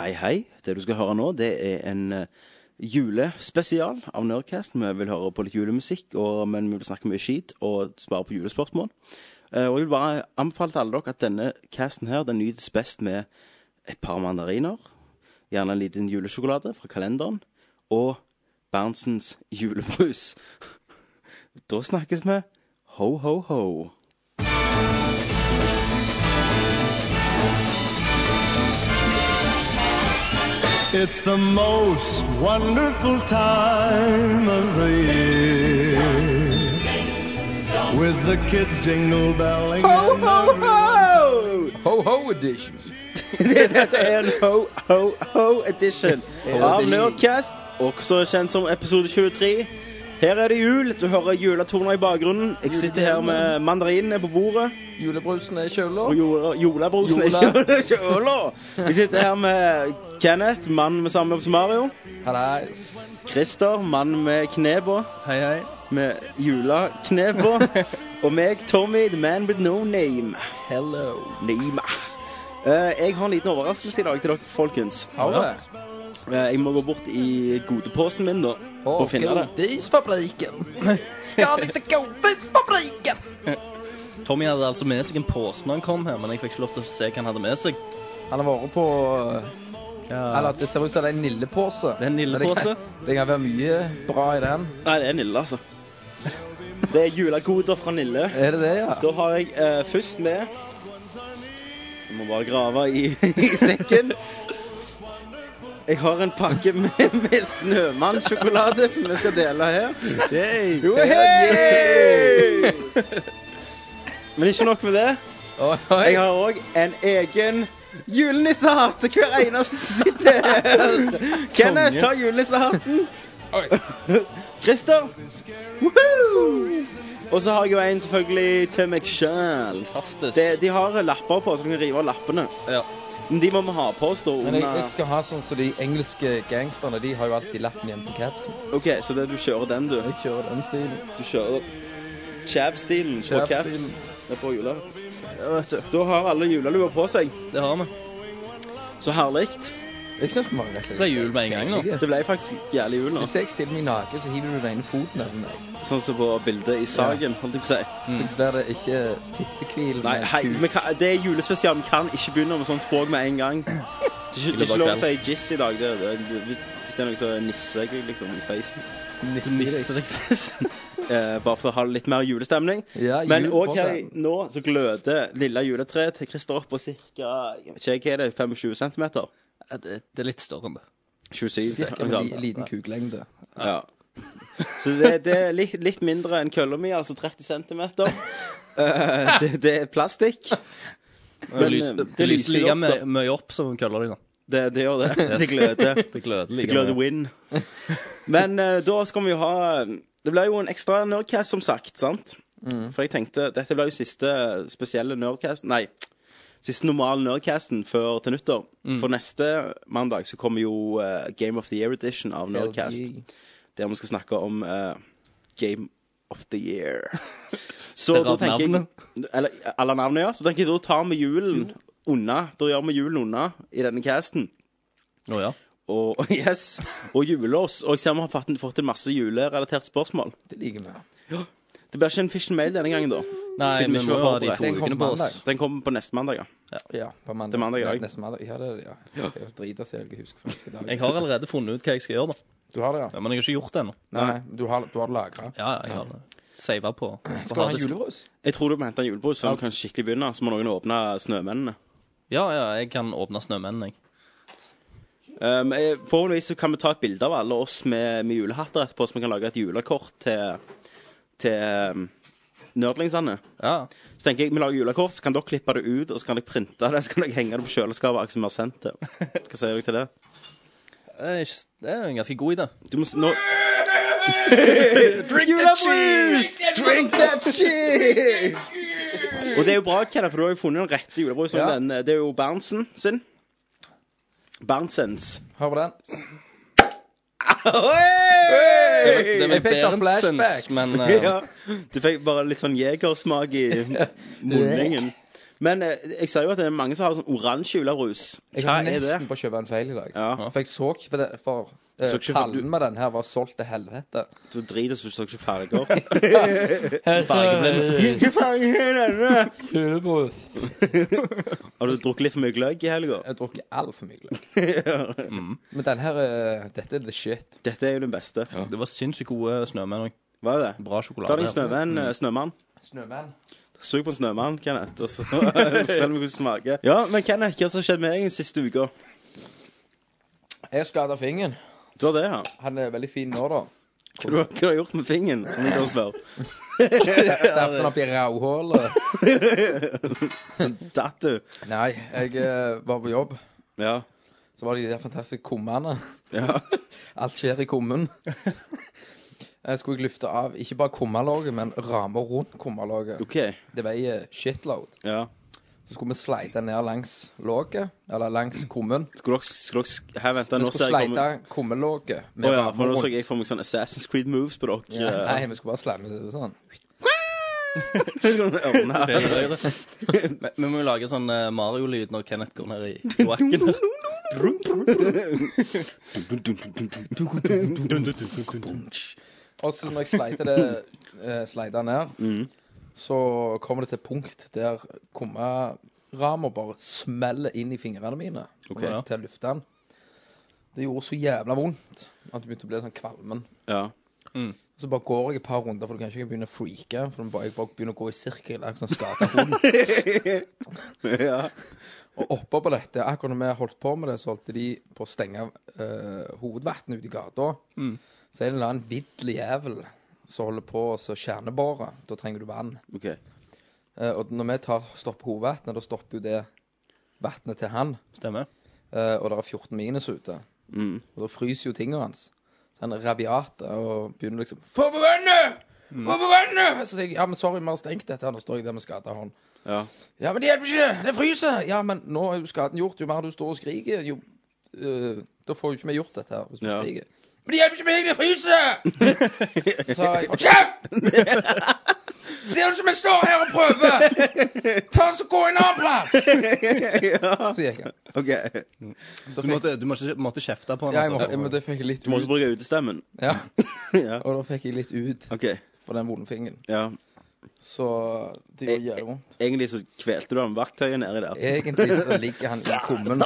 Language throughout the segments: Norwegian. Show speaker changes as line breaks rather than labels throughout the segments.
Hei, hei. Det du skal høre nå, det er en eh, julespesial av Nerdcast. Vi vil høre på litt julemusikk, og, men vi vil snakke mye skit og svare på julespørsmål. Eh, og jeg vil bare anbefale til alle dere at denne casten her, den nytes best med et par mandariner, gjerne en liten julesjokolade fra kalenderen, og Berntsens julebrus. da snakkes vi. Ho, ho, ho.
It's the most wonderful time of the year. With the kids jingle belling.
Ho, ho, ho!
Ho-ho edition.
Dette er en ho-ho-ho-edition av
Ho-edition.
Nerdcast, også kjent som episode 23. Her er det jul. Du hører juletoner i bakgrunnen. Jeg sitter her med mandarinene på bordet
Julebrusen er i kjøla.
og jorda- jolabrusen i
Jola.
kjø- kjøla. Jeg sitter her med Kenneth, mann med samme jobb som Mario.
Hallais.
Christer, mann med kne på.
Hei, hei.
Med julakne på. Og meg, Tommy, the man with no name.
Hello.
Name. Eh, jeg har en liten overraskelse i dag til dere, folkens.
Har vi det?
Eh, Jeg må gå bort i godepåsen min da og
Og
finne det.
Godisfabrikken. Skal vi til Godisfabrikken?
Tommy hadde altså med seg en pose når han kom her, men jeg fikk ikke lov til å se hva han hadde med seg.
Han har vært på Eller det ser ut som det er en nillepose.
Det er en nillepose.
Men Det, kan- det kan være mye bra i den.
Nei, det er Nille, altså. Det er julegoder fra Nille.
Er det det, ja?
Da har jeg eh, først med Jeg må bare grave i, i sekken. Jeg har en pakke med, med snømannsjokolade som vi skal dele her. Jo, hei! Men ikke nok med det.
Oi,
Jeg
oi.
har òg en egen julenissehatt til hver eneste som sitter her. Kenneth, ta julenissehatten.
Oi.
Christer. Woohoo! Og så har jeg jo en selvfølgelig til meg sjøl.
Fantastisk.
De, de har lapper på, så du kan rive av lappene.
Ja.
Men de må vi ha på oss, da.
Men jeg, jeg
Under.
skal ha sånn som de engelske gangsterne. De har jo alltid lappen igjen på capsen.
OK, så det, du kjører den, du.
Jeg kjører den stilen.
Du kjører chav-stilen på caps.
Chav-stilen.
Det er på julehatt. Da har alle julelua på seg.
Det har vi.
Så herlig.
Jeg syns vi har rett og
Det ble jul med en gang nå.
Det ble faktisk jævlig jul nå.
Hvis jeg stiller meg naken, så hiver du den ene foten etter meg.
Sånn som på bildet i Sagen, holdt jeg på å si.
Så blir det ikke fittekvil,
Mm. Nei,
men
hei, vi kan, det er julespesial. Vi kan ikke begynne med sånt språk med en gang. Det er ikke, det er ikke lov å si jizz i dag. Det, det, det, hvis- hvis det er noe, så nisser jeg liksom i feisen.
kuknisse.
Nisse deg fest.
Eh, bare for å ha litt mer julestemning.
Ja,
Men
jul
òg
på
her i-
seg.
nå så gløder lille juletreet til Christer opp på ca. Hva er det, 25 cm?
Ja, Det, det er litt større enn det.
27
Cirka med li, liten kuklengde.
sånn. Ja. Så det, det er litt, litt mindre enn kølla mi, altså 30 cm. det, det er plastikk. Men,
Det lyser,
eh,
det
lyser
lyser like
opp, da.
mye- mye opp som kølla di nå.
Det, det gjør det. Det gløder.
Det gløder
Det
like
gløder
mye.
win. Men eh, da skal vi jo ha eh, Det blir jo en ekstra Nerdcast, som sagt. sant?
Mm.
For jeg tenkte dette blir jo siste spesielle Nerdcast Nei, siste normale Nerdcasten før til nyttår. For neste mandag så kommer jo eh, Game of the Year edition av Nerdcast. Der vi skal snakke om eh, Game of the Year. Så
Det er
da
rart
tenker jeg Eller alle navnene, ja. Så tenker jeg da tar vi julen unna. Da gjør vi julen unna i denne casten.
Å ja.
Og yes, og julelås. Og jeg ser vi har fått, fått en masse julerelaterte spørsmål.
Det liker vi.
Det blir ikke en fish and mail denne gangen, da.
Nei,
Siden vi
vi
ikke
må
var
ha de
forberedt.
Den
to
kom
ukene på oss.
mandag.
Den kommer på neste mandag, ja.
Ja, på mandag.
Det er mandag i dag.
Neste mandag. Ja, det er det, ja. Jeg driter seg i hva jeg husker fra hvilken
Jeg
dag.
har allerede funnet ut hva jeg skal gjøre, da.
Du har det, ja?
Ja, men jeg har ikke gjort det ennå.
Nei, du har, du har det lagra?
Ja, ja, jeg har det. Sava på. på
Skal du ha
harddisken.
julebrus?
Jeg tror du må hente en julebrus før vi kan skikkelig begynne. Så må noen åpne snømennene.
Ja, ja, jeg kan åpne snømennen, jeg.
Um, eh, forhåpentligvis så kan vi ta et bilde av alle oss med, med julehatter etterpå, så vi kan lage et julekort til, til um, nerdlingsene.
Ja.
Så tenker jeg, vi lager julekort, så kan dere klippe det ut, og så kan dere printe det, så kan dere henge det på kjøleskapet som vi har sendt det. Hva sier dere til det?
Det er ikke- det er en ganske god idé.
Du må s- nå Drink that cheese! Drink that cheese! Og det er jo bra, Kenneth, for du har jo funnet den rette julebrusen.
Ja.
Den, eh, Det er jo Berntsen sin. Berntsens.
Hør på den.
Det
Jeg fikk sånn
Berentsens,
flashbacks.
Men eh,
Ja. Du fikk bare litt sånn jegersmak i munningen. Men eh, jeg ser jo at det er mange som har sånn oransje julerus.
Jeg
Hva
kom
er det?
nesten på å kjøpe en feil i dag.
Ja.
For jeg så ikke for, det, for eh,
Så ikke for
tallen
du-
med den her var solgt til helvete.
Du driter så du ikke farger.
Fargeblinde
Hva faen er denne?
julebrus.
Har du drukket litt for mye gløgg i helga?
Jeg drukker altfor mye gløgg. Mm. Men den her eh, Dette er the shit.
Dette er jo den beste.
Det var sinnssykt gode snømenn òg.
Hva er det?
Bra
Ta deg en
sjokolade.
snømann, eh, snømann.
Snømann.
Sug på en snømann, Kenneth, og så fortell meg hvordan det smaker. Ja, men Kenneth, hva som skjedde med deg den siste uka?
Jeg skada fingeren.
Du har det, ja.
Han er veldig fin nå, da.
Hva du, har- hva du har gjort med fingeren? Om jeg kan spørre.
Stappet den opp i rævhullet.
Datt du?
Nei, jeg eh, var på jobb.
Ja.
Så var det de der fantastiske kummene.
Ja.
Alt skjer i kummen. Jeg skulle jeg lufte av ikke bare kummalåget, men rammer rundt kummalåget.
OK.
Det veier shitload.
Ja.
Så skulle vi sleite ned langs låget, eller langs kummen.
Skulle dere Skulle dere sk- Her, vent, da,
Vi
nå
skulle
ser jeg komme-
sleite kummelåget
Å
med
ja, for nå
rammer
så
rundt.
jeg for meg sånn Assassin's Creed moves på dere.
Ja,
eh,
nei, vi skulle bare slemme det sånn.
sånn ørene her.
Men men vi må jo lage sånn eh, Mario-lyd når Kenneth går ned i kloakken. her.
Og så når jeg sleiter det eh, sleiter ned, så kommer det til et punkt der kummerama bare smeller inn i fingrene mine
Ok.
og til å lufte den. Det gjorde så jævla vondt at det begynte å bli sånn kvalmen.
Ja.
Så bare går jeg et par runder, for du kan ikke begynne å freake. For du bare, jeg bare begynner å gå i sirkel, akkurat som en skada hund.
ja.
Og oppå på dette, akkurat når vi holdt på med det, så holdt de på å stenge uh, hovedvannet ute i gata. Så er det en eller annen vill jævel som holder på å så kjernebore. Da trenger du vann.
OK.
Eh, og når vi tar, stopper hovedvannet, da stopper jo det vannet til han.
Stemmer.
eh, og det er 14 minus ute. Og da fryser jo tingene hans. Så han er rabiat og begynner liksom Få på vannet! Få på vannet! Så sier jeg ja, men sorry, vi har stengt dette. her, Nå står jeg der med skada hånd.
Ja.
Ja, men det hjelper ikke! Det fryser! Ja, men nå er jo skaden gjort. Jo mer du står og skriker, jo eh, Da får jo ikke vi gjort dette her, hvis du
Ja.
skriker. Men det hjelper ikke meg! Det fryser! Så sa jeg Hold kjeft! Ser du ikke vi står her og prøver? Ta oss og Gå en annen plass! Så gikk jeg.
OK.
Så
Du
fikk,
måtte, du måtte, måtte kjefte på han.
ja, jeg må,
altså.
men det fikk jeg litt
Du må ikke
ut.
bruke utestemmen.
Ja.
Ja.
Og da fikk jeg litt ut
OK.
på den vonde fingeren.
Ja.
Så
Eh,
det gjorde jævlig vondt.
Egentlig så kvelte du ham verktøyet nedi der.
Egentlig så ligger han i kummen.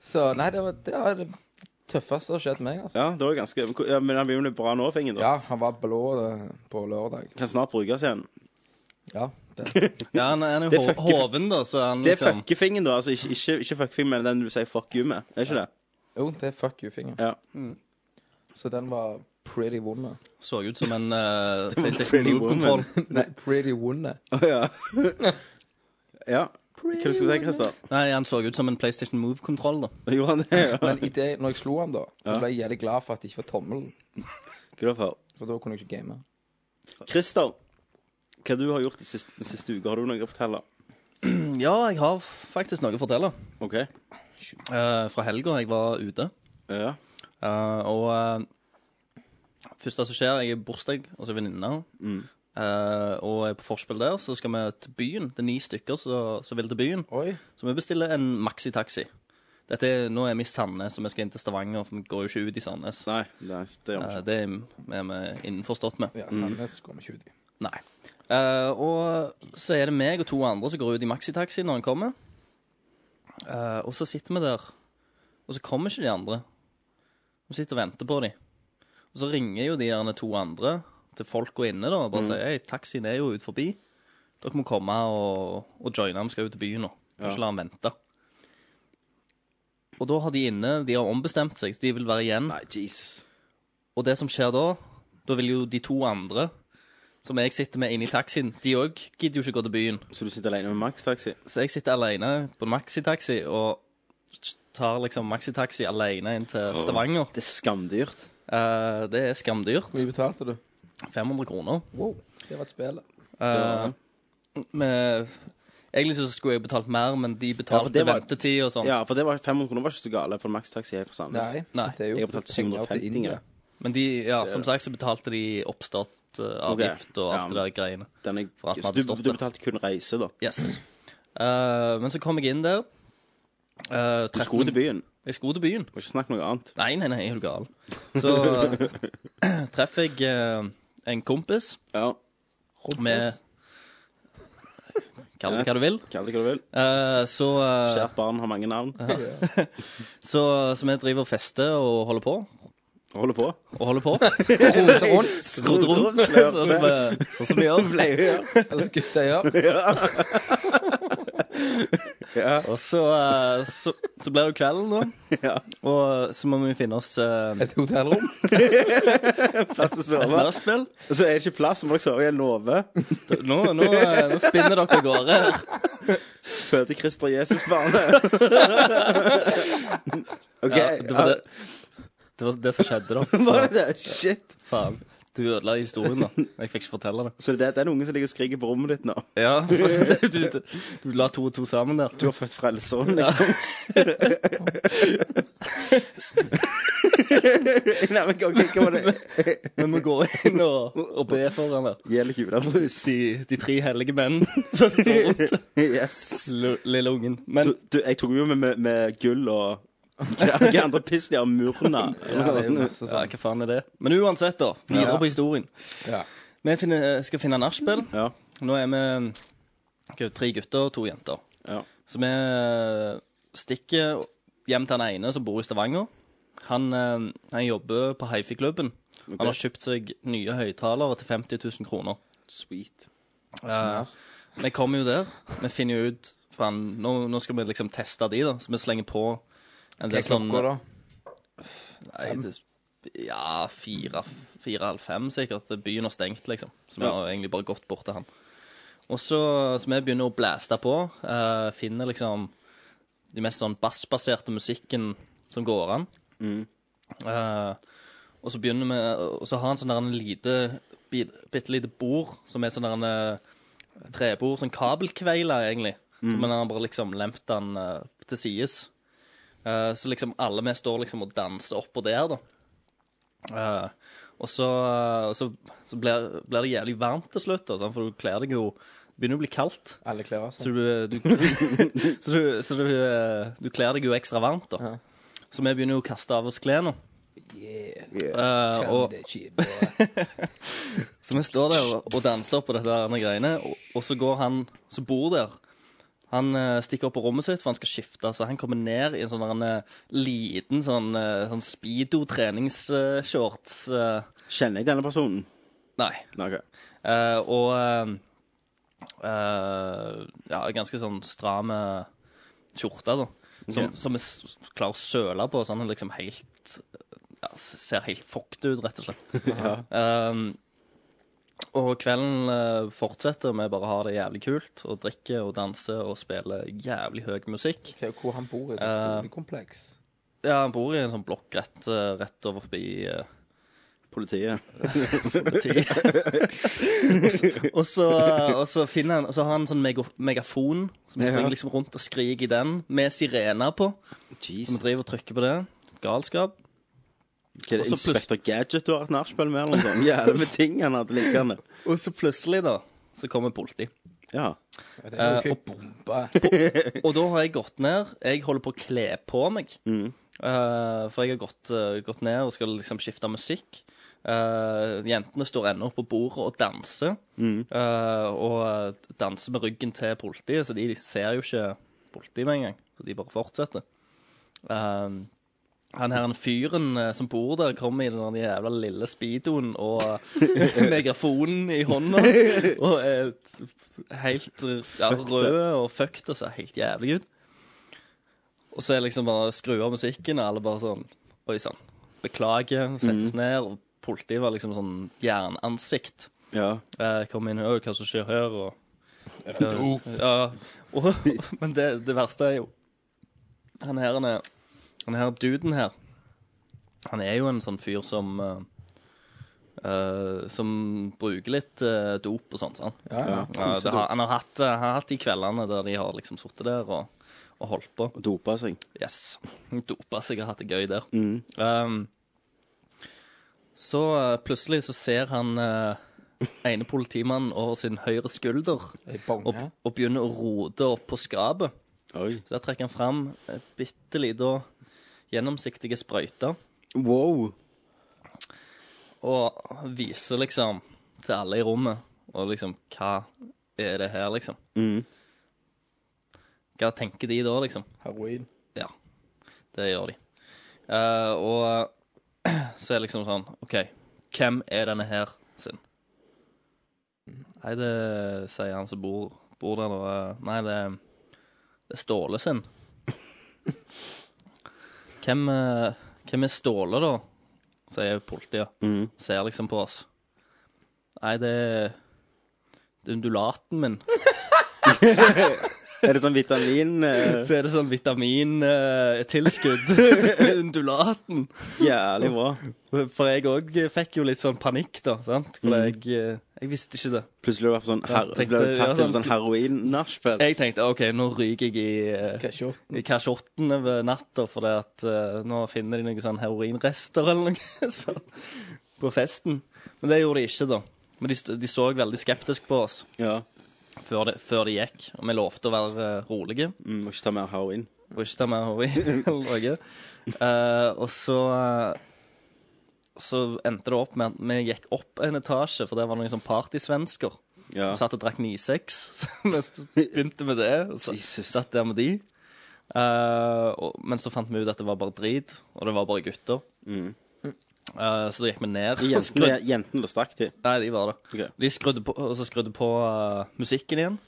Så nei, det var det, var det tøffeste som har skjedd meg, altså.
Ja, det var jo ganske ja, Men han begynner bra nå, fingeren. da.
Ja, han var blå eh, på lørdag.
Kan snart brukes igjen.
Ja, det.
Ja, han, han er
Det
jo
fucker-
ho- hoven, da, så han
Det er
liksom
fuckefingen, da. Altså, ikke, ikke, ikke fuckefing, men den du sier fuck you med. Er ikke det?
Jo, det er fuck you-fingeren.
Ja.
Så den var pretty vond. da.
så ut som en eh,
Pretty
PlayStation
Woman.
Move-kontroll.
Nei, pretty vond. da.
Å ja. ja. Hva du skulle du si, Christer?
Nei, han så ut som en PlayStation Move-kontroll, da.
Gjorde han det? Ja.
Men i det, når jeg slo han da, så ble jeg jævlig glad for at det ikke var tommelen.
Hva da for?
For da kunne jeg ikke game.
Christer, hva du har gjort de siste, den siste uka? Har du noe å fortelle?
Ja, jeg har faktisk noe å fortelle.
OK.
Eh, fra helga jeg var ute.
Ja.
Eh, og uh, første som skjer, jeg er i bursdag hos en venninne.
Mm.
Eh, og jeg er på forspill der, så skal vi til byen. Det er ni stykker som som vil til byen.
Oi.
Så vi bestiller en maxitaxi. Dette er, nå er vi i Sandnes, og vi skal inn til Stavanger, for vi går jo ikke ut i Sandnes.
Nei, nei det gjør vi
Eh, det er vi innforstått med.
Ja, sånn, Sandnes går med 20.
Nei. Eh, og så er det meg og to andre som går ut i maxitaxi når han kommer. Eh, og så sitter vi der, og så kommer ikke de andre. Vi sitter og venter på dem. Og så ringer jo de gjerne to andre til folka inne da, og bare sier Hei, taxien er jo ut forbi. Dere må komme og, og joine. Vi skal jo til byen nå. Kan ikke la han vente. Og da har de inne De har ombestemt seg, så de vil være igjen.
Nei, Jesus.
Og det som skjer da, da vil jo de to andre som jeg sitter med inne i taxien, de òg gidder jo ikke gå til byen.
Så du sitter alene med Max Taxi?
Så jeg sitter alene på en maxitaxi og tar liksom maxitaxi alene inn til Stavanger.
Det er skamdyrt.
Eh, det er skamdyrt.
Hvor mye betalte du?
500 kroner.
Wow, det var et spill.
Eh, med, egentlig så skulle jeg betalt mer, men de
Ja, for
betalte
det var-
ventetid og sånn.
Ja, for det var 500 kroner var ikke så gale for Max Taxi her fra Sandnes.
Nei,
Nei,
det er jo
jeg har betalt
penger til
750
India.
kroner.
Men de, ja, som sagt så betalte de oppstart båtavgift og alt
Ja.
det der greiene.
Den er,
For at vi
så
hadde
du, du
stått der.
betalte kun reise, da.
Yes. Eh, men så kom jeg inn der. Uh,
Du skulle til byen.
Jeg skulle til byen.
Må ikke snakke noe annet.
Nei, nei, nei, er du gal? Så eh, treffer jeg eh, en kompis
Ja,
med Kall det hva du vil.
Kall det hva du vil.
Eh, så, eh,
Kjært barn har mange navn.
så, så vi driver og fester og holder på.
Holder på.
Og holder på.
Rote rundt,
Roter rundt, sånn som vi- sånn som vi gjør.
eller så gutta gjør.
Og så, eh, så, så blir det jo kvelden, da. Og så må vi finne oss eh,
Et hotellrom.
Plass til å
et
sove.
nachspiel.
Og så er det ikke plass, så må dere sove i en låve.
Nå, nå, eh, nå spinner dere av gårde.
Føde Christer Jesus-barnet. OK.
Ja, det, var det, det var det som skjedde, da.
Var det det? Shit.
Faen. Du ødela historien, da. Jeg fikk ikke fortelle det.
Så det er den ungen som ligger og skriker på rommet ditt nå.
Ja, for du, du, du la to og to sammen der.
Du har født frelseren, liksom. Nei, men ok, hva var det?
Vi må gå inn og, og be for han der.
Gjelder julebrus.
De, de tre hellige menn som står rundt
Yes.
l- lille ungen. Men
Du, du, jeg tok jo med, med, med gull og hva hva andre piss de har murna.
Ja, det er jo masse
ja,
sånn.
hva faen er det? Men uansett, da. Videre
Ja.
på historien.
Ja.
Vi finner, skal finne nachspiel.
Ja.
Nå er vi hva, tre gutter og to jenter.
Ja.
Så vi eh, stikker hjem til han ene som bor i Stavanger. Han, eh, han jobber på Hifi-klubben. Han har kjøpt seg nye høyttalere til 50 000 kroner.
Sweet.
Eh, vi kommer jo der. Vi finner jo ut faen, nå, nå skal vi liksom teste de, da. Så vi slenger på en
Det
del
er klokka, da.
Nei, det- Ja, fire, fire halv fem sikkert. Byen har stengt, liksom. Så vi
Ja.
har egentlig bare gått bort til han. Og så, så vi begynner å blæste på. eh, finner liksom de mest sånn bassbaserte musikken som går an. Eh, og så begynner vi Og så har han sånn der en lite bit- Bitte lite bord som er sånn der en eh, trebord, sånn kabelkveile, egentlig. Men han har bare liksom lemt den eh, til sides. Eh, så liksom alle vi står liksom og danser oppå der, da. Eh, og så, eh, så, så blir, blir det jævlig varmt til slutt, da, sant, for du kler deg jo Det begynner å bli kaldt.
Alle kler av
Så
seg.
du, du, så du, så du, eh, du kler deg jo ekstra varmt, da.
Ja.
Så vi begynner jo å kaste av oss klærne. Eh,
Kjenn
og,
det kjipe.
så vi står der og og danser på dette her greiene, og, og så går han som bor der Han eh, stikker opp på rommet sitt, for han skal skifte. Så han kommer ned i en sånn der en, eh, liten sånn, eh, sånn speedo treningsshorts eh,
Kjenner jeg denne personen?
Nei.
Nei, ok.
Eh, og eh, eh, Ja, ganske sånn stram eh, skjorte, da. Som,
Ok.
som vi s- klarer å søle på, så han liksom helt ja, Ser helt fuktig ut, rett og slett. Ehm, og kvelden eh, fortsetter med bare å ha det jævlig kult og drikke og danse og spille jævlig høy musikk.
Se hvor han bor, i sånn boligkompleks.
Ja, han bor i en sånn blokk rett, eh, rett over forbi eh,
Politiet.
politiet. og, så, og så finner han Og så har han en sånn mega, megafon som
Ja.
springer liksom rundt og skriker i den, med sirener på. Så vi
Jesus.
driver og trykker på det. Galskap.
Hva er det
Og så
Inspector Gadget du har hatt nachspiel med, eller noe sånt? Jævla med ting han hadde liggende.
Og så plutselig, da, så kommer politi.
Ja.
Ja, Det er jo ikke bombe.
Og da har jeg gått ned. Jeg holder på å kle på meg. Eh, for jeg har gått, eh, gått ned og skal liksom skifte musikk. Eh, jentene står ennå på bordet og danser. Eh, og danser med ryggen til politiet, så de ser jo ikke politiet med en gang. Så de bare fortsetter. Eh, han her en fyren eh, som bor der, kommer i den der jævla lille speedoen og megafonen i hånda. Og eh, er t- helt eh, ja, rød og fucked og ser helt jævlig ut. Og så er liksom bare skru av musikken, og alle bare sånn Oi sann. Beklager. Settes ned. Og politiet var liksom sånn jernansikt.
ja.
Eh, kom inn og hva som skjer her, og ja, og, Men det, det verste er jo Han her, han er Han her duden her Han er jo en sånn fyr som eh, eh, Som bruker litt eh, dop og sånt, sant?
Ja, ja.
Ja, Eh, det har, han, har hatt, eh, han har hatt de kveldene der de har liksom sittet der og, og holdt på.
Og dopa seg.
Yes. Dopa seg og hatt det gøy der.
Mm.
Ehm, Um, så eh, plutselig så ser han eh, ene politimannen over sin høyre skulder
I bong,
og,
ja.
og begynner å rote opp på skapet.
Oi.
Så der trekker han fram eh, bitte lite og gjennomsiktige sprøyter
Wow.
og viser liksom til alle i rommet og liksom Hva er det her, liksom?
Mm.
Hva tenker de da, liksom?
Heroin.
Ja, det gjør de. Eh, og så er det liksom sånn OK, hvem er denne her sin? Nei, det sier han som bor, bor der, da. eh, Nei, det, det er Ståle sin. hvem, eh, hvem er Ståle, da? sier politiet. Ser liksom på oss. Nei, det er det er undulaten min.
Er det sånn vitamin eh,
Så er det sånn vitamintilskudd til undulaten.
Jævlig bra.
For jeg òg fikk jo litt sånn panikk, da. sant? For jeg, eh, jeg visste ikke det.
Plutselig ble det sånn her,
Ja, tenkte-
ble det
ja,
tatt til
sånn-
sånn heroin-nachspiel.
Jeg tenkte OK, nå ryker jeg i, eh,
Kasjotten.
i kasjotten over natta fordi at eh, nå finner de noen sånn heroinrester eller noe sånt på festen. Men det gjorde de ikke, da. Men de, st- de så veldig skeptisk på oss
Ja.
før de, før de gikk. Og vi lovte å være eh, rolige.
Mm, må ikke ta mer heroin.
Og ikke ta mer heroin eller noe. Eh, og så eh, Så endte det opp med at vi gikk opp en etasje, for der var det noen sånn partysvensker.
Ja.
Vi Satt og drakk 9-6, så vi s- begynte med det. Og så
Jesus.
satt der med de. Eh, og, men så fant vi ut at det var bare drit, og det var bare gutter. Eh, så da gikk vi ned. og
Mm. Jentene,
skrudde-
jentene det stakk til.
Nei, de var det.
Ok.
De skrudde på, og så skrudde på eh, musikken igjen.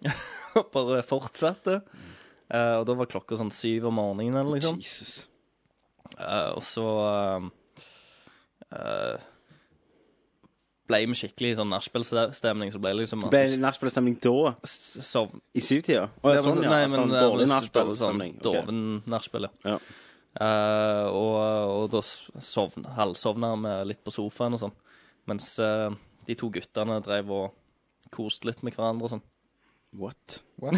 Og Bare fortsatte. Eh, og da var klokka sånn syv om morgenen eller
Liksom.
noe sånt.
Jesus.
Eh, og så eh, eh, ble vi skikkelig i sånn nachspiel-stemning, så ble det liksom at
Ble
du
det nachspiel-stemning da?
s- sovn...
I syvtida? Å, ja, sånn, ja.
Nei, men
sånn
det
dårlig
var sånn
nachspiel-stemning. Ok.
Doven nachspiel, ja.
Ja.
Eh, og, og da s- sovn, halvsovna vi litt på sofaen og sånn. Mens eh, de to guttene drev og koste litt med hverandre og sånn.
What?
What?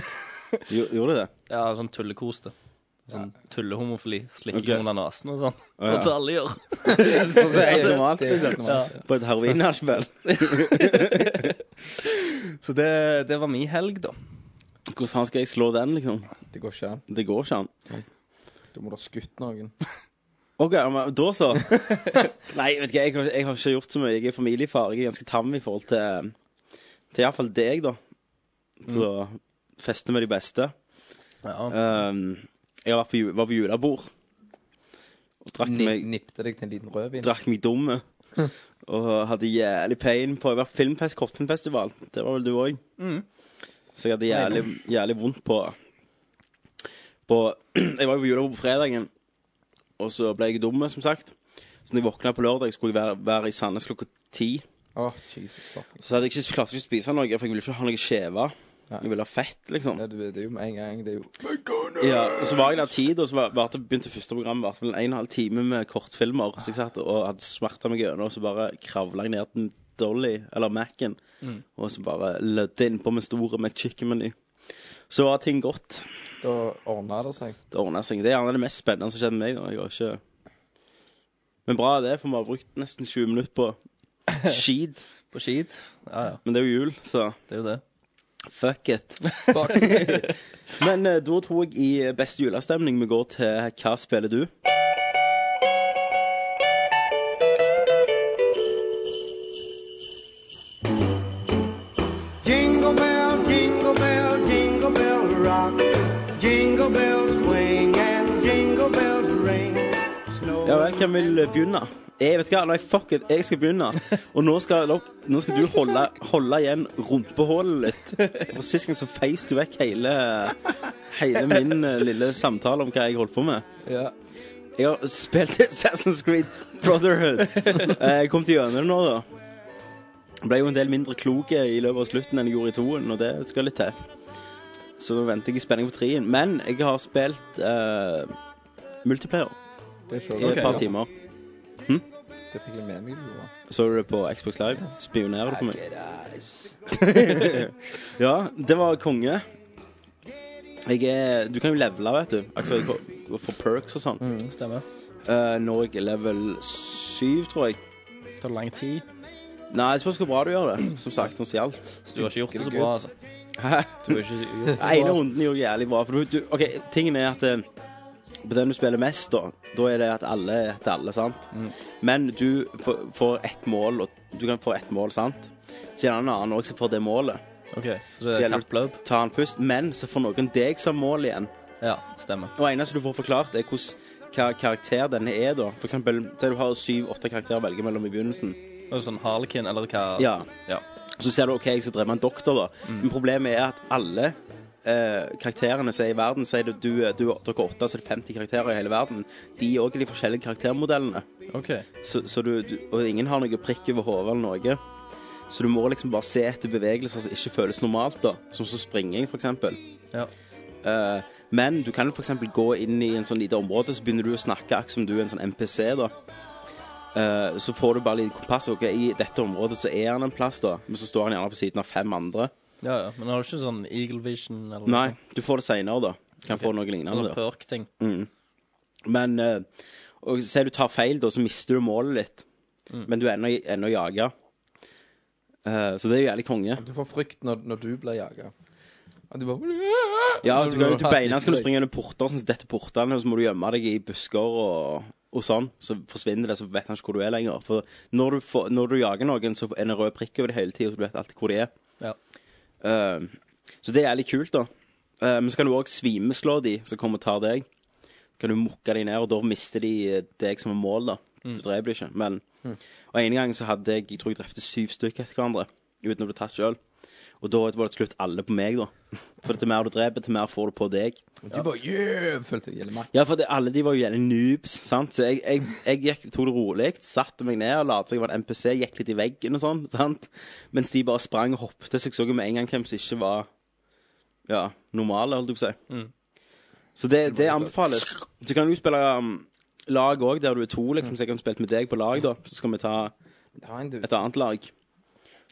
Jo, gjorde det?
Ja, sånn tullekoste. Sånn tullehomofili. Slikking
Ok.
under nesen og sånn.
ja.
Sånn som alle gjør.
Så det er helt normalt,
Det er helt
liksom.
normalt.
På et heroin-nachspiel?
Så det, det var min helg, da.
Hvordan faen skal jeg slå den, liksom?
ja. Det går ikke an.
Det går ikke an.
Du må da ha skutt noen.
OK, men da så. Nei, vet du hva, jeg, har- jeg har ikke gjort så mye. Jeg er familiefar. Jeg er ganske tam i forhold til Til iallfall deg, da. Så feste med de beste.
Ja.
Um, jeg var på, ju- var på julebord. Og drakk
Ni,
meg,
nippte deg til en liten rødvin.
drakk meg dumme. Og hadde jævlig pain på Jeg var på filmfest, Kortfilmfestival. Det var vel du òg. Så jeg hadde jævlig, jævlig vondt på På Jeg var jo på julebord på fredagen, og så ble jeg dum, som sagt. Så når jeg våkna på lørdag, skulle jeg være, være i Sandnes klokka ti.
Å, Jesus fucking.
Så hadde jeg ikke, klarte jeg ikke å spise noe, for jeg ville ikke ha noe skjeve. Jeg ville ha fett, liksom.
Ja, du, det er jo med en gang. Det er jo
Ja, og så var jeg der tid, og så var, varte- begynte første program varte vel en og en halv time med kortfilmer. Så jeg satt og hadde smerta meg gjennom, og så bare kravla jeg ned til Dolly, eller Mac-en, og så bare lødde innpå med store McChicken-meny. Så var ting godt.
Da ordna det seg.
Det ordna seg. Det er gjerne det mest spennende som skjedde med meg. da. Jeg har ikke Men bra er det, for vi har brukt nesten 20 minutter på skit.
På skit. Ja, ja.
Men det er jo jul, så
Det er jo det.
fuck it.
Fuck.
Men eh, da tror jeg i beste julestemning vi går til Hva spiller du?
Jingle bell, jingle bell, jingle bell rock. Jingle bells swing and jingle bells ring. Snow
Ja vel, hvem vil begynne? Jeg vet hva, nei, fuck it, jeg skal begynne. Og nå skal, dere- nå skal du holde, holde igjen rumpehålet litt. For sist gang så feis du vekk hele, hele min eh, lille samtale om hva jeg holdt på med.
Ja.
Jeg har spilt Assassin's Creed Brotherhood. Eh, Jeg kom til gjennom det nå, da. Jeg ble jo en del mindre klok i løpet av slutten enn jeg gjorde i toen, og det skal litt til. Så nå venter jeg i spenning på treen. Men jeg har spilt eh, multiplayer
Det så
i
jeg.
et par timer.
Det fikk jeg med meg. du, da.
Så du det på Xbox Live? Spionerer du på meg?
Get eyes.
Ja, det var konge. Jeg er Du kan jo levele, vet du. Altså gå- gå for perks og sånn.
Mm, Stemmer.
Eh, når jeg er level 7, tror jeg.
Det tar lang tid.
Nei, det spørs hvor bra du gjør det. Som sagt, som stjålet.
Så du har ikke gjort det så bra, altså. Du har ikke gjort det så
Den ene
bra.
runden gjorde jævlig bra. For du, du, ok, tingen er at eh, på den du spiller mest, da, da er det at alle er til alle, sant? Men du får- får ett mål, og du kan få ett mål, sant? Så er det en annen også som får det målet.
OK, så det
Så
er
gjelder-
kappløp.
Ta han først, men så får noen deg som mål igjen.
Ja, stemmer.
Og det eneste du får forklart, er hvordan hva karakter denne er, da. For eksempel, si du har syv-åtte karakterer å velge mellom i begynnelsen.
Og sånn harlekin eller hva
Ja.
ja.
Så ser du OK, jeg skal drepe en doktor, da. Men problemet er at alle eh, karakterene som er i verden, sier du, du, du dere er åtte, så er det 50 karakterer i hele verden. De er også de forskjellige karaktermodellene.
OK.
Så, så du, du, og ingen har noe prikk over hodet eller noe. Så du må liksom bare se etter bevegelser som ikke føles normalt, da. Som så springing, for eksempel.
Ja.
Eh, men du kan jo for eksempel gå inn i en sånn lite område, så begynner du å snakke akkurat som du er en sånn NPC, da. Eh, så får du bare litt kompass. Ok, I dette området så er han en plass, da. Men så står han gjerne ved siden av fem andre.
ja, ja. Men har du ikke sånn Eagle Vision eller
Nei, du får det seinere, da. Kan få noe lignende.
Sånn
da
perk-ting.
Mm. Men eh, og se du tar feil, da, så mister du målet litt. Men du er ennå, ennå jaga. Eh, så det er jo jævlig konge.
Du får frykt når, når du blir jaga. At du bare
Ja,
Når
du kan jo til
har
beina skal du
litt
springe under porter, sånn som dette portene, og så må du gjemme deg i busker og, og sånn. Så forsvinner det, så vet han ikke hvor du er lenger. For når du, får, når du jager noen, så er det en rød prikk over det hele tida, så du vet alltid hvor de er.
Ja.
Eh, så det er jævlig kult, da. Eh, men så kan du òg svimeslå de som kommer og tar deg. Kan du mukke de ned, og da mister de eh, deg som er mål, da. Du dreper de ikke. Men Og en gang så hadde jeg, jeg tror jeg drepte syv stykker etter hverandre uten å bli tatt sjøl. Og da var det til slutt alle på meg, da. For til mer du dreper, til mer får du på deg.
Du bare yeah! Følte jeg gjelder meg.
Ja, for det, alle de var jo gjerne noobs, sant. Så jeg, jeg, jeg gikk, tok det rolig, satte meg ned og lot som jeg var en NPC, gikk litt i veggen og sånn, sant. Mens de bare sprang og hoppet, så jeg så jo med en gang hvem som ikke var ja, normale, holdt jeg på å si. Så det, det anbefales. Du kan jo spille um, lag òg, der du er to, liksom, så jeg kan spille med deg på lag, da. Så skal vi ta
Det var en dude.
et annet lag.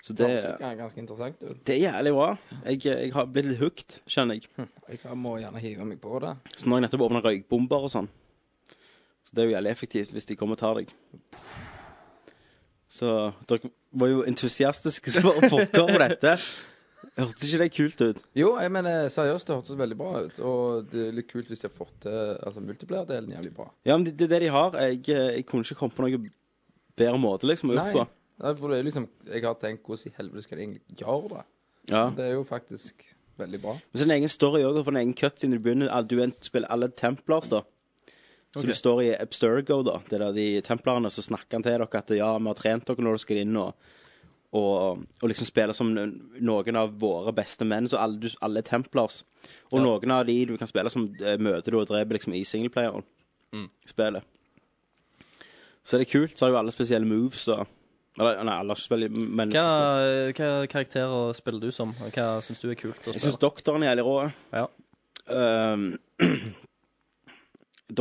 Så det,
Det er ganske interessant. dude.
det er jævlig bra. Jeg, jeg har blitt litt hooked, skjønner jeg.
Jeg må gjerne hive meg på det.
Så nå har jeg nettopp åpna røykbomber og sånn. Så det er jo jævlig effektivt hvis de kommer og tar deg. Så dere var jo entusiastiske som bare fucka på dette. Hørtes ikke det kult ut?
Jo, jeg mener seriøst, det hørtes veldig bra ut. Og det er litt kult hvis de har fått til altså, multiplier-delen jævlig bra.
Ja, men det, det er det de har. Jeg, eh, jeg kunne ikke komme på noe bedre måte, liksom, å gjøre det på.
Nei, for det er liksom Jeg har tenkt hvordan i helvete skal de egentlig gjøre det?
Ja.
Det er jo faktisk veldig bra.
Men så er det en egen story òg, for en egen cut siden du begynner. Alle- Du er en- spiller alle Templars, da. Så du står i Abstergo, da. Det er der de Templarene, så snakker han til dere at ja, vi har trent dere når dere skal inn og og, og liksom spille som noen av våre beste menn. Så alle, du, alle er Templars. Og noen av de du kan spille som eh, møter du og dreper liksom i singleplayeren. Spillet. Så er det kult. Så har jo alle spesielle moves og Eller nei, alle har ikke spilt men
Hva, hva karakterer spiller du som? Hva syns du er kult å
Jeg syns
spille?
doktoren er jævlig rå.
Ja.
Ehm,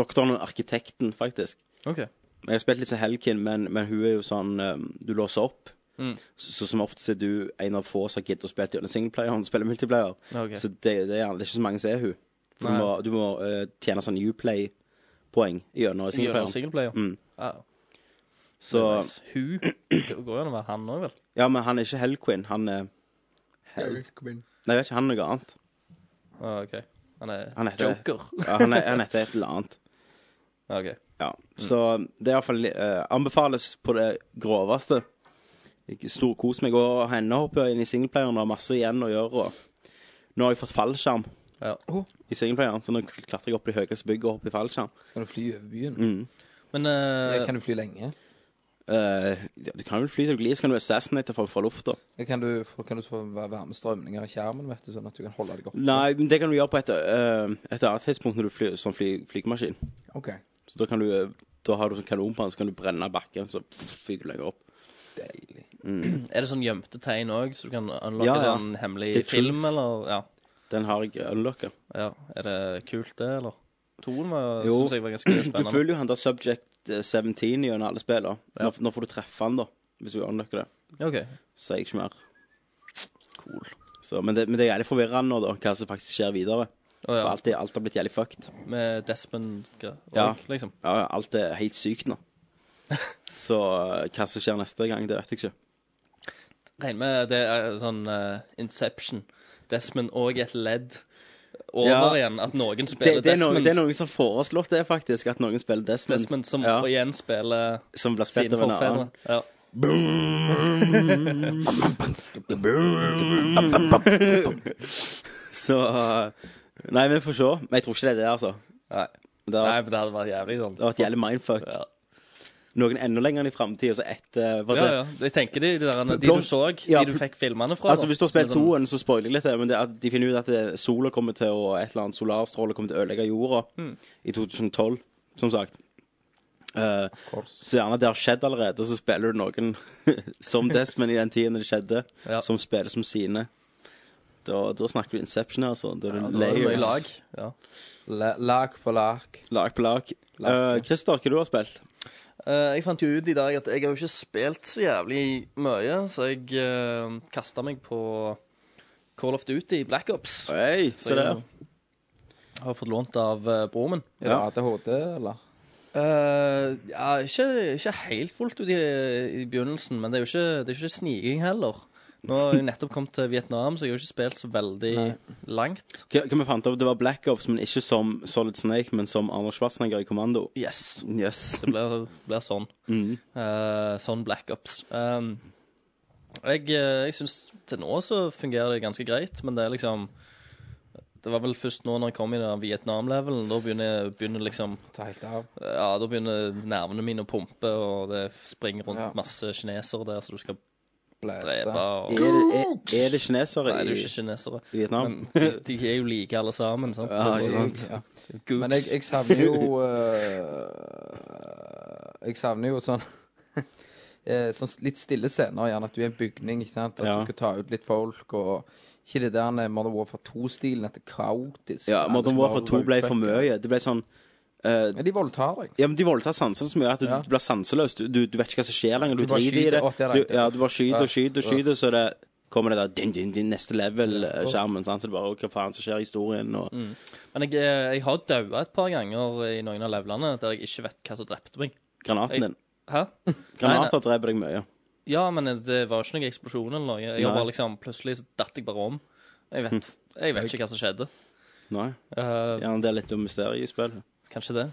doktoren og arkitekten, faktisk.
OK.
Jeg har spilt litt som Helkin, men, men hun er jo sånn ehm, Du låser opp.
Mm.
Så, så som oftest er du en av få som har giddet å spille gjennom singleplayer og spille multiplayer.
Ok.
Så det, det, er, gjerne- det er ikke så mange som er hun. For Du
Nei.
må, du må eh, tjene sånn Uplay-poeng gjennom
Gjennom
singleplayeren.
singleplayer? Ah,
Mm.
Ja.
Så
altså. Nice. Hun Det går jo an å være han òg, vel?
Ja, men han er ikke Helquin. Han er Hel... Nei, jeg vet ikke, han er noe annet.
Ah, OK. Han er,
Han heter-
joker.
Ja, han, er, han heter et eller annet.
Ja, Ah, OK.
Ja, så det er iallfall uh, anbefales på det groveste. Ikke Storkos meg og henne hopper jeg inn i singleplayeren og har masse igjen å gjøre. Og nå har jeg fått fallskjerm
Ja.
i singleplayeren, så nå klatrer jeg opp i det høyeste bygget og hopper i fallskjerm.
Kan du fly over byen?
Mm.
Men eh,
Eh, Kan du fly lenge?
Eh, ja, du kan vel fly til du glir, så kan du assassinate folk fra lufta.
Eh, Kan du, få- kan du få være- være med strømninger i skjermen, vet du, sånn at du kan holde deg oppe?
Nei, men det kan du gjøre på et, eh, et annet tidspunkt når du flyr som fly, flygemaskin.
OK.
Så da kan du eh, Da har du sånn kanon på den, så kan du brenne bakken, så fyker du lenger opp.
Deilig.
Mm.
er det sånn gjemte tegn òg, så du kan unlocke
Ja, ja.
sånn hemmelig
Det er
film,
truth.
eller? Ja.
Den har jeg unlocka.
ja. Er det kult, det, eller? Toen var-
Jo.
syns jeg var ganske
Du
spennende.
følger jo han der Subject eh, 17 gjennom alle spillene. Nå, nå får du treffe han, da, hvis du unlocker det.
Ja, OK.
Så sier jeg ikke mer. Så, men, det, men det er jævlig forvirrende nå, da, hva som faktisk skjer videre.
Å, ja.
For alt, er- alt har blitt jævlig fucked.
Med Desmond og,
Ja.
liksom.
Ja, ja, alt er helt sykt nå. Så eh, hva som skjer neste gang, det vet jeg ikke.
Regner med det er sånn eh, Inception. Desmond og et ledd over
Ja.
igjen. At noen
Det,
spiller
det, er noen,
Desmond.
det er noen som har foreslått det, faktisk. At noen spiller Desmond.
Desmond som
ja,
igjen spiller
som blir spilt
sine
av en annen.
forfedre. Ja.
Mm. Så eh, Nei, vi får se. Men jeg tror ikke det er det, altså.
Nei.
Det
Nei,
har,
for det hadde vært jævlig sånn.
det har vært jævlig mindfuck.
Ja.
Noen enda lenger enn i framtida, så etter eh, for
Ja,
det-
ja. Jeg tenker de, de, der, de
Blom-
du så,
Ja,
de du
pl-
fikk filmene fra.
Altså,
da.
Hvis du har spilt
Som er sånn-
toen, så spoiler jeg litt, det, men det er at de finner ut at det- sola kommer til å et eller annet solarstråle kommer til å ødelegge jorda
Mm.
i 2012, som sagt. Eh, så gjerne det har skjedd allerede, så spiller du noen som Desmond i den tiden det skjedde,
Ja.
som spiller som sine. Da, da snakker du Inception, her, altså. Da er det
Da er det mye
layers.
lag. Ja.
La- Lag på lag.
Lag på lag.
Lag,
Eh, Christer, hva du har spilt?
Eh, jeg fant jo ut i dag at jeg har jo ikke spilt så jævlig mye, så jeg uh, kasta meg på Call of Duty Black Ops.
Hei, se
jeg
der.
Har fått lånt av uh, broren min.
Er det
Ja.
ADHD, eller?
Eh, ja, ikke, ikke helt fullt ut i, i begynnelsen, men det er jo ikke, det er jo ikke sniking heller. Nå har jeg nettopp kommet til Vietnam, så jeg har jo ikke spilt så veldig langt.
Hva hva vi fant opp, det var Black Ops, men ikke som Solid Snake, men som Arnold Schwarzenegger i Kommando.
Yes.
Yes.
Det blir, blir sånn. Eh, sånn black ups. Um, jeg eh, jeg syns til nå så fungerer det ganske greit, men det er liksom Det var vel først nå når jeg kom i den Vietnam-levelen, da begynner, begynner liksom
Ta helt av.
Ja, da begynner nervene mine å pumpe, og det springer rundt
Ja.
masse kinesere der som du skal drepe.
Er,
Blæste.
Og...
det- er, er det kinesere
Nei, det er jo
i
ikke kinesere.
Vietnam?
Men de, de er jo like alle sammen, sant?
Ja, ikke sant.
Ja.
Gooks.
Men jeg, jeg savner jo eh, Jeg savner jo sånn eh, Sånn litt stille scener, gjerne at du er i en bygning, ikke sant? At
Ja.
du skal ta ut litt folk og ikke det der med Modern Warfare 2-stilen, at det er kaotisk.
Ja, Modern Warfare 2 ble for mye. Det ble sånn eh,
Men de voldtar deg.
Ja, men De voldtar sansene så mye at du
Ja.
blir sanseløs. Du, du, du vet ikke hva som skjer lenger. Du,
Du bare
driter i
skyter.
det.
Å, det er
du,
det.
ja, du bare skyter
Ja.
og skyter og skyter, så det kommer det der din, din, din, neste level-skjermen. sant? Så det bare «Å, Hva faen som skjer i historien? Og,
Men jeg, eh, jeg har daua et par ganger i noen av levelene der jeg ikke vet hva som drepte meg. Jeg-
Granaten din.
Hæ?
Granater dreper deg mye.
Ja, men det var ikke noen eksplosjon eller noe. Jeg har
Nei.
bare liksom, Plutselig så datt jeg bare om. Jeg vet, jeg vet ikke hva som skjedde.
Nei.
Eh,
Gjerne det er litt mysterium i spillet.
Kanskje det.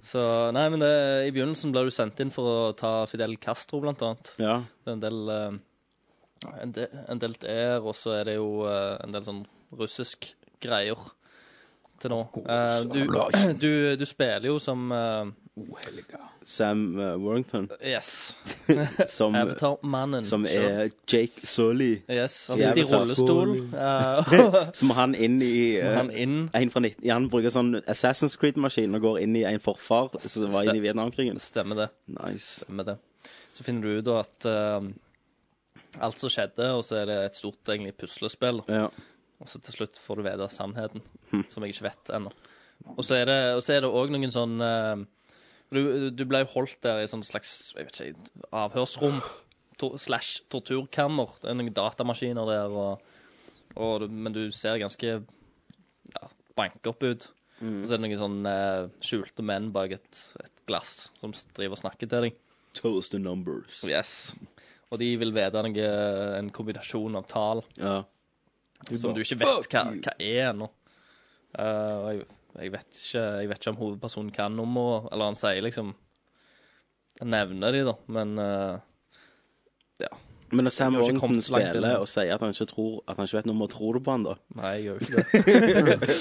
Så nei, men det, i begynnelsen ble du sendt inn for å ta Fidel Castro, blant annet.
Ja.
Det er en del eh, en, de, en del der, og så er det jo eh, en del sånn russisk greier til nå. Eh, du, du, du spiller jo som eh,
Sam eh, Warrington,
Yes.
som, eh,
Avatar-mannen.
som
selv.
er Jake Sully.
Yes, han sitter i
Avatar.
rullestol. eh,
Som han inn i
og
eh,
han inn
en fra 19, han bruker sånn Assassin's Creed-maskin og går inn i en forfar som var inne i Vietnamkrigen.
Stemmer det.
Nice.
Stemmer det. Så finner du ut da at eh, alt som skjedde, og så er det et stort egentlig puslespill.
Ja.
Og så til slutt får du vite sannheten, som jeg ikke vet ennå. Og så er det og så er det òg noen sånn eh, du, du ble jo holdt der i sånn slags jeg vet ikke, avhørsrom to, slash torturkammer. Det er noen datamaskiner der, og, og du, men du ser ganske ja, bankopp ut. Og så er det noen sånn eh, skjulte menn bak et, et glass som s- driver og snakker til deg.
Toast the numbers.
Yes. Og de vil vite noe, en kombinasjon av tall.
Ja.
Som du ikke vet hva, hva er ennå. Eh, og jeg, jeg, vet ikke, jeg vet ikke om hovedpersonen kan nummeret, eller han sier liksom Han nevner de, da, men eh, Ja.
Men når Sam
har ikke
Warrington
kommet så langt i
spiller
det.
og sier at han ikke tror At han ikke vet nummeret, tror du på han da?
Nei, jeg gjør jo ikke det.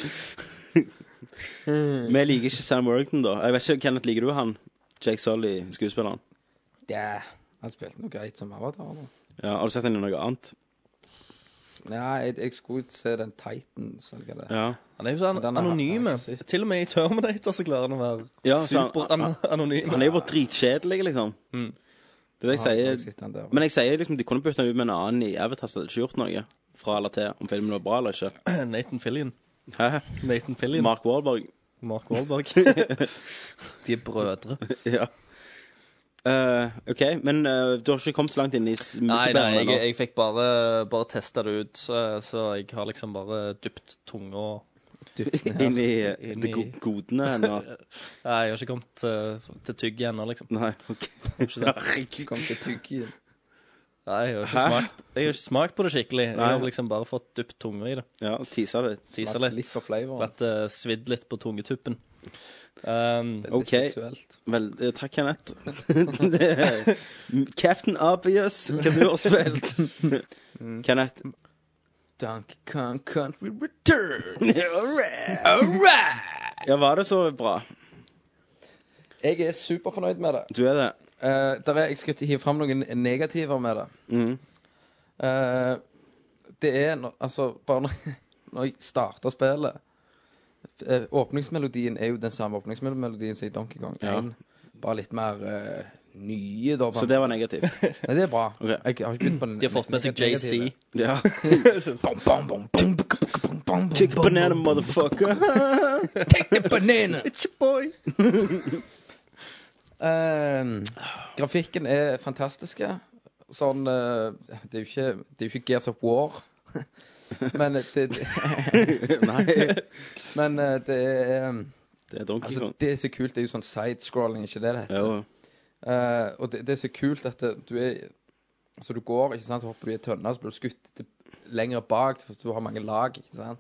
Vi liker ikke Sam Warrington, da. Jeg vet ikke, Kenneth, liker du han? Jake Sully, skuespilleren.
Ja. Han spilte noe greit som Avatar. nå.
Ja, Har du sett han i noe annet?
Nei, jeg, jeg skulle ut se den Titans, eller hva det er.
Ja.
Han er jo så an
Den er-
anonyme.
den er ikke sist.
Til og med i Terminator så klarer han å være
Ja, så han-
superanonym.
Han er jo bare dritkjedelig, liksom.
Mm.
Det er det
Ja,
jeg
jeg
sier.
sitter den der.
Men jeg sier liksom de kunne bytte han ut med en annen i Avatar, så hadde det ikke gjort noe. Fra eller til, om filmen var bra eller ikke.
Nathan Fillion.
Hæ?
Nathan Fillion.
Mark Wahlberg.
Mark Wahlberg. de er brødre.
Ja. Eh, OK, men eh, du har ikke kommet så langt inn i s-
Nei, nei,
multiplayeren
jeg,
ennå.
jeg fikk bare, bare testa det ut, så, så jeg har liksom bare dypt tunga
Inn i eh,
Inn
de
i-
go- godene ennå.
Nei, jeg har ikke kommet eh, til tygg ennå, liksom.
Nei, OK.
Ikke det.
Kom til tyggien.
Nei, jeg har ikke, smakt, jeg har ikke smakt på det skikkelig. Jeg har liksom bare fått dypt tunga i det.
Ja, tisa litt.
Tisa litt.
Litt for flavoren.
Vært eh, svidd litt på tungetuppen. Um,
Litt
Ok.
seksuelt.
Vel, eh, takk, Kenneth. det er Captain Obvious, hva du har spilt. Kenneth.
Donkey Kong Country Return.
All right.
All right!
Ja, var det så bra?
Jeg er superfornøyd med det.
Du er det.
Eh, der er, jeg skal hive fram noen negativer med det.
Mm.
Eh, det er når- Altså, bare når, når jeg starter spillet eh, Åpningsmelodien er jo den samme åpningsmelodien som i Donkey Kong 1.
Ja.
Bare litt mer eh, nye, da.
Så det var negativt.
Nei, det er bra.
Ok.
Jeg har ikke begynt på den.
de har fått med seg JC.
Ja.
Bom, bom, bom, bom, bom, bom, bom.
Tick banana, motherfucker.
Take the banana! Ehm, grafikken er fantastisk. Sånn eh, Det er jo ikke, det er jo ikke Gears of War. men det, det,
Nei,
men eh, det er eh,
det er Donkey
altså,
Kong.
Det er så kult. Det er jo sånn sidescrolling, ikke det det heter?
Jo.
Eh, og det, det er så kult at det, du er Altså, du går, ikke sant, så hopper du i ei tønne, så blir du skutt til, lenger bak, for du har mange lag, ikke sant,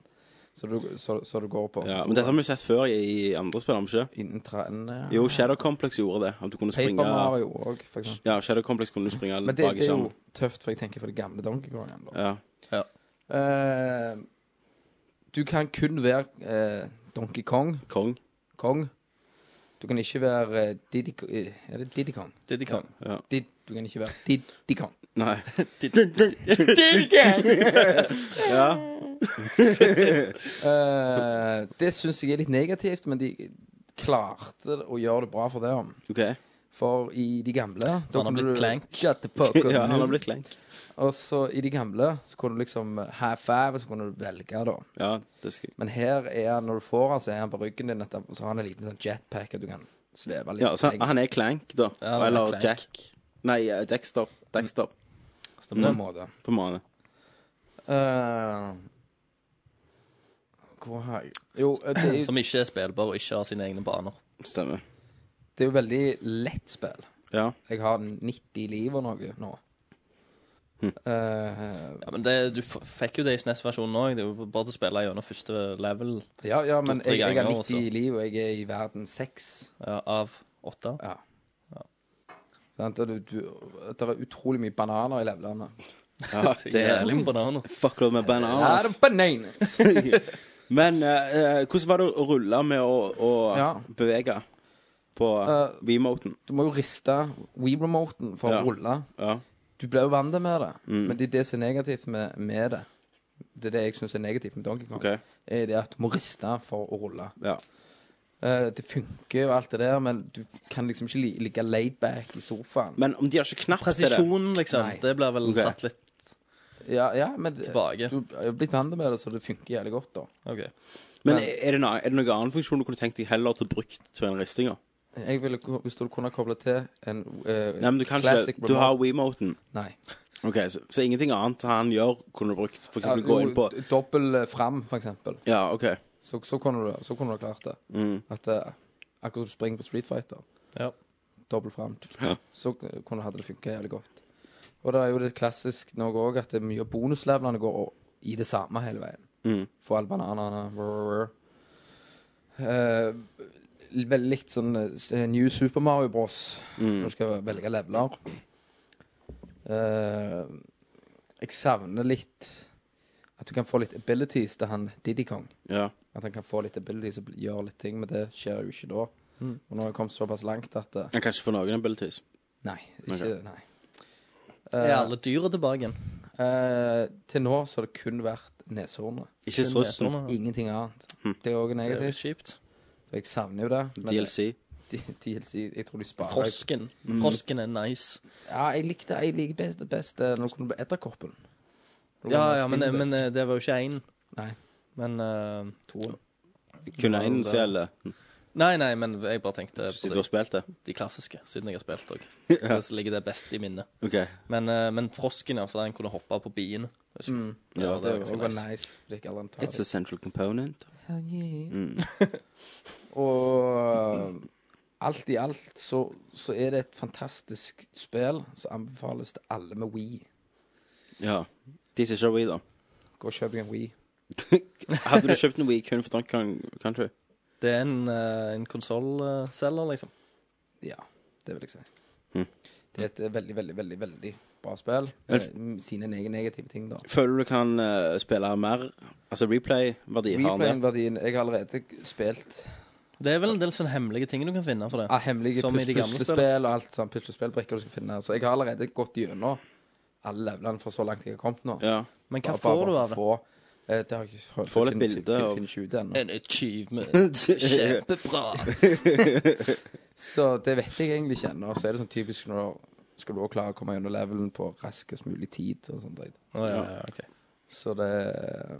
så du, så, så du går på.
Ja, men dette har vi jo sett før i andre spill, har vi ikke?
Innen trærne
Jo, Shadow Complex gjorde det. At du kunne springe
Paper Mario òg, for eksempel.
Ja, Shadow Complex kunne du springe
Men
litt
det,
bak i
det er jo
skjermen.
tøft, for jeg tenker for det gamle Donkey Kong. Da.
Ja.
Eh, du kan kun være eh, Donkey Kong.
Kong.
Kong. Du kan ikke være eh, Diddy Ko- eh, Er det Diddy Kong?
Det de kan.
Did, du kan ikke være Diddy Kong.
Nei.
Eh, det syns jeg er litt negativt, men de klarte å gjøre det bra for det. om.
OK.
For i de gamle da
Han har
kunne
blitt
du-
clank.
Shut the fuck up.
Ja, han har blitt lenk.
Og så i de gamle så kunne du liksom eh, high five, og så kunne du velge, da.
Ja, det skal
Men her er han, når du får han, så er han på ryggen din, etterpå, så har han en liten sånn jetpack, og du kan sveve litt.
Ja, så han,
på
han er Clank, da.
han er
Eller
Clank.
Jack. Nei, eh, Dexter. Dexter,
Stemmer
en
det?
måte.
på mane.
Mm. Eh, hvor har jeg Jo, eh, det er, jo-
Som ikke er spillbar og ikke har sine egne baner.
Stemmer.
det er jo veldig lett spill.
Ja.
Jeg har 90 liv og noe nå.
Hm.
Eh,
Ja, men det, Du f fikk jo det i SNES-versjonen òg. Det er jo bare til å spille gjennom første level
ja, ja, men
To-tre
jeg, jeg har
ganger altså.
90
også.
liv, og jeg er i verden 6.
ja, av åtte.
Ja. Sant, og du, du, det er utrolig mye bananer i levelene.
ja det er
Jævlig med bananer.
Fuckload med
Er
bananas.
det bananas?
Men eh, eh, hvordan var det å rulle med å, å
Ja.
bevege på
Eh,
Wiimoten?
Du må jo riste Wii-remoten for
Ja.
å rulle.
Ja.
du blir jo vant med det,
Mm.
men det er det som er negativt med, med det. Det er det jeg syns er negativt med Donkey Kong.
OK.
Er det at du må riste for å rulle.
Ja.
Eh, det funker jo alt det der, men du kan liksom ikke li ligge laid back i sofaen.
Men om de har ikke knapp til det
Presisjonen, liksom.
Nei.
Det blir vel
Ok.
satt litt
ja, ja, men det-
Tilbake.
du er jo blitt vant med det, så det funker jævlig godt, da.
OK.
Men er det, noe, er det noen annen funksjon du kunne tenkt deg heller til brukt til den ristinga?
Jeg ville, ko- Hvis du kunne koble til en eh,
Nei, men du kan
classic
ikke Du har Wiimoten.
Nei.
OK, så, så ingenting annet han gjør, kunne du brukt? For
Ja,
eksempel gå
jo,
inn på
d- Dobbel eh, fram, for eksempel.
Ja, OK.
Så, så, kunne du, så kunne du ha klart det.
Mm.
At eh, Akkurat som du springer på Street Fighter.
Ja.
dobbelt fram.
Ja.
Så kunne hadde det funka jævlig godt. Og det er jo det klassisk nå òg at det er mye av bonuslevnene går i det samme hele veien.
Mm.
Få alle bananene brr, brr. Eh, Veldig likt sånn eh, New Super Mario Bros.
Mm.
Når du skal velge leveler. Eh, jeg savner litt at du kan få litt abilities til han Diddy Kong.
Ja.
At han kan få litt abilities og bli- gjøre litt ting, men det skjer jo ikke da. Og nå har jeg kommet såpass langt at eh,
Han kan ikke få noen abilities.
Nei. Ikke,
Ok.
nei.
Er alle dyra tilbake igjen?
Eh, til nå så har det kun vært neshornet.
Ikke
Kun
strussen.
neserne.
Ingenting annet. Det er òg
Det er jo
negativt.
kjipt.
Jeg savner jo det. men
DLC.
det- DLC Jeg tror de sparer
Frosken. Frosken er nice.
Ja, jeg likte jeg liker best, best eh, når du kunne bli edderkoppen. Når du
Ja,
kunne
ja, men,
spinne
men
litt.
eh, det var jo ikke én.
Nei.
Men eh,
Toen.
Kun én som gjelder.
Nei, nei, men jeg bare tenkte på
Siden du
de,
har spilt det.
de klassiske, siden jeg har spilt òg. Det som ligger det best i minnet.
OK.
Men, eh, men frosken, ja, for den kunne hoppe på biene.
Mm.
Ja,
Ja, det
er ganske
òg var nice. Det gikk alle an å ta
It's a central component.
det. Og eh, alt i alt så, så er det et fantastisk spill som anbefales til alle med Wii.
Ja. De som ikke har Wii, da.
Gå og kjøp deg en Wii.
Hadde du kjøpt en Wii kun for Donkey Kong Country?
Det er en, uh, en konsollselger, liksom.
Ja, det vil jeg si. Det er et eh, veldig, veldig, veldig veldig bra spill.
Hm. Men-
Eh, m- Sine neg- negative ting, da.
Føler du du kan eh, spille mer? Altså replay-verdi har han det?
Replayen-verdien Jeg har allerede spilt
Det er vel en del sånne hemmelige ting du kan finne for det.
ah, hemmelige
Som i de
pus-
gamle
puslespill og alt sånn puslespillbrikker du skal finne. Så jeg har allerede gått gjennom alle levelene for så langt jeg har kommet nå.
Ja.
Men
ah,
hva får du av det?
Få, eh, det har jeg ikke fått
Få litt bilder av-
av ennå.
En achievement. Kjempebra.
Så det vet jeg egentlig ikke ennå. Så er det sånn typisk når skal du også klare å komme gjennom levelen på raskest mulig tid og sånn dritt.
Å, ja, ja, ok.
Så det er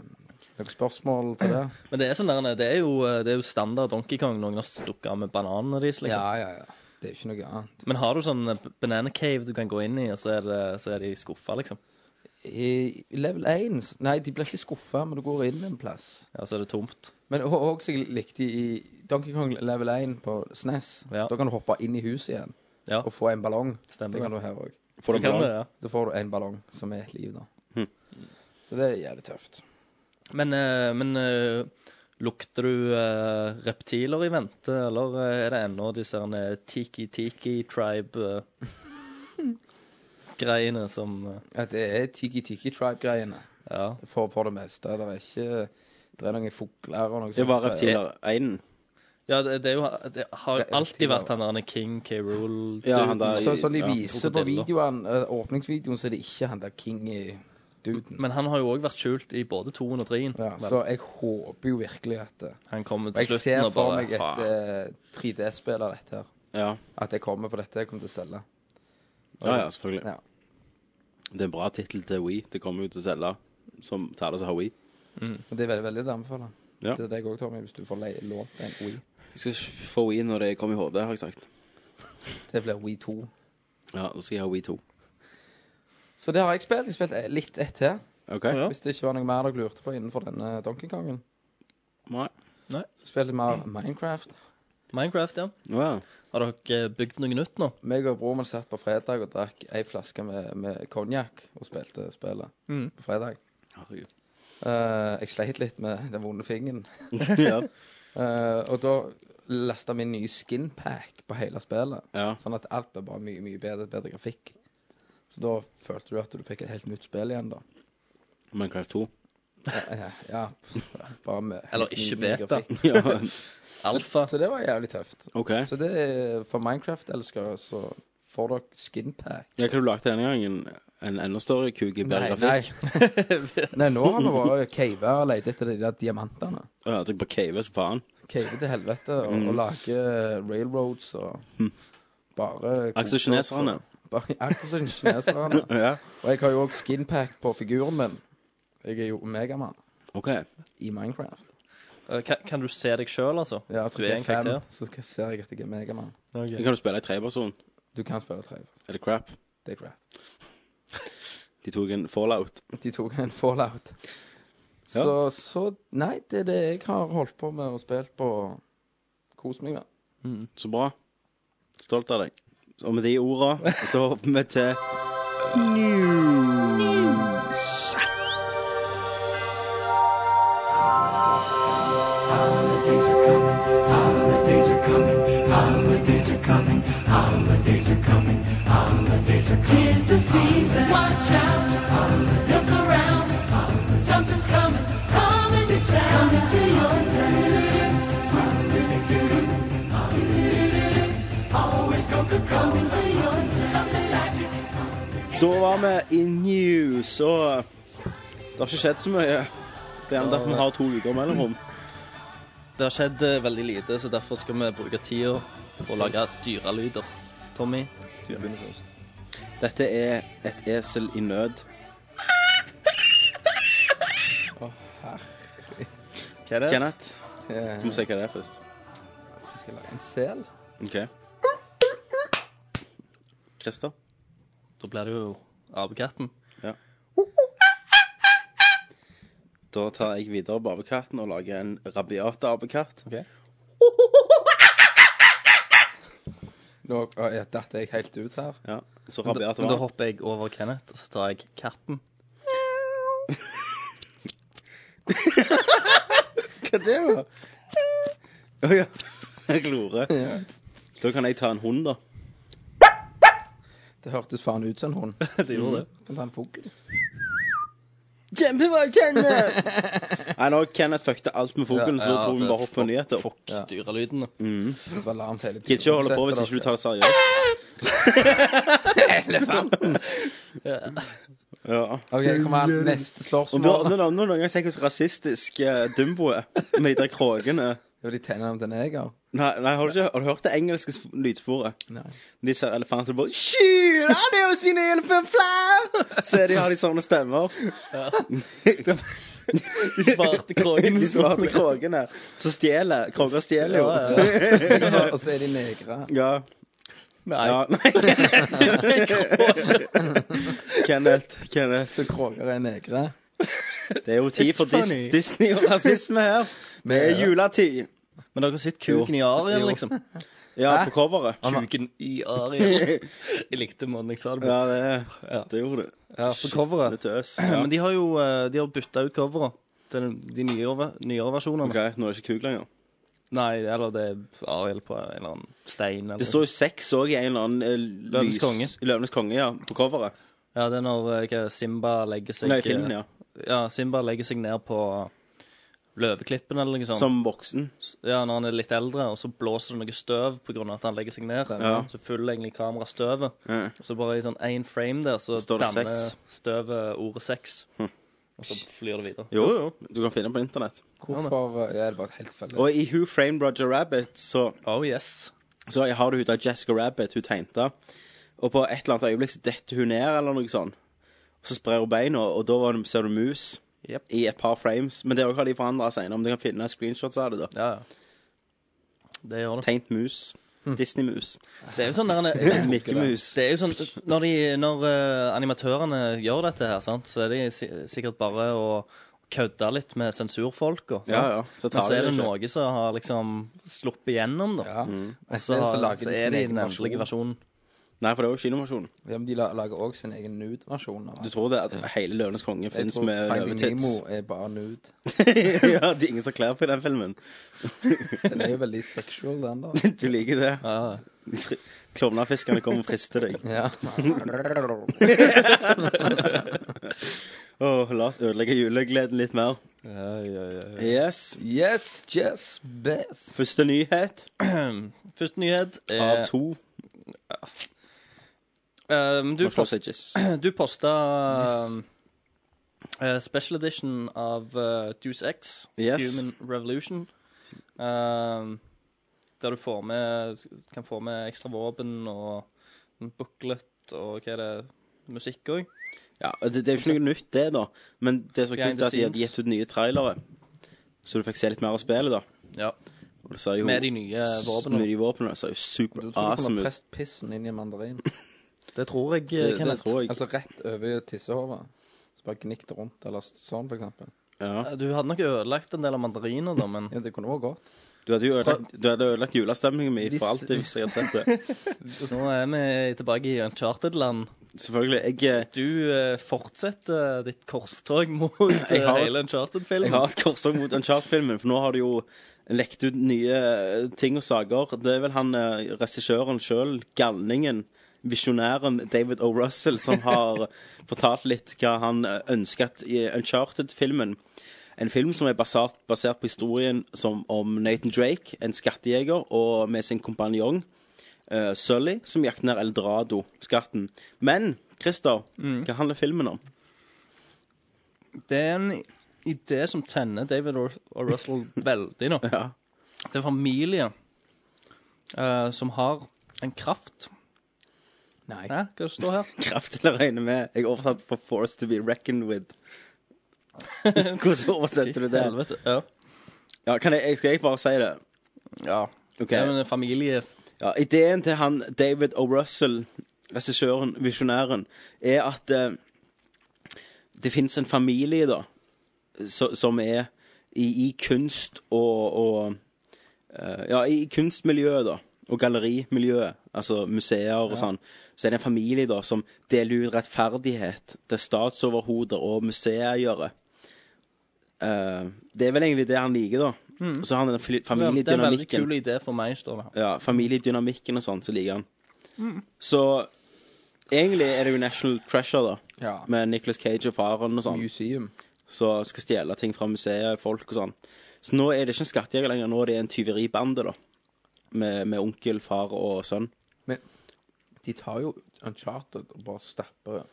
noen spørsmål til det?
Men det er, sånn der, det, er jo, eh, det er jo standard Donkey Kong. Noen har stukket av med bananene deres.
Ja,
Liksom.
ja, ja. Det er ikke noe annet.
Men har du sånn eh, b- banana cave du kan gå inn i, og så er, det, så er de skuffa, liksom?
I level 1 s- Nei, de blir ikke skuffa, men du går inn en plass.
Ja, så er det tomt.
Men òg jeg likte i Donkey Kong level 1 på SNES.
Ja.
Da kan du hoppe inn i huset igjen
Ja,
og få en ballong.
Stemmer.
Det kan eh, du her òg.
Får
så
du
kan
bra?
det, ja.
Da får du en ballong som er et liv, da.
Hm.
Så det er jævlig tøft.
Men, eh, men eh, lukter du eh, reptiler i vente, eller eh, er det ennå disse eh, tiki-tiki-tribe-greiene eh, som eh,
Ja, det er Tiki Tiki Tribe-greiene
Ja.
for, for det meste. Det er ikke Det er noen fugler og noe
Det var
sånt.
reptiler. Einen.
ja det, det, er jo, det har jo alltid vært han der King K. Rool.
Ja, han der-
Så, som de
Ja,
viser på
krokodiller.
videoen, eh, åpningsvideoen, så er det ikke han der King-duden.
Men han har jo òg vært skjult i både toen og treen.
Ja,
Vel,
så jeg håper jo virkelig at det
han kommer
Og
til
jeg ser
slutten og
for
bare
meg et
ah,
eh, 3D-spill av dette her.
Ja.
At jeg kommer på dette. Jeg kommer til å selge.
ja, ja, selvfølgelig.
Ja.
Det er en bra tittel til Wii. Det kommer jo til å selge som til alle som har Wii.
Og det er veldig veldig det jeg anbefaler.
Ja.
Det er deg òg, Tommy, hvis du får le- lånt en Wii.
Jeg skal få Wii når det kommer i HD, har jeg sagt.
Det blir Wii 2.
Ja, så skal jeg ha Wii 2.
Så det har jeg spilt. Jeg har spilt litt ett til.
OK?
Ja.
Hvis det ikke var noe mer dere lurte på innenfor denne Donkey Kongen.
Nei.
Spill litt mer Minecraft.
Minecraft, ja.
Å ja.
Har dere eh, bygd noe nytt nå?
Meg og broren min satt på fredag og drakk ei flaske med, med konjakk og spilte spillet
Mm.
på fredag.
Herregud.
Eh, jeg sleit litt med den vonde fingeren.
ja.
Eh, og da lasta vi en ny skinpack på hele spillet,
Ja.
sånn at alt ble bare mye, mye bedre, bedre grafikk. Så da følte du at du fikk et helt nytt spill igjen, da.
Minecraft 2.
Eh, ja, bare med helt
Eller
ny-
ikke
ny
beta.
grafikk.
ja.
Alfa?
Så det var jævlig tøft.
OK.
Så det er for Minecraft-elskere, så får dere skinpack.
Ja, hva du lagde denne gangen? En enda større kuk i bedre grafikk?
Nei. nei, nå har vi vært cava og lett etter de der diamantene.
Å ja, dere bare caver som faen.
Cave til helvete og,
Mm.
og lage railroads og
Hm.
bare
Akkurat som
kose oss
kineserne.
og- bare- Akkurat som kineserne.
Ja.
Og jeg har jo òg skinpack på figuren min. Jeg er jo Megamann
OK.
i Minecraft.
Eh, Kan, kan du se deg sjøl, altså?
Ja, jeg
du er en karakter?
Så skal- ser jeg at jeg er Megamann.
Kan du spille i treperson?
Du kan spille tre.
Er det crap?
Det er crap.
De tok en fallout.
De tok en fallout. Så, så Nei, det er det jeg har holdt på med og spilt på. Kos meg med.
Mm.
Så bra. Stolt av deg. Og med de orda så hopper vi til
Holidays are coming, holidays are coming, holidays are coming, holidays are coming, holidays are coming.
Tis the season. Watch out. Look around. Something's coming. Coming to town. Coming to your town. Always go for coming to your town. Something magic.
Da var vi i news, og det har ikke skjedd så mye. Det er derfor vi har to uker mellomrom.
Det har skjedd eh, veldig lite, så derfor skal vi bruke tida på å lage dyrelyder. Tommy,
Du begynner først.
Dette er et esel i nød.
Kenneth,
Kenneth,
Eh,
du må si hva det er først.
Jeg skal lage en sel.
OK. Christer?
da blir det jo apekatten.
Ja. Da tar jeg videre på apekatten og lager en rabiat apekatt.
Nå eh, datt jeg helt ut her.
Ja, så
Men da-
rabiat
men da
var
hopper jeg over Kenneth, og så tar jeg katten.
Hva det var?
Å ja. Jeg glorer. Da kan jeg ta en hund, da.
Det hørtes faen ut som en hund.
Det gjorde det.
Kan ta en fugl.
Kjempebra, Kenneth! Nei, nå Kenneth fuckte alt med fuglen, så da
Ja, altså,
tror vi
det
bare hopper på nyheter.
Mm. Fuck
Ja.
dyrelyden. da.
Det var larmt hele tiden.
Gidder ikke å holde på hvis ikke du tar det seriøst. Ja.
OK, kom an.
Om
Neste
du, om
spørsmål.
du om du noen gang ser hvordan rasistisk uh, Dumbo er, med de der krogene
Jo, de tegner om til neger.
Nei, nei har, du ikke, har du hørt det engelske sp- lydsporet?
Nei.
De ser elefanter og bare Skyr, det er jo sine elefanter!» Så er de, har de sånne stemmer.
De svarte krogene.
De svarte krogene. Så stjeler. Kroger stjeler jo.
Ja, ja.
Og så er de negre.
Ja.
Nei.
ja. Nei. Kenneth, Kenneth.
Så kroger er negre.
Det er jo tid for dis
funny.
Disney og rasisme her. Det er juletid.
Men dere har sett kuken i arien, liksom.
Ja, på coveret.
Kuken i arien. Jeg likte måten jeg sa det på.
Ja, det, det gjorde du.
Ja, på coveret.
Det er tøs.
Ja.
Ja.
Men de har jo eh, de har bytta ut coveret til de nyere, ve- nyere versjonene.
Ok, nå er det ikke kuk lenger.
Nei, eller det er Ariel på en eller annen stein. Eller
Det står jo sex òg i en eller annen eh, lys-
Løvenes konge.
Løvenes konge, ja. På coveret.
Ja, det er når eh, hva, Simba legger seg eh,
Nei, filmen, ja.
ja, Simba legger seg ned på løveklippen eller noe sånt.
Som voksen.
Ja, når han er litt eldre, og så blåser det noe støv pga. at han legger seg ned.
Ja.
Så følger egentlig kameraet støvet.
Ja.
Og så bare i sånn én frame der, så
Står det
danner
sex. Hm.
støvet ordet sex. Og så flyr det videre.
Jo, jo. Du kan finne den på internett.
Hvorfor eh, er det bare helt tilfeldig?
Og i Who Framed Roger Rabbit så,
Oh yes.
så har du hun der Jessica Rabbit, hun tegnte. Og på et eller annet øyeblikk så detter hun ned, eller noe sånt. Og så sprer hun beina, og da var det- ser du mus
Jep.
i et par frames. Men det også har de forandra seinere, om du kan finne screenshots av det. da
Ja, ja. Det gjør det.
Tegnt mus. Disney-mus.
Hm. Det er jo sånn der,
Mikke-mus.
det er jo sånn, Når, de, når eh, animatørene gjør dette her, sant, så er de si sikkert bare å kødde litt med sensurfolka. sant?
Ja, ja. Så tar
Men så
de
er det
det ikke.
noe som har liksom sluppet gjennom, da.
Mm.
Ja.
Og så,
Enten
har-
lager
så
de
er
sin
det
egen
den endelige versjonen.
Nei, for det er jo kinoversjonen.
Ja, men de la- lager òg sin egen nude-versjon. av
Du
det.
tror det at hele Løvenes konge
Jeg
fins
tror
med
Finding
løvetits?
Nemo er bare nude.
ja, det er ingen som kler på i den filmen.
Den er jo veldig sexual, den, da.
Du liker det? Fri- Klovnefiskerne kommer og frister deg.
Ja.
Åh, la oss ødelegge julegleden litt mer.
Ja, ja, ja.
Yes.
Yes, yes, best.
Første nyhet
Første nyhet eh,
av
er
to.
ehm, du,
Må slå
post,
sedges.
du posta ehm, eh, special edition av eh, Deuce X,
Yes.
Human Revolution. ehm, der du får med, kan få med ekstra våpen og en booklet og hva er det Musikk òg.
Ja, det, det er jo ikke noe nytt, det, da. Men det som er
Behind
kult, er at de
the
hadde gitt ut nye trailere. Så du fikk se litt mer av spillet, da.
Ja.
Og det ser jo
Med de nye
Med
våpnene.
de våpnene. Det ser jo super
Du tror du kunne
awesome ut.
prest pissen inn i en mandarin?
Det tror jeg,
Det, det
Kenneth.
tror jeg.
Altså rett over tissehovet. Så bare gnikk det rundt, eller sånn, for eksempel.
Ja.
Eh, Du hadde nok ødelagt en del av mandariner, da, men
Ja, det kunne òg gått.
Du hadde jo ødelagt, du hadde ødelagt julestemningen min
Hvis-
for alltid hvis jeg hadde sett det.
nå er vi tilbake i Uncharted-land.
Selvfølgelig. Jeg, eh,
Du eh, fortsetter ditt korstog mot eh,
Jeg har-
hele Uncharted-filmen.
Jeg har et korstog mot Uncharted-filmen, for nå har de jo lekt ut nye eh, ting og saker. Det er vel han eh, regissøren sjøl, galningen, visjonæren David O. Russell, som har fortalt litt hva han eh, ønsket i Uncharted-filmen. En film som er basert, basert på historien som om Nathan Drake, en skattejeger, og med sin kompanjong eh, Sully, som jakter ned Eldrado-skatten. Men Christer, hva handler filmen om?
Det er en idé som tenner David og og Russell veldig nå.
Ja.
Det er en familie eh, som har en kraft.
Nei.
Hæ, hva det står her?
kraft til å regne med. Jeg oversatte for 'force to be reckoned with'. Hvordan oversetter du det?
Helvete. Ja.
Ja, kan jeg, skal jeg bare si det?
ja.
Ok.
Det er jo en familie
Ja, ideen til han David O. Russell, regissøren, visjonæren, er at eh, det fins en familie, da, så, som er i, i kunst og, og eh, Ja, i kunstmiljøet, da. og gallerimiljøet, altså museer og sånn, så er det en familie da som deler ut rettferdighet til statsoverhoder og museeiere. Eh, det er vel egentlig det han liker, da. Og så har han den fli-
Mm. Det er en veldig
familiedynamikken.
kul idé for meg, står det.
Ja, familiedynamikken og sånn, så liker han. Så egentlig er det jo National Treasure, da.
Ja.
Med Nicholas Cage og faren og sånn.
Museum.
Som skal stjele ting fra museer, folk og sånn. Så nå er det ikke en skattejeger lenger, nå er det en tyveribande, da. Med, med onkel, far og sønn.
Men de tar jo Uncharted og bare stapper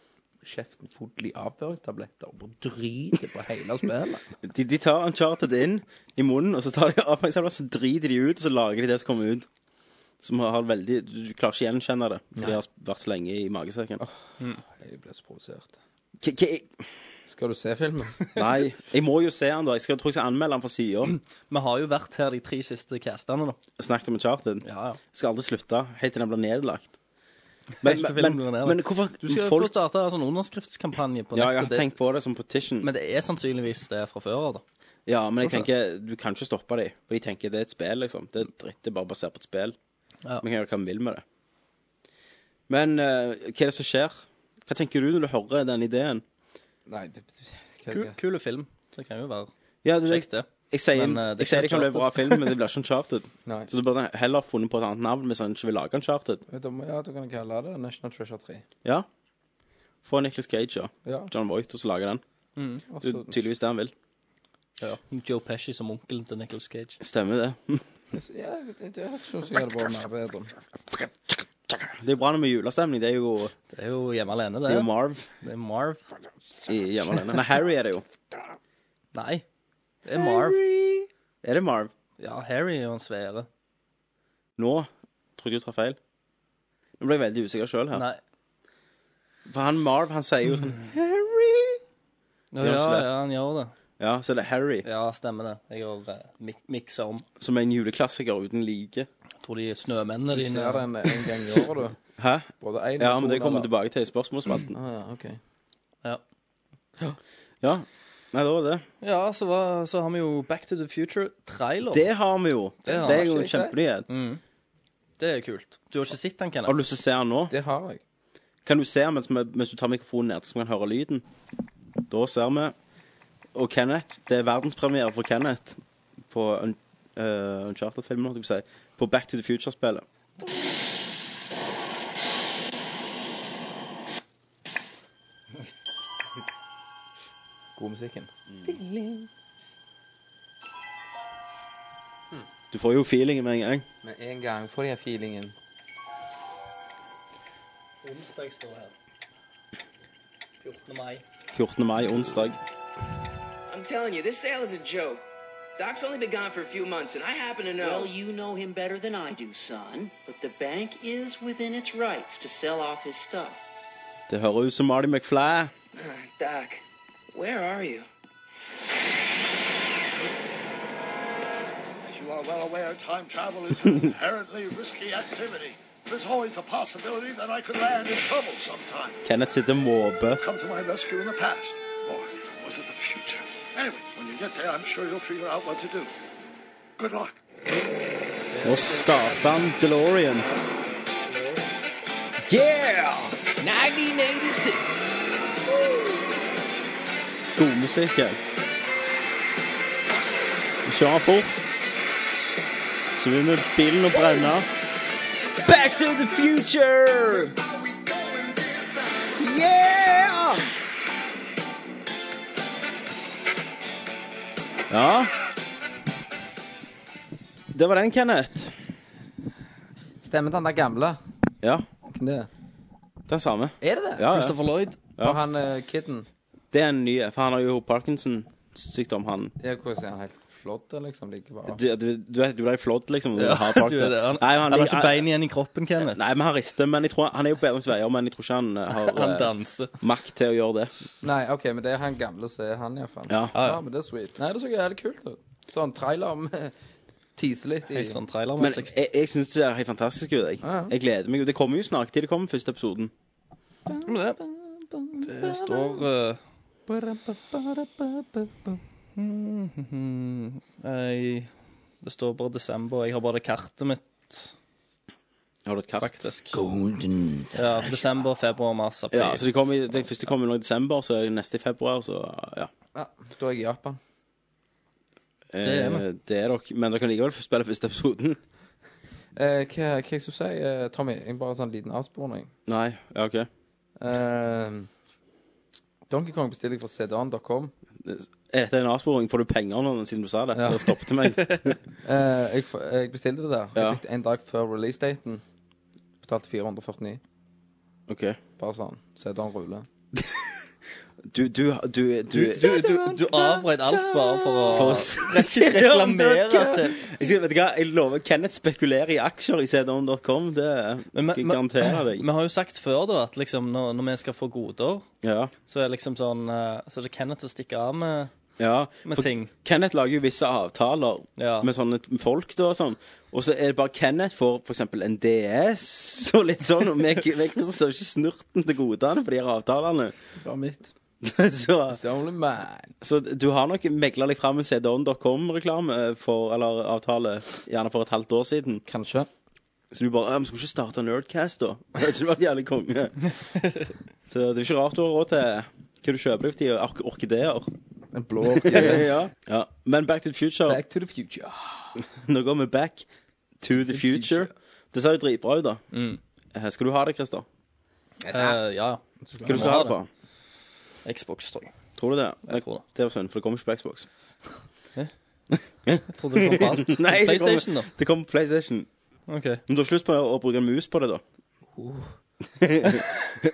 kjeften full i avføringstabletter og bare driter på hele spillet.
De, de tar Uncharted inn i munnen, og så tar de avfallsevner, så driter de ut, og så lager de det som kommer ut. Som har, har veldig Du klarer ikke gjenkjenne det, for de har vært så lenge i magesekken.
Jeg ble så provosert.
K- k-
Skal du se filmen?
Nei, jeg må jo se han da. Jeg skal, tror jeg skal anmelde han fra sida.
Vi har jo vært her de tre siste castene, da.
Snakket om Uncharted.
Ja, ja.
Jeg skal aldri slutte, helt til den blir nedlagt. Men,
Helt til
men,
filmen blir nedlagt.
men hvorfor
Du skal folk...
folk
få starte en sånn underskriftskampanje på
Ja, jeg har
nettet.
tenkt på det som petition.
Men det er sannsynligvis det fra før av, da.
ja, men jeg tenker, du kan ikke stoppe dem. For de tenker det er et spill, liksom. Det er dritt, det er bare basert på et spill.
Ja.
Vi kan gjøre hva vi vil med det. Men eh, hva er det som skjer? Hva tenker du når du hører den ideen?
Nei, det, hva er
Kul,
det?
kule film. Det kan jo være
Ja, det,
kjekt,
jeg,
det.
jeg sier,
Men, eh, det er
jeg sier det
ikke
kan bli en bra
Uncharted.
film, men det blir ikke Uncharted.
Nei.
Så du burde heller funnet på et annet navn hvis han ikke vil lage Uncharted.
Vet du, ja, du kan kalle det National Treasure 3.
Ja. Få Nicholas Gage og
Ja,
John Voight og så lage den.
og
Det
så
er tydeligvis det han vil.
Ja. Joe Pesci som onkel til Nicholas Cage.
Stemmer det.
Ja, det, det syns jeg hadde vært mer bedre.
Det er bra når vi har julestemning. Det er jo,
Det er jo hjemme alene, det.
det er jo Marv
det er Marv.
i Hjemme alene. Nei, Harry er det jo.
Nei, det er Marv.
Er det Marv?
Ja, Harry er jo en svære.
Nå tror jeg du tar feil. Nå ble jeg veldig usikker sjøl her.
Nei.
For han Marv, han sier jo sånn Harry.
Ja,
Gjør han
ja,
ikke det?
han gjør det.
Ja, så er det Harry,
Ja, stemmer det. Jeg har eh, mik miksa om.
som er en juleklassiker uten like.
Jeg tror de snømennene
Du
dine
ser den en gang i året, du.
Hæ?
Både én
Ja,
og
men
to.
det kommer vi
eller-
tilbake til i spørsmålsspalten.
Ah, ja, ok.
Ja.
Ja. Nei, det var det.
ja, så, var, så har vi jo Back to the Future-trailer.
Det har vi Mm. jo. Det,
Det har
er jo
vi
en
ikke.
kjempenyhet.
Det er kult. Du har ikke sett den, Kenneth?
Har du lyst til å se den nå?
Det har jeg.
Kan du se den mens, vi- mens du tar mikrofonen ned, så kan man høre lyden? Da ser vi. Og Kenneth, det er verdenspremiere for Kenneth på un, eh, Uncharted-filmen, holdt jeg på å si. På Back to the Future-spillet.
God musikken.
Du får jo feelingen med en gang.
Med en gang får de den feelingen.
Onsdag står her. 14. mai.
14. mai, onsdag.
I'm telling you, this sale is a joke. Doc's only been gone for a few months, and I happen to know.
Well, you know him better than I do, son. But the bank is within its rights to sell off his stuff.
Det hører ut som Marty McFly.
Doc, where are you?
As you are well aware, time travel is an inherently risky activity. There's always the possibility that I could land in trouble sometime.
Kenneth sitter og måper.
Come to my rescue in the past. Or was it the future? Anyway, when you get there, I'm sure you'll figure out what to do. Good luck.
Nå starter han DeLorean.
Yeah! 1986.
God musikk, jeg. Vi kjører fort. Så vil vi bilen og brenner. Back to the future! Yeah! Ja. Det var den, Kenneth.
Stemmer den der gamle?
Ja,
Hvem det er?
den samme.
Er det det?
Ja, ja.
Christopher Lloyd.
Ja.
Og han uh, kiden
Det er en ny, for han har jo Parkinson-sykdom, han.
Ja, hvordan er han helt flott, liksom? Like bare.
Du, du, du, er- du ble flott, liksom. når Du har Parkinson.
han,
Nei,
han har ikke bein igjen i kroppen, Kenneth.
Nei, men han rister, men jeg tror, han er jo bedre enn Sveier, men jeg tror ikke han eh, har
Han
eh,
danser.
makt til å gjøre det.
Nei, OK, men det er han gamle som er han, iallfall.
Ja.
ja, ja, men det er sweet. Nei, det så jævlig kult ut. Sånn trailer med Tise litt i
Helt sånn trailer
Men jeg, jeg syns det ser helt fantastisk ut. Jeg. jeg gleder meg. jo. Det kommer jo snart. Til det kommer første episoden.
Det står eh,
eh,
jeg, Det står bare desember. Jeg har bare kartet mitt
Har du et kart?
Faktisk. Ja, desember, februar, mars, april.
Mm. Ja, så de kom i, de første kommer nå i desember, så er det neste i februar, så ja.
Ja, da er jeg i Japan.
Det
er vi.
Eh, det er dere. Men dere kan likevel spille første episoden.
Eh, hva hva jeg skulle si, eh, Tommy? Jeg bare sånn liten avsporing.
Nei, ja, OK.
Eh, Donkey Kong bestiller jeg fra cdan.com.
Er dette en avsporing? Får du penger nå, siden du sa det?
Ja.
Så stopp til meg.
Eh, jeg, f- jeg bestilte det der.
Ja.
Jeg fikk det en dag før releasedaten. Betalte 449.
OK.
Bare sånn. Sedan ruller.
Du, du, du, du,
Du, du, du avbrøt alt bare for å
For å
reklamere
altså.
seg.
Jeg skal, vet du hva, jeg lover, Kenneth spekulerer i aksjer i cdon.com. Det
Men-
skal jeg garantere deg.
Vi har jo sagt før da at liksom, når, når vi skal få goder,
Ja,
så er liksom sånn eh, Så er det Kenneth som stikker av med,
ja.
med
For
ting.
Kenneth lager jo visse avtaler
Ja.
med sånne t- folk. da og sånn Og så er det bare Kenneth får f.eks. en DS og litt sånn. Og meg, meg Kristian, ser jo ikke snurten til godene på de her avtalene.
Bare mitt.
Så,
It's only mine.
så du har nok megla deg fram en cdon.com-reklame eller avtale gjerne for et halvt år siden.
Kanskje.
Så du bare «Ja, Vi skulle ikke starte Nerdcast, da. Det hadde ikke vært jævlig konge. Så det er ikke rart du har råd til hva du kjøper deg for tida. Ork orkideer.
En blå orkidé.
ja. ja. Men Back to the Future.
Back to the future.
Nå går vi back to the future. Det ser jo dritbra ut, da. Eh, Skal du ha det, Christer?
Mm. Eh, ja,
Hva du skal ha det på?
ja. Xbox, tror jeg.
Tror du det?
Jeg tror det.
Det var synd, for det kommer ikke på Xbox.
Jeg trodde det kom på alt.
det kommer-
PlayStation, da.
Det kommer på PlayStation.
Ok.
Men du har ikke lyst på å å bruke en mus på det, da? Uh.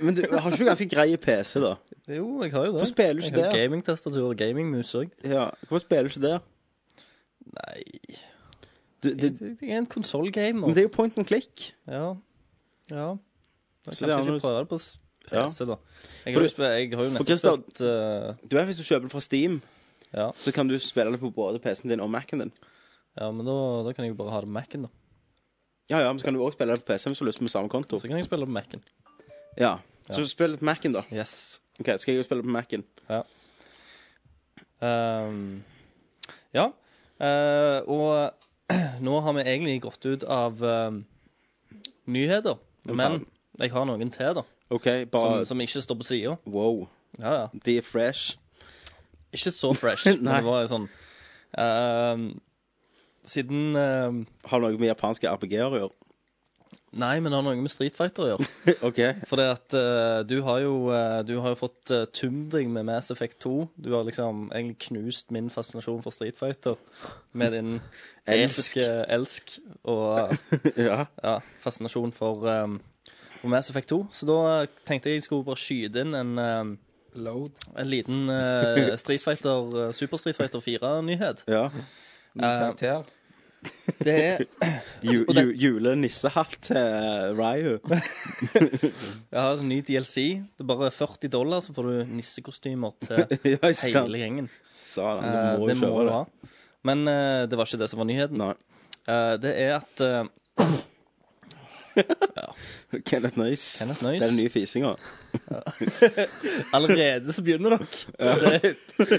Men du har ikke du ganske grei PC, da?
Jo, jeg har jo det.
Hvorfor spiller du ikke
Jeg har
der?
Gamingtastatur og gamingmus òg.
Ja. Hvorfor spiller du ikke der?
Nei
Du, det,
Jeg jeg er en
men
konsollgamer.
det er jo point and click.
Ja. ja. Da
Så
kan
det er
jeg
annerledes.
ikke prøve det på s-
Ja.
PC, da. Jeg
For-
har, jo sp- jeg har jo nettopp
Christian-
spilt eh,
Du vet, Hvis du kjøper det fra Steam,
ja.
så kan du spille det på både PC-en din og Mac-en din.
ja, men da, da kan jeg jo bare ha det på Mac-en, da.
Ja, ja, men Så kan du også spille det på PC hvis du har lyst med samme konto.
Så kan jeg spille på Mac-en.
Ja, Så spill på Mac-en, da.
Yes.
Ok, Skal jeg jo spille på Mac-en?
Ehm, ja. Eh, og nå har vi egentlig gått ut av ehm, nyheter. Men jeg har noen til, da.
OK,
Som,
bare sånn,
som ikke står på sida.
Wow.
Ja, ja.
De er fresh.
Ikke så fresh. men
Nei.
det var jo sånn ehm, Siden ehm,
Har noe med japanske RPG-er å gjøre.
Nei, men det har noe med Street Fighter å gjøre.
OK.
Fordi at eh, du har jo eh, Du har jo fått uh, tømt deg med Mass Effect 2. Du har liksom egentlig knust min fascinasjon for Street Fighter med din
Elsk.
elsk, elsk og
Ja.
ja, fascinasjon for, um, for Mass Effect 2. Så da eh, tenkte jeg jeg skulle bare skyte inn en, eh,
Load.
en liten eh, Street Fighter, eh, Super Street Fighter 4-nyhet.
ja.
Ny karakter.
Det er
Ju,
Og
ju,
den-
Julenissehatt til Ryu.
Jeg har en ny DLC. Det er bare 40 dollar, så får du nissekostymer til
ja, ikke sant?
hele gjengen.
Satan,
Eh,
du må
det
jo
må
kjøpe
du
det.
ha. Men eh, det var ikke det som var nyheten.
Nei.
Eh, det er at eh,
Kenneth Nøys.
Kenneth Nøys.
Det er den nye fisinga.
allerede så begynner dere. Det,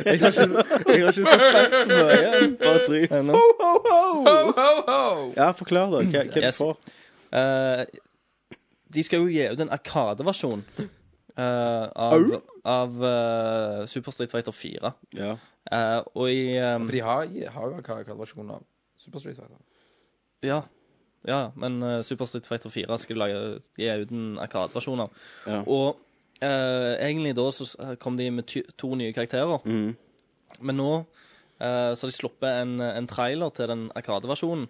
jeg har ikke, jeg har ikke fått sagt så mye
Bare dry.
ennå.
Ho, ho, ho!
Ja, forklar, da. Hva, hva
Yes.
du får
Eh, de skal jo gi ut en Arkadeversjon eh, av, av eh, Super Street Fighter 4.
Ja.
Eh, og i eh,
For de har, har jo en karakterversjon av Super Street Fighter.
Ja. ja men eh, Super Street Fighter 4 skal lage, gi ut en Arkade-versjon av.
Ja.
Og eh, egentlig da så eh, kom de med ty to nye karakterer. Men nå eh, så har de sluppet en, en trailer til den Arkade-versjonen.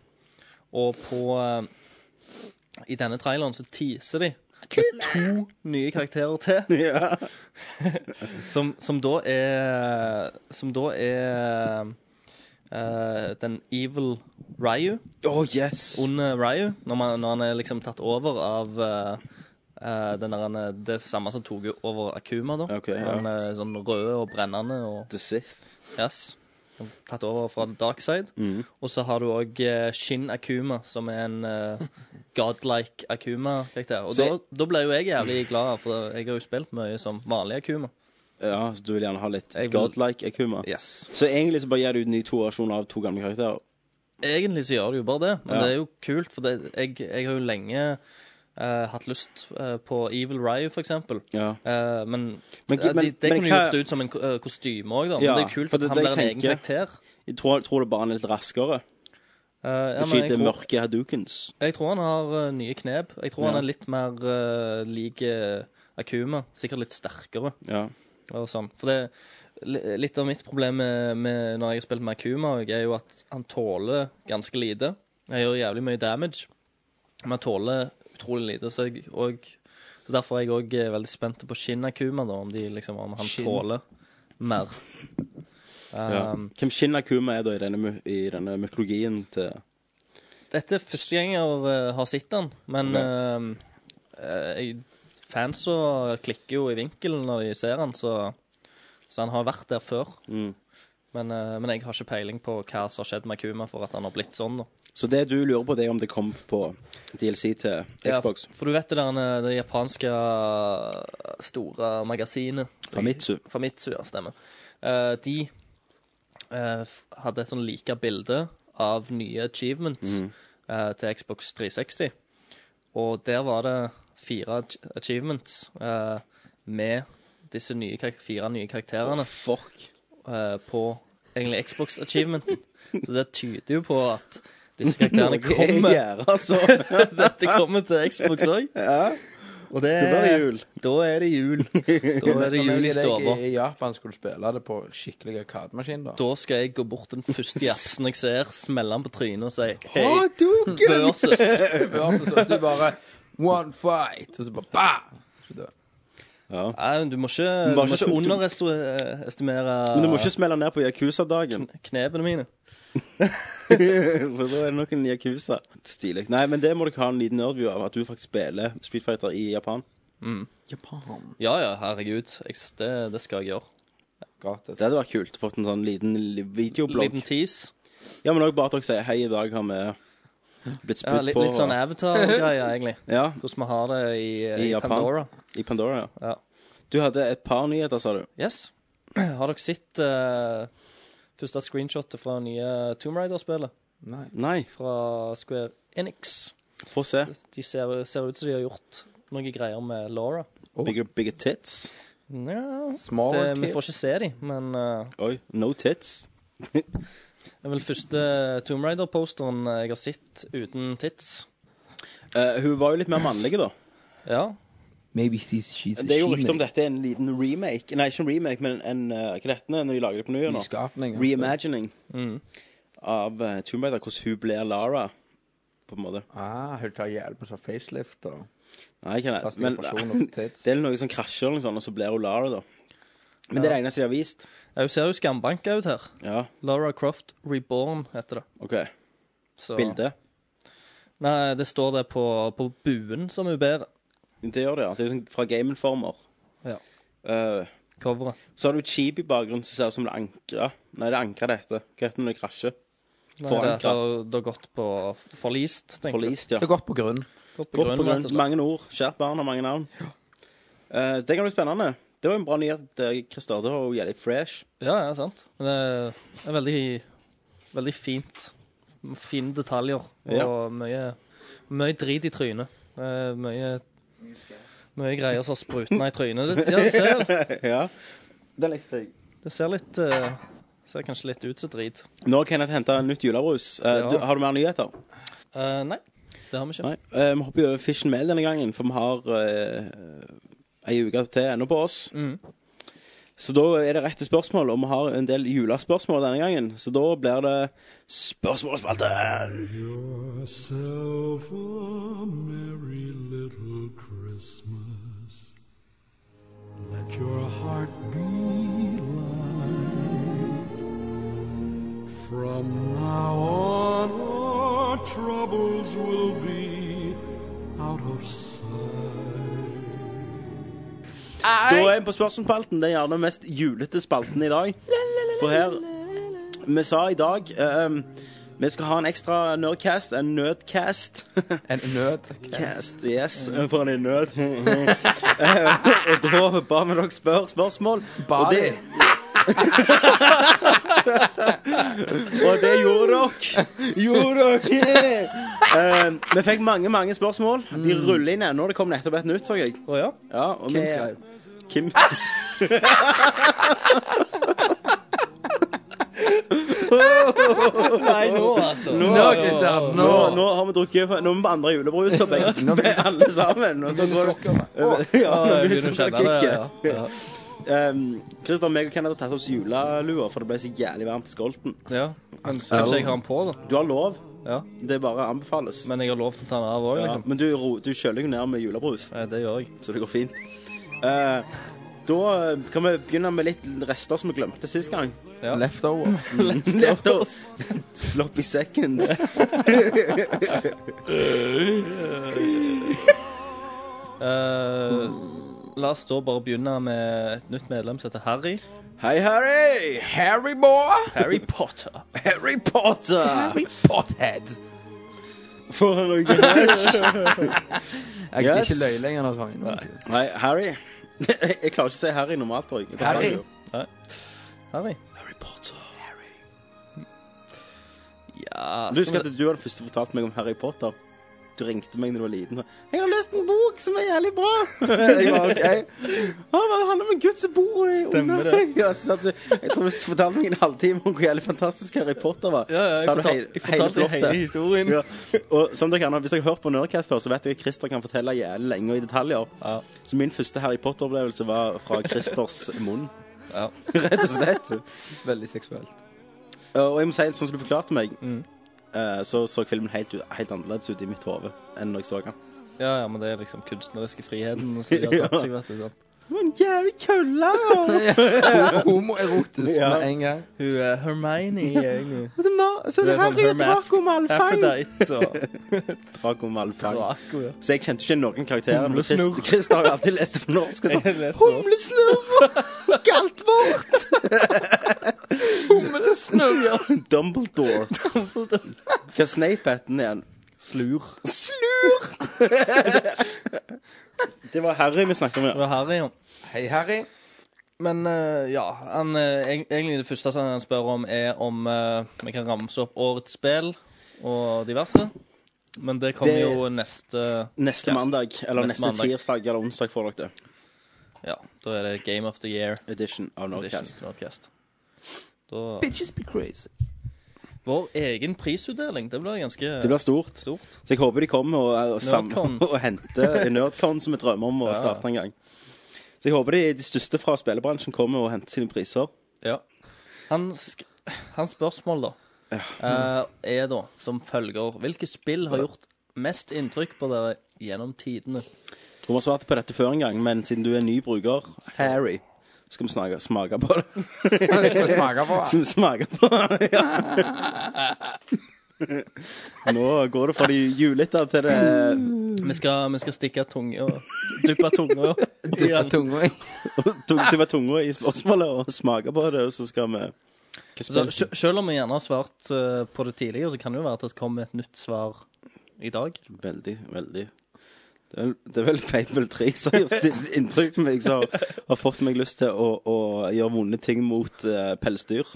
Og på eh, I denne traileren så teaser de med to nye karakterer til.
Ja.
Som, som da er Som da er eh, den Evil Ryu
Oh, yes.
onde Ryu, når, man, når han er liksom tatt over av eh, eh, den der, han, eh, det samme som tok over Akuma, da.
Ok, ja.
Han er sånn rød og brennende og
The Sith.
yes. Han er Tatt over fra Darkside.
Mm.
Og så har du òg Shin Akuma, som er en eh, godlike Akuma-karakter. Og
Så-
da, da ble jo jeg jævlig glad, for jeg har jo spilt mye som vanlig Akuma.
Ja, så du vil gjerne ha litt
Jeg vil-
godlike Akuma.
Yes.
Så egentlig så bare gir du ut en ny to versjon av to gamle karakterer.
Egentlig så gjør det jo bare det, men
Ja.
det er jo kult, for det, jeg, jeg har jo lenge eh, hatt lyst eh, på Evil Rye, for eksempel.
Ja.
Eh, men,
Men-
eh, de,
men-
det
men
kunne
hva-
gjort ut som en ko- eh, kostyme òg, da.
Ja,
men det er kult
for
at
det-
han
det
blir en
jeg
egen
tenker-
karakter.
Jeg tror, tror det bare han er litt raskere.
Eh, ja,
Det
men jeg
skyter
tror-
mørke hadoukens.
Jeg tror han har eh, nye knep. Jeg tror
Ja.
han er litt mer uh, lik eh, Akuma. Sikkert litt sterkere.
Ja.
Og sånn. For det, li- litt av mitt problem med, med når jeg har spilt med Akuma, og er jo at han tåler ganske lite. Jeg gjør jævlig mye damage, men han tåler utrolig lite. Så, jeg, og, så derfor er jeg òg veldig spent på skinn Akuma, da, om, de, liksom, om han
Skinn.
tåler mer.
Ja.
Um,
Hvem Shinakuma er da i denne, my- i denne mytologien til
Dette er første gang jeg eh, har sett den, men
Ok.
eh, eh, jeg, fans så klikker jo i vinkelen når de ser den, så, så han har vært der før.
mm.
Men, eh, men jeg har ikke peiling på hva som har skjedd med Kuma for at han har blitt sånn. da.
Så det du lurer på, det er om det kom på DLC til Xbox.
Ja, for- for du vet det der eh, det japanske eh, store magasinet
Famitsu.
Famitsu, ja, stemmer. Eh, de eh, f- hadde et sånn like bilde av nye achievements
Mhm.
eh, til Xbox 360. Og der var det fire ach- achievements eh, med disse nye, kar- fire nye karakterene
fuck.
eh, på egentlig Xbox-achievementen. Så det tyder jo på at disse karakterene
Noe er
kommer.
gjerde, altså.
Dette kommer til Xbox òg. Og det,
Da er det jul.
Da er det jul. Da er det
Når
jul i
jeg og deg
stua.
I Japan skulle spille det på skikkelig arkademaskin, da.
Da skal jeg gå bort den første jatsen jeg ser, smelle den på trynet og si hei,
Ha, Duken!»
versus.
Versus, og du bare One fight, og så bare bam! Så dør.
Nei, men du må ikke,
Men
du
bare
må
ikke-
ikke underestimere
Men du må ikke smelle ned på Yakuza-dagen.
knepene mine.
For da er det nok en Yakuza. Stilig. Nei, men det må dere ha en liten nerdview av, at du faktisk spiller Street Fighter i Japan.
Mm.
Japan.
Ja ja, herregud. Jeg, det, det skal jeg gjøre.
Gratis.
Det hadde vært kult. Fått en sånn liten li- videoblogg.
Liten tease.
Ja, men også bare at dere sier hei, i dag har vi blitt spytt
Ja, litt,
på.
litt sånn Avatar-greie, egentlig.
Ja,
Hvordan vi har det i,
i
i
Japan.
Pandora.
I Pandora, ja.
Ja.
Du hadde et par nyheter, sa du.
Yes. Har dere sett eh, første screenshotet fra nye Tomb Raider-spillet?
Nei.
Nei,
Fra Square Enix.
få se.
De ser, ser ut som de har gjort noen greier med Laura.
Bigger, bigger tits.
Ja, det,
Smaller
vi får
kids.
ikke se dem, men eh,
Oi, no tits.
det er vel første Tomb Raider-posteren jeg har sett uten tits.
Eh, hun var jo litt mer mannlig, da.
Ja.
Maybe she's, she's a
Det er jo rykte om
she-mate.
dette er en liten remake. Nei, ikke en remake, men en eh, Hva er dette når de lager det på ny? nå?
Nyskapning. altså.
Reimagining
Mm.
av eh, Tomb Raider, hvordan hun blir Lara, på en måte.
Ah, hun tar hjelp med sånn facelift og
Nei, ikke det.
plastikk
Men
operasjon og tits.
det er noe som krasjer, eller noe sånt, og så blir hun Lara, da. Men det er det eneste de har vist.
Ja, Hun ser jo skambanka ut her.
Ja,
Laura Croft Reborn heter det.
OK.
Så-
Bilde.
Nei, det står det på, på buen som hun ber.
Det gjør det, ja. Det er jo sånn fra gameinformer.
Ja.
Eh,
Coveret.
så har du et skip i bakgrunnen som ser ut som det ankrer. Nei, det ankrer dette. Hva heter det når det krasjer?
Nei,
Forankra.
Det det har det har gått på forlist, tenker jeg.
Forlist, ja.
Det er godt på grunn.
Gått på
Godt på
grunn, rett
grunn.
og slett.
Mange ord. Kjært barn har mange navn. Eh, det kan bli spennende. Det var en bra nyhet, eh, Christer. Det var jo jævlig fresh.
Ja, ja, sant. Men det er veldig, veldig fint. Fine detaljer og
Ja.
mye, mye drit i trynet. Det er Mye, mye greier som har sprutna i trynet. Det, ja, det, ser,
ja. Det likte jeg.
det ser litt eh, Ser kanskje litt ut som drit.
Nå har Kenneth henta nytt julebrus. Eh,
Ja.
du, har du mer nyheter?
Eh, nei, det har vi ikke.
Nei. Eh, vi hopper over Fish and Mail denne gangen, for vi har eh, ei uke til ennå på oss.
Mhm.
Så da er det rette spørsmål, og vi har en del julespørsmål denne gangen. Så da blir det Spørsmålsspalten!
Yourself a merry little Christmas. Let your heart be light. From now on, our troubles will be out of sight.
Da er vi på spørsmålsspalten. Det er gjerne den mest julete spalten i dag. For her Vi sa i dag ehm, vi skal ha en ekstra nerdcast, en nødcast.
En nød.
Cast, yes, for han er i nød. Eh, og da ba vi dere spørre spørsmål.
Ba
og det,
de?
Og det gjorde dere. Gjorde dere. Eh, vi fikk mange mange spørsmål. De ruller inn ennå. Det kom nettopp et nytt, så jeg.
Å ja?
Ja, og
Kim
vi-
skrev.
Kim.
Nei, nå, altså.
Nå, gutter, nå!
Nå, nå har vi drukket Nå er vi på andre julebrus og begge alle sammen. Og da
Begynner
går
sokkene. Å,
det Ja,
Ja,
nå
jeg
blir det
begynner å kjenne Ah, det. Ja,
sukkerkicket.
ja.
Um, Christer, meg og Kenneth har tatt oss julelua, for det ble så jævlig varmt i skolten.
ja. Men kanskje jeg har den på, da.
Du har lov.
Ja.
Det bare anbefales.
Men jeg har lov til å ta den av òg,
Ja,
liksom.
men du, ro- du kjøler jo ned med julebrus,
Nei, det gjør jeg.
så det går fint. Eh, da kan vi begynne med litt rester som vi glemte sist gang.
Ja.
Leftovers.
Lefter. Sloppy seconds.
Eh, la oss da bare begynne med et nytt medlem som heter Harry.
Hei, Harry!
Harry boy!
Harry Potter.
Harry Potter!
Harry Pothead.
Får han noe greier?
Jeg kan
Yes.
ikke løye lenger nå, Tommy. Nå.
Nei, Harry. Jeg klarer ikke å si Harry normalt. tror jeg.
Harry.
Harry.
Harry Potter. Harry.
Ja,
Du husker at du var den første som fortalte meg om Harry Potter? Du ringte meg når du var liten. og sa, 'Jeg har lest en bok som er jævlig bra.' jeg var OK. «Å, men Det handler om en gutt som bor i
Stemmer det.
Ja, så satt du, jeg tror du fortalte meg en halvtime om hvor jævlig fantastisk Harry Potter var.
ja, ja, jeg
Sa du
fortal-
hei-
jeg fortalte
hele
hele
flottet.
historien.
Ja. Og som dere kan, Hvis dere har hørt på Nerdcast før, så vet jeg at Christer kan fortelle jævlig lenge og i detaljer.
Ja.
Så min første Harry Potter-opplevelse var fra Christers munn,
Ja.
rett og slett.
Veldig seksuelt.
Ja, Og jeg må si, sånn som du forklarte meg, eh, så så filmen helt, ut- helt annerledes ut i mitt hode enn når jeg så den.
Ja, ja, men det er liksom kunstneriske friheten som de har tatt seg, vet du. sant?
Det var en jævlig kølle! og-
Homoerotisk
Ja.
med en gang.
Hun er Hermione egentlig.
og det var- Så det her er sånn jo Draco Malfoy.
Aphrodite og
Draco Malfoy.
Draco, ja.
Så jeg kjente ikke noen karakterer. men Chris-
Humlesnurr.
Christer har jo alltid lest det på norsk. og sånn,
Jeg leste det også.
Humlesnurr! Galt vårt! Humlesnurr! Dumbledore. Hva Snape het den igjen?
Slur.
Slur! Det var Harry vi snakket om.
Det
ja.
var Harry, ja.
Hei, Harry.
Men eh, ja, han, eh, eg- egentlig det første som han spør om, er om eh, vi kan ramse opp årets spill og diverse. Men det kommer
Det-
jo neste
Neste
cast.
mandag, eller
Neste
neste,
mandag.
tirsdag eller onsdag får dere det.
Ja, Da er det Game of the Year.
Edition av
Edition
Nordcast.
Nerdcast. Da,
Bitches be crazy.
vår egen prisutdeling. Det blir ganske
Det blir stort.
stort.
Så jeg håper de kommer og, og, sam-
Nerdcon.
og henter Nerdcon, som vi drømmer om å
Ja.
starte en gang. Så jeg håper de, de største fra spillebransjen kommer og henter sine priser.
Ja. Han sk hans spørsmål, da, eh, er da som følger Hvilke spill har gjort mest inntrykk på dere gjennom tidene?
Jeg tror vi har svart på dette før en gang, men siden du er ny bruker, Harry, så skal vi snakke, smake på det.
Skal vi smake på
Skal vi smake på det, ja. Nå går det fra de julete til det
Vi skal, vi skal stikke tunga Duppe tunga
disse tunga?
tok til tunga i spørsmålet og smake på det, og så skal vi Hva
Så,
spilte du?
sj- selv om vi gjerne har svart eh, på det tidligere, så kan det jo være at det kommer et nytt svar i dag.
Veldig, veldig. Det er vel, det er vel Fable 3 som har gjort sitt inntrykk på meg, som har fått meg lyst til å, å gjøre vonde ting mot eh, pelsdyr.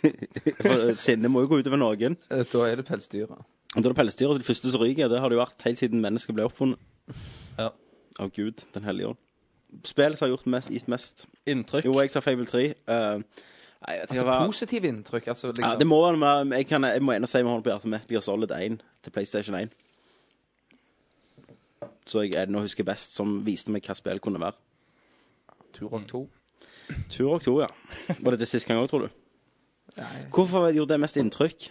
For sinnet må jo gå utover noen.
Eh, Da er det pelsdyret.
Og Da er det pelsdyret som er det første som ryker. Det har det jo vært helt siden mennesket ble oppfunnet.
Ja.
Av Gud, den hellige ånd. Spill som har gjort mest, gitt mest.
Inntrykk.
Jo, jeg sa Fable 3. eh, nei, jeg tenker
Altså
hva-
positive inntrykk, altså liksom.
ja, det må være med, jeg, kan, jeg må ennå si med hånden på hjertet Metal Gear Solid 1 til PlayStation 1. Så jeg ennå husker best, som viste meg hva spill kunne være.
Turok 2.
Turok 2, ja. Var det det sist gang òg, tror du? Hvorfor gjorde det mest inntrykk?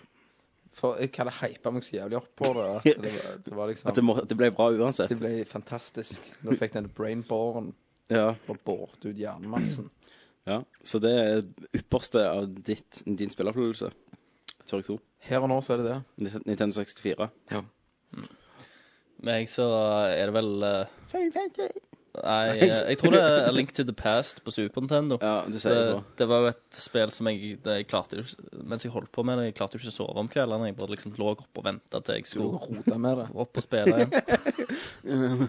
For jeg hadde hypa meg så jævlig opp på det. at Det var, det var liksom
At det, må, at det ble bra uansett?
Det ble fantastisk. Når du fikk den brainboren
Ja.
og båret ut jernmassen.
ja. Så det er ypperste av ditt, din spilleopplevelse. Turok 2.
Her og nå så er det det.
Nintendo 64.
Meg så er det vel eh, Nei, eh, jeg tror det er A Link to the Past på Super Nintendo.
Ja, det sier jeg
det,
så.
det var jo et spill som jeg, det jeg klarte jo ikke- Mens jeg holdt på med det, jeg klarte jo ikke å sove om kveldene. Jeg bare liksom lå oppe og venta til jeg
Du
skulle
rota med det.
opp og spille igjen.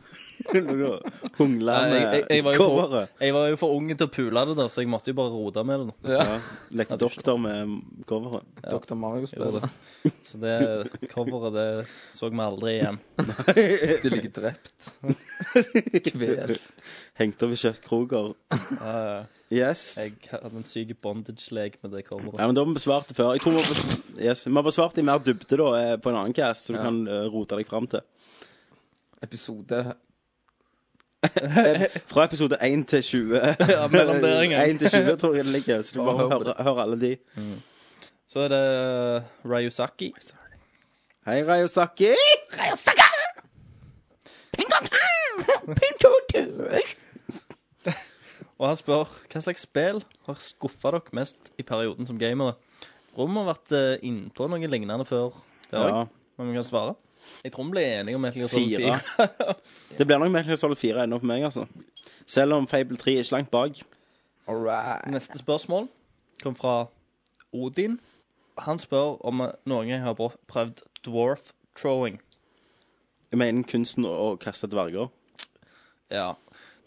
Hungle
Nei, jeg, jeg, jeg,
med
var jo for,
coveret.
jeg var jo for ung til å pule det, da, så jeg måtte jo bare rote med det. Da.
Ja. Lekte doktor med coveret.
Dr. Mario
Jeg gjorde
spiller.
det. Så det coveret, det så vi aldri igjen.
De ligger drept. Kvelt.
Hengt over kjøttkroker. Yes.
Jeg hadde en syk bondage-lek med det coveret.
Ja, men Da har vi besvart det før. Jeg tror Vi har bes- yes, vi har besvart det i mer dybde da eh, på en annen cast, så du kan eh, rote deg fram til.
Episode
Fra episode 1 til 20.
Ja, mellomderinger.
1 til 20 tror eh, jeg det ligger, så du
Bare
bare
hør på
hører hører alle de.
Så er det eh, Ryusaki.
Hei, Rayosaki.
Og han spør hva slags spill har skuffa dere mest i perioden som gamere. Rom har vært eh, innpå noe lignende før. Det har
Ja.
jeg. Men vi kan svare. Jeg tror vi ble enige om Metal Gear Solid 4.
Fire. Det blir nok Metal Gear Solid 4 ennå for meg, altså. Selv om Fable 3 er ikke langt bak.
All right.
Neste spørsmål kom fra Odin. Han spør om eh, noen gang har br- prøvd dwarf throwing.
Jeg mener kunsten å å kaste dverger.
Ja.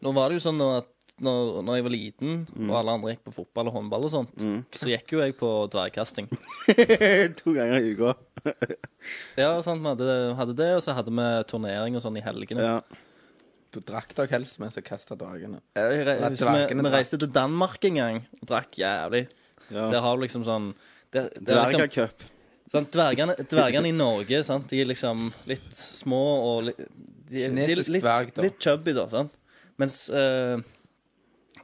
Nå var det jo sånn nå at når, når jeg var liten,
Mm.
og alle andre gikk på fotball og håndball og sånt, så gikk jo jeg på dvergkasting.
to ganger i uka.
Ja, sant, vi hadde, hadde det, og så hadde vi turnering og sånn i helgene.
Ja.
Du drakk dere helst mens jeg kasta dagene.
Jeg, re-
Ja,
husker vi,
dvergene
vi
drakk.
reiste til Danmark en gang og drakk jævlig.
Ja.
Der har du liksom sånn det, det er liksom,
Dvergercup.
sant, dvergene, dvergene i Norge sant, De er liksom litt små og li, de, de er
Kinesisk
litt,
dverg, da.
litt chubby, da. Sant? Mens eh,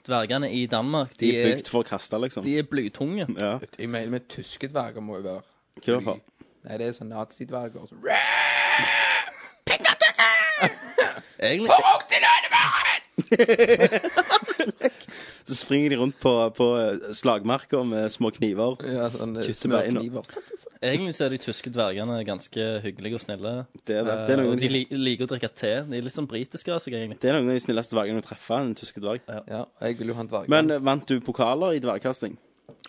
dvergene i Danmark, de,
De er
er,
bygd for å kaste, liksom.
de er blytunge.
Ja.
Jeg mener med tyske dverger må jo være
Hva er det for?
Nei, det er sånn nazidverger. Så.
Egentlig,
Så springer de rundt på, på slagmarker med små kniver.
Ja, sånn eh,
Kutte beina.
smørkniver. Så, så, så.
egentlig så er de tyske dvergene ganske hyggelige og snille.
Det er det.
Eh,
Det er noen-
og de li, liker å drikke te. De er litt sånn britiske av seg, egentlig.
Det er noen av de snilleste dvergene du treffer, en tysk dverg.
Ja, jeg vil jo ha en dverg.
Men eh, vant du pokaler i dvergkasting?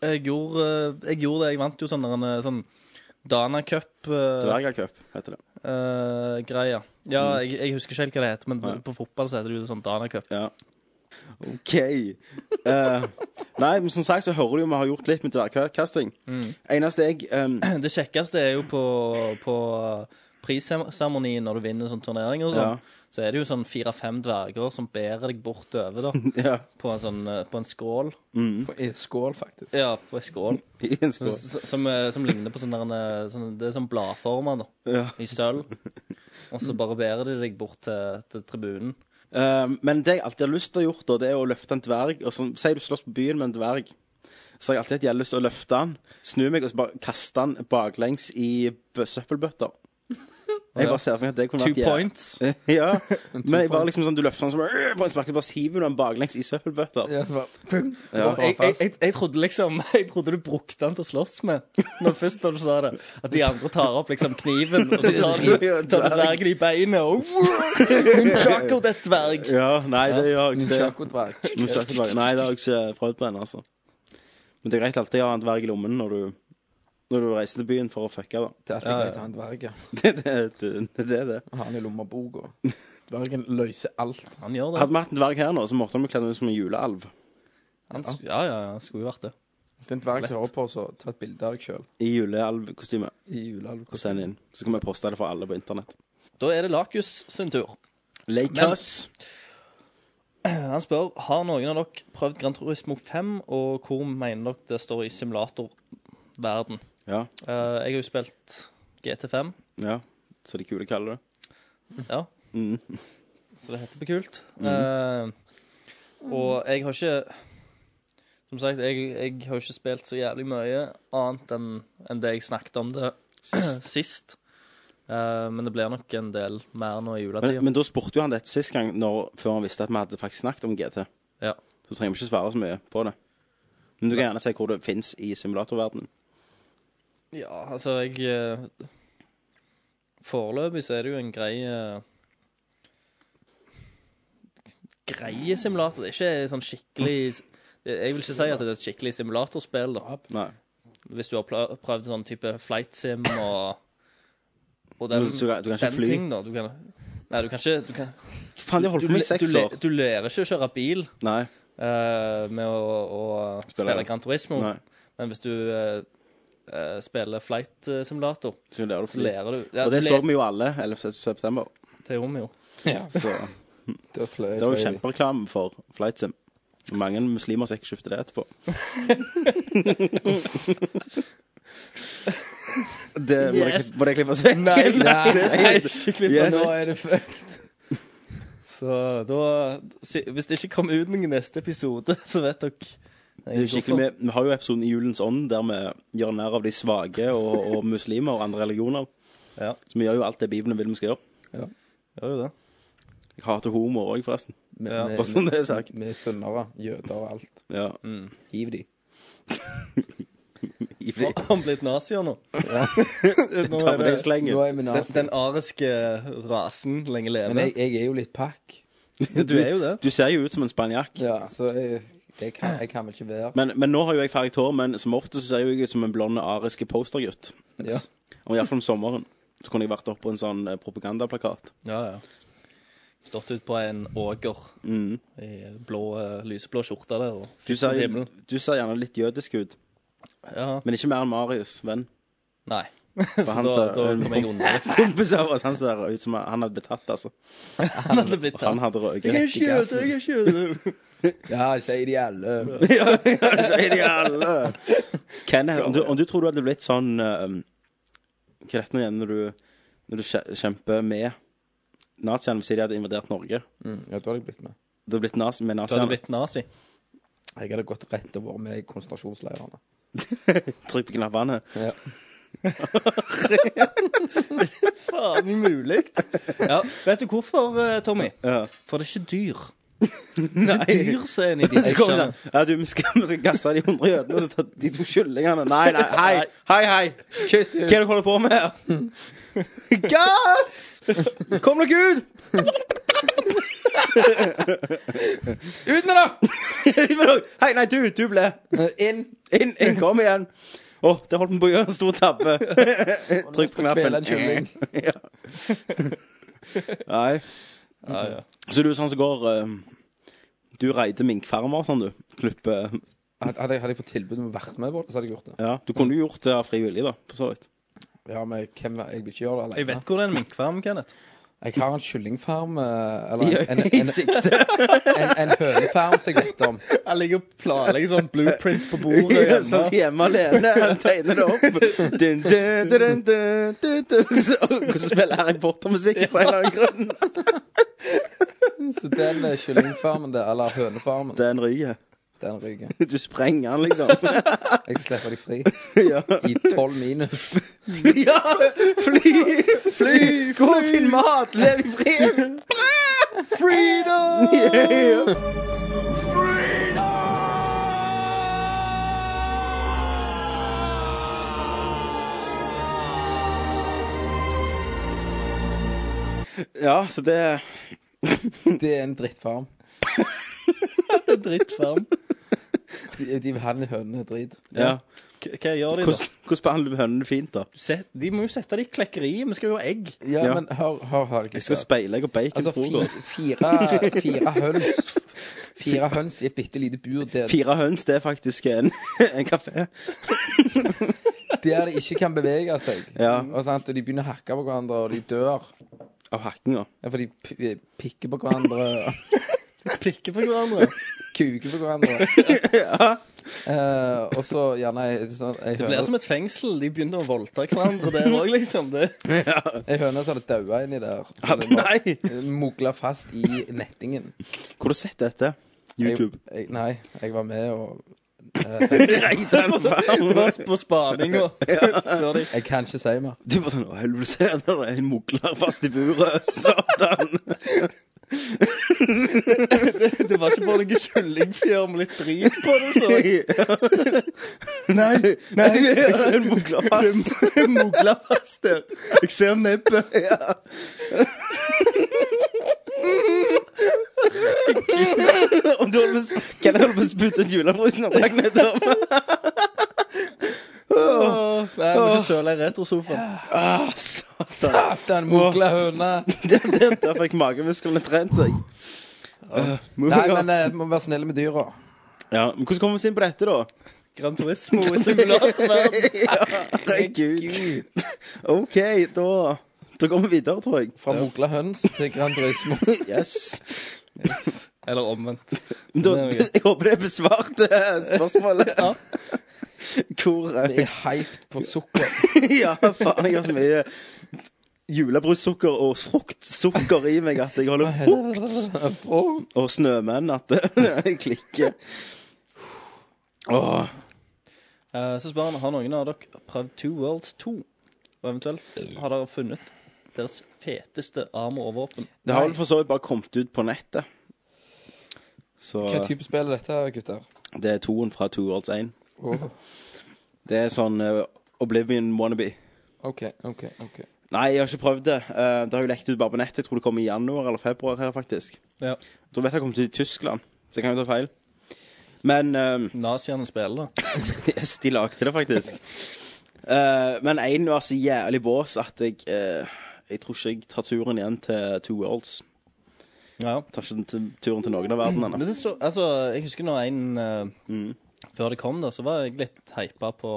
Jeg gjorde, eh, jeg gjorde det. Jeg vant jo sånn, der en, sånn Dana Cup-greie.
Dvergercup heter det.
ja, jeg, jeg husker ikke helt hva det heter, men på fotball så heter det jo sånn Dana Cup.
Ja. OK. Eh, nei, men som sagt så hører du jo vi har gjort litt med dvergkasting. Eneste jeg eh,
Det kjekkeste er jo på, på eh, prisseremoni når du vinner sånn turnering og sånn.
Ja.
Så er det jo sånn fire-fem dverger som bærer deg bortover, da.
Ja,
På en sånn eh, På en skål.
På- Mm. i skål, faktisk.
Ja, på en skål.
i en skål.
S- s- Som, eh, som ligner på sånn der en, eh, sånn, Det er sånn bladformer, da.
Ja.
I sølv. Og så bare bærer de deg bort til, til tribunen.
Eh, men det jeg alltid har lyst til å gjøre, da, det er å løfte en dverg. Og så, Si du slåss på byen med en dverg. Så har jeg alltid hatt jeg har lyst til å løfte han, snu meg og så bare kaste han baklengs i bø- søppelbøtter. Jeg bare ser for meg at det kunne
Two
vært jæv-
points.
ja. Men jeg bare liksom sånn, du løfter han sånn øh, på en spark, så bare hiver du han baklengs i søppelbøtter.
Ja, så bare, pum,
Ja.
så bare
Jeg, jeg,
fast.
jeg, jeg trodde liksom Jeg trodde du brukte den til å slåss med. Når først da du sa det. At de andre tar opp liksom kniven, og så tar du, tar du dvergen i beinet og Nunchaku, det er dverg.
Ja, nei, det gjør jeg ikke.
Nunchaku-dverg.
Nå skal jeg ikke bare- Nei, det har jeg ikke prøvd på ennå, altså. Men det er greit alltid å ha en dverg i lommen når du, når du reiser til byen for å fucke, da.
Det er alltid greit å ha en dverg, ja.
Det det- det- det er det.
Å Ha han i lommeboka. Dvergen løser alt.
Han gjør det.
Hadde vi hatt en dverg her nå, så måtte han bli kledd ut som en julealv.
Han, sk- ja, ja, ja, skulle jo vært det.
Hvis det er en dverg som hører på, så ta et bilde av deg sjøl
I julealvkostyme.
i julealv.
Og send inn. Så kan vi poste det for alle på internett.
Da er det Lakus sin tur.
Lakers.
Han spør har noen av dere prøvd Gran Turismo 5, og hvor mener dere det står i simulatorverden?
Ja.
Eh, jeg har jo spilt GT5.
ja. Så de kule kaller det. Mm.
Ja. Så det heter på kult.
Mhm.
Eh, og jeg har ikke Som sagt, jeg, jeg har ikke spilt så jævlig mye annet enn enn det jeg snakket om det sist. Eh, men det blir nok en del mer nå i juletida.
Men, men da spurte jo han dette sist gang, når, før han visste at vi hadde faktisk snakket om GT.
Ja.
Så trenger vi ikke svare så mye på det. Men du kan gjerne si hvor det fins i simulatorverdenen.
ja, altså, jeg eh, Foreløpig så er det jo en grei eh, Greie simulator. Det er ikke sånn
Mm.
skikkelig Jeg vil ikke si at det er et skikkelig simulatorspill, da.
Nei.
Hvis du har pla- prøvd sånn type flight sim og, og
Men du- du kan- du kan ikke
den
fly?
ting, da. Du kan, Nei, du kan ikke du kan,
Faen, jeg holdt
Du-
på med
du-
i seks
du le-
år.
Du lærer ikke å kjøre bil
Nei.
eh, med å, å spille,
det.
Gran Turismo.
Nei.
Men hvis du eh, eh, spiller flight eh, simulator,
Så lærer du
så lærer du ja,
Og det
du
så
lærer-
vi jo alle 11. september.
Det gjorde vi jo.
Så
Det fløy
det var jo kjempereklame for FlightSim. Mange muslimer som ikke kjøpte det etterpå. det må det
Yes.
klipp- må det klippes vekk.
Nei, nei,
det skal
nei.
ikke
Yes.
klippes.
Nå er det fucked.
Så da si- Hvis det ikke kommer ut noen neste episode, så vet dere
Det er jo skikkelig, vi, vi har jo episoden I julens ånd der vi gjør narr av de svake og, og muslimer og andre religioner.
Ja.
Så vi gjør jo alt det Bibelen vil vi skal gjøre.
Gjør jo det.
Jeg hater homo òg, forresten.
Med,
Ja,
med-
Bare sånn det er sagt.
med sunnere, jøder og alt.
Ja.
Hiv de.
Ivrig.
Har han blitt nazier nå? nå
Ta
er
med
det
deg slengen.
Nå er vi
den,
nazi.
den ariske rasen lenge leve.
Men jeg, jeg er jo litt pakk.
du er jo det.
Du ser jo ut som en spanjakk.
Ja, så jeg, jeg, kan, jeg kan vel ikke være
Men, men nå har jo jeg farget hår, men som ofte så ser jeg jo ut som en blond ariske postergutt.
ja.
Og iallfall om sommeren. Så kunne jeg vært oppå en sånn eh, propagandaplakat.
Ja, ja. Stått ut på en åger i blå, eh, lyseblå skjorte der. Og
Du ser,
sitter i
jo-
himmelen.
du ser gjerne litt jødisk ut,
Ja.
men ikke mer enn Marius, venn.
Nei. Så
han
da,
ser-
da kom jeg unna. liksom.
Kompis av oss, han ser ut som han hadde blitt tatt, altså.
Han hadde blitt
Han
tatt.
hadde røket.
ikke jøde, jeg er ikke jøde.
ja, sier de alle.
Så er de alle Kenneth, om du, om du tror du hadde blitt sånn eh, Hva er dette nå igjen når du, når du kje- kjemper med naziene hvis de hadde invadert Norge?
Mm, ja, da hadde jeg blitt med.
Du hadde blitt nazi med
Du hadde
naziene.
blitt nazi.
Jeg hadde gått rett og vært med i konsentrasjonsleirene.
Trykk på knappene.
Ja.
Faen, umulig. Ja, vet du hvorfor, eh, Tommy?
Ja.
For det er ikke dyr. Det er ikke dyr som er en idiot.
Så kommer det sånn Ja, du, vi skal, vi skal gasse de hundre jødene, og så ta de to kyllingene. Nei, nei, hei, hei, hei.
Kutt
Hva er
ut!
det dere holder på med her? Gass! Kom dere ut!
Ut med det! Eh,
Ut med dere! Hei, nei, du, du ble.
Inn!
Inn, inn, kom igjen. Å, der holdt vi på å gjøre en stor tabbe. Trykk på
Kvele en
knappen.
kylling.
Nei.
Ja, ja.
Så du er sånn som går eh, Du reider minkfarmer, sånn, du. Klipper
Hadde hadde jeg, hadde jeg fått tilbud om å være med på det, så hadde jeg gjort det.
Ja. Du kunne jo gjort det av fri vilje, da, for så vidt.
Ja, men hvem Jeg vil ikke gjøre det
Jeg
alene.
vet hvor det er en minkfarm, Kenneth.
Jeg har en kyllingfarm, eh, eller en, en,
I
en,
sikte.
en, en hønefarm som jeg vet om.
Jeg ligger og planlegger sånn blueprint på
Sånn som hjemme alene. Han tegner det opp. Dun, dun, dun, dun, dun, dun. Så så spiller Harry Potter-musikk på en eller annen grunn.
Så den eh, kyllingfarmen der, eller hønefarmen,
Den ryker.
den ryker.
Du sprenger den, liksom.
Jeg skal slippe de fri
Ja.
i tolv minus.
ja! Fly! Fly! Gå og finn mat! Lev i fred! Freedom! Yeah. Ja, så det
Det er en drittfarm.
Drittfarm.
De, de han hønene er drit.
ja.
K- Hva gjør de da?
Hvordan hvordan behandler du hønene fint, da?
Set, de må jo sette det i klekkeriet. Vi skal jo ha egg.
Ja,
Ja.
men hør, hør, hør,
Jeg skal
gutter.
speile og bacon
Altså,
på
fi,
frokost.
fire, fire høns Fire høns i et bitte lite bur der,
Fire høns, det er faktisk en, en kafé.
der de ikke kan bevege seg.
Ja.
Og, sant? og de begynner å hakke på hverandre, og de dør.
Av hakkinga.
Ja, For de p pikker på hverandre, og
Pikke på hverandre.
kuker på hverandre. eh, og så gjerne ei sånn, ei
Det blir
høne,
som et fengsel. De begynner å voldta hverandre der òg, liksom. Det.
ei høne som hadde daua inni der.
Ja,
Så det var
Nei!
Mugla fast i nettingen.
Hvor har du sett dette? YouTube.
Jeg, jeg, nei, jeg var med og
Reidar
Det
Farm.
var på spaning og Før de-
Jeg kan ikke si mer.
Du var sånn Å, helvete, der er en mugler fast i buret. Satan.
Det var ikke bare noe kyllingfjør med litt drit på det, så jeg
Nei, nei, jeg ser en mugler fast.
mugla fast der. Jeg ser nebbet.
Om du holder på å- Kan jeg holde på å spytte ut julebrusen og legge ned døra?
Nei, jeg må ikke søle i retrosofaen.
Ah, så-
Satan, mugla høne!
der, der, der fikk magemusklene trent seg. Eh, moving
Nei,
on.
men eh, må være snille med dyra.
ja, men hvordan kommer vi oss inn på dette, da?
Gran Turismo i simulatorverden.
Herregud. OK, da Da går vi videre, tror jeg.
Fra mugla høns til Gran Turismo.
Yes.
Eller omvendt.
Da,
Det er jo gøy.
jeg håper det besvarte spørsmålet.
Ja.
Hvor eh,
Vi er hyped på sukker.
Ja, faen, jeg har så mye julebrussukker og fruktsukker i meg at jeg holder frukt.
Åh,
Og snømenn at jeg klikker. Åh,
Eh, Så spør han har noen av dere prøvd Two Worlds 2. Og eventuelt har dere funnet deres feteste armor og våpen.
det har vel for så vidt bare kommet ut på nettet. Så
Hva type spill er dette, gutter?
det er toen fra Two Worlds 1.
Åh,
Det er sånn eh, Oblivion wannabe.
OK, OK. ok
Nei, jeg har ikke prøvd det. Eh, det har jo lekt ut bare på nettet. Jeg tror det kommer i januar eller februar her, faktisk.
Ja.
Jeg tror vet jeg har kommet ut i Tyskland, så jeg kan jo ta feil. Men eh,
Naziene spiller, da.
Yes, de lagde det faktisk. Eh, men én var så jævlig bås at jeg eh, Jeg tror ikke jeg tar turen igjen til Two Worlds.
Ja.
Tar ikke den til- turen til noen av verdenene.
Men det er så, altså, jeg husker når en eh,
Mm.
Før det kom, da, så var jeg litt hypa på,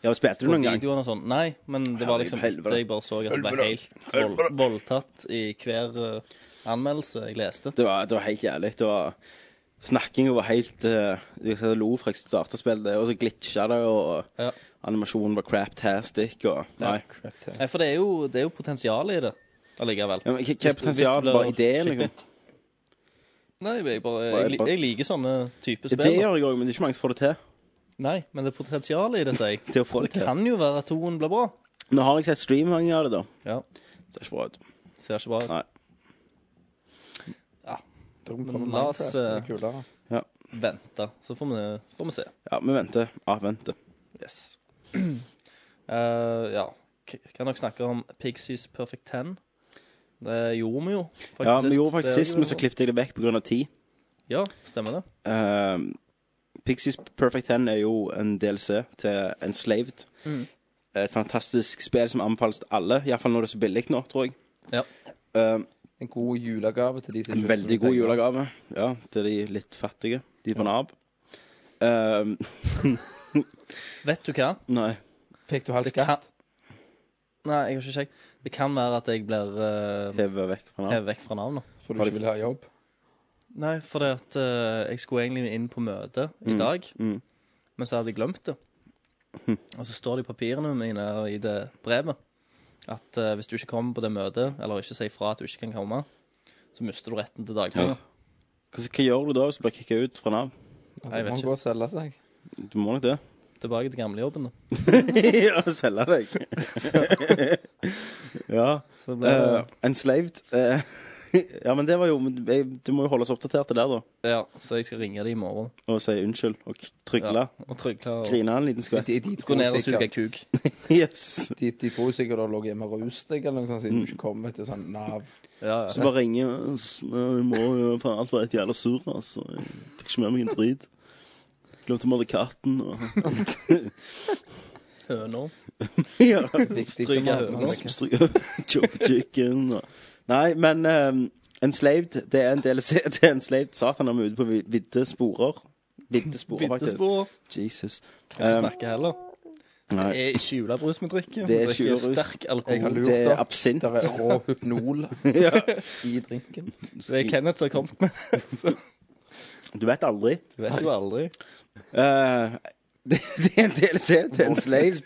Ja, spilte du
på
noen gang?
videoene og sånn. Nei, men det var liksom
Helvete.
etter jeg bare så at det ble helt vold, voldtatt i hver eh, anmeldelse jeg leste.
Det var, det var helt jævlig. Det var Snakkinga var helt eh, Jeg satt og lo fra jeg starta spillet, og så glitcha det, og
Ja.
animasjonen var craptastic, og Nei.
Crap,
Nei, for det er jo, det er jo potensial i det allikevel.
Ja, men hva- hva er
Hvis det-
potensial?
hvis det blir
Bare ideen,
skikkelig.
liksom?
Nei, jeg, bare,
Bare-
jeg, li- jeg liker sånne typer
Ja,
spill.
det
da.
gjør jeg òg, men det er ikke mange som får det til.
Nei, men det er potensial i det, sier jeg.
Til å få
Så
det til.
kan jo være at toen blir bra.
Nå har jeg sett streaming av det, da.
Ja,
Det er ikke bra ut.
ser ikke bra ut.
Nei.
Tror vi
Men
prøver
la oss,
Minecraft, det er kulere.
Vente, så får vi, får vi se.
Ja, vi venter. Ja, venter.
Yes. Eh, ja. K- Kan dere snakke om Pixies Perfect 10? Det gjorde vi jo. faktisk
Ja, vi
sist.
gjorde faktisk
Det
sist, men så
gjorde vi.
klippet jeg det vekk pga. tid.
Ja, stemmer det.
Eh, Pixies Perfect 10 er jo en DLC til Enslaved. Et fantastisk spill som anbefales til alle, iallfall når det er så billig nå, tror jeg.
Ja.
Eh,
En god julegave til de som
en
ikke
veldig
får
god
penger.
julegave ja, til de litt fattige. De på Nav. Eh,
Vet du hva?
nei.
Fikk du halv
Det kan...
skatt?
Nei, jeg har ikke sjekk. Det kan være at jeg blir uh,
Heve vekk fra Nav.
hevet vekk fra navnet.
For du ikke vil ha jobb?
Nei, for det at eh, jeg skulle egentlig inn på møte i dag,
mm.
men så hadde jeg glemt det.
Hm.
Og så står det i papirene mine og i det brevet at eh, hvis du ikke kommer på det møtet, eller ikke sier fra at du ikke kan komme, så mister du retten til dagpenger.
Hva, hva gjør du da hvis du blir kicka ut fra Nav?
Ja,
Nei, jeg
da
vet
må
ikke.
han gå og selge seg.
Du må nok det.
Tilbake til gamlejobben. da.
ja, selge deg. ja.
Så ble
Uh, enslaved. Eh, ja, men det var jo men jeg- Du må jo holde oss oppdaterte der, da.
det- Ja, så jeg skal ringe dem i morgen.
Og si unnskyld. Og k-
Ja,
trygle.
og trygle og
Grine en liten skvett.
De, de,
gå
tror
ned og suge
sikkert,
kuk.
Yes.
de, de tror sikkert du har ligget hjemme og rust deg, eller noe sånt, siden du ikke kom vet du, sånn Nav.
Ja, ja.
Så bare ringe Du må jo faen alt var et jævla sur, altså. Jeg fikk ikke med meg en drit. Glemte å male katten og
Høner.
Ja.
Viktig
Stryker
å ha-
høna.
stryk- Choke chicken og Nei, men eh, Enslaved, det er en DLC til Enslaved. Satan, han er vi ute på vid- vidde sporer. Vidde sporer, faktisk.
Bittespor.
Jesus.
Kan ikke
Um,
snakke heller.
nei.
Det er ikke julebrus vi
Det
drikker. Vi
er
drikker
julebrus.
sterk
Jeg har
alkohol.
lurt
Det er
opp.
absint.
Der er rå hypnol
Ja.
i drinken.
Det er Kenneth som har kommet med det. så
Du vet aldri.
Du vet jo aldri.
Eh, det, det er en DLC til en slave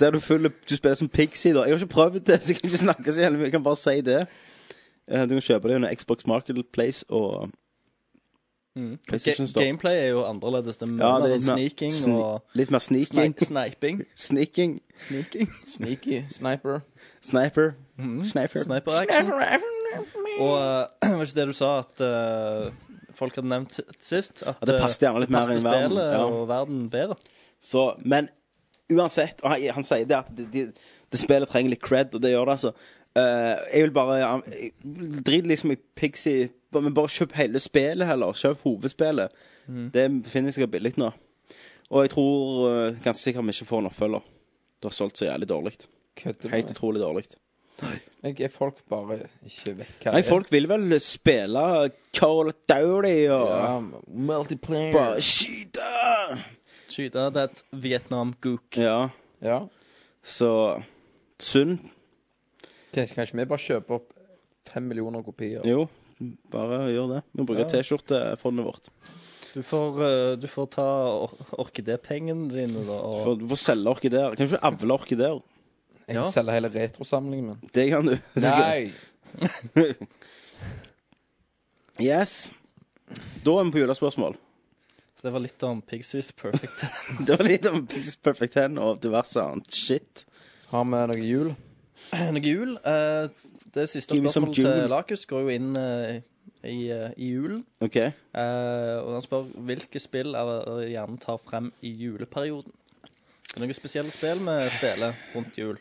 der du, følger, du spiller som Pixie. da Jeg har ikke prøvd det, så jeg kan ikke snakke så jævlig mye. Jeg kan bare si det. Eh, du kan kjøpe det under Xbox Marketplace og PlayStation Store.
Mm. Gameplay er jo annerledes. Det er
Ja,
mer
det er
sånn
litt mer-
sneaking
sni-
og
Litt mer sneaking.
sni- sniping.
Sneaking.
Sneaking.
Sneaky sniper.
Sniper. Sniper.
Sniper action. Og eh, var ikke det du sa at eh, folk hadde nevnt s- sist? At
Ja, det
eh,
passet gjerne litt mer
passet
inn i verden,
spillet
ja.
og verden bedre.
Så, men uansett, og han, han sier det at det, det, det spillet trenger litt cred, og det gjør det, altså. Eh, jeg vil bare ja, jeg- Drit liksom i Pixie, bare- men bare kjøp hele spillet heller. Kjøp hovedspillet. Det finner jeg sikkert billig nå. Og jeg tror eh, ganske sikkert vi ikke får en oppfølger. Det har solgt så jævlig dårlig.
Kødder du
Helt
med?
utrolig dårlig.
Jeg er folk bare ikke vekk hva
Nei,
det er.
folk vil vel spille Carl Dowdy og
Ja, multiplayer.
Bare skyte!
Skyte det er et Vietnam-gook.
Ja.
Ja.
Så synd.
Kanskje, kanskje vi bare kjøper opp fem millioner kopier?
Jo, bare gjør det. Vi bruker
Ja.
T-skjortefondet eh, vårt.
Du får, eh, du får ta or orkidépengene dine, da. Og...
For, for å selge orkideer. Kan ikke du avle orkideer?
Jeg
Ja.
selger hele retrosamlingen min.
Det kan du.
Nei!
yes. Da er vi på julespørsmål.
Så Det var litt om Pixies Perfect.
Det var litt om Pixels Perfect 10 og diverse annet shit.
Har vi noe jul?
Noe jul. eh, det siste
Give me some
spørsmålet
jul.
til Lakus går jo inn eh, i, eh, i julen.
OK.
Eh, og han spør hvilke spill er det dere gjerne tar frem i juleperioden. Er det noen spesielle spill vi spiller rundt jul?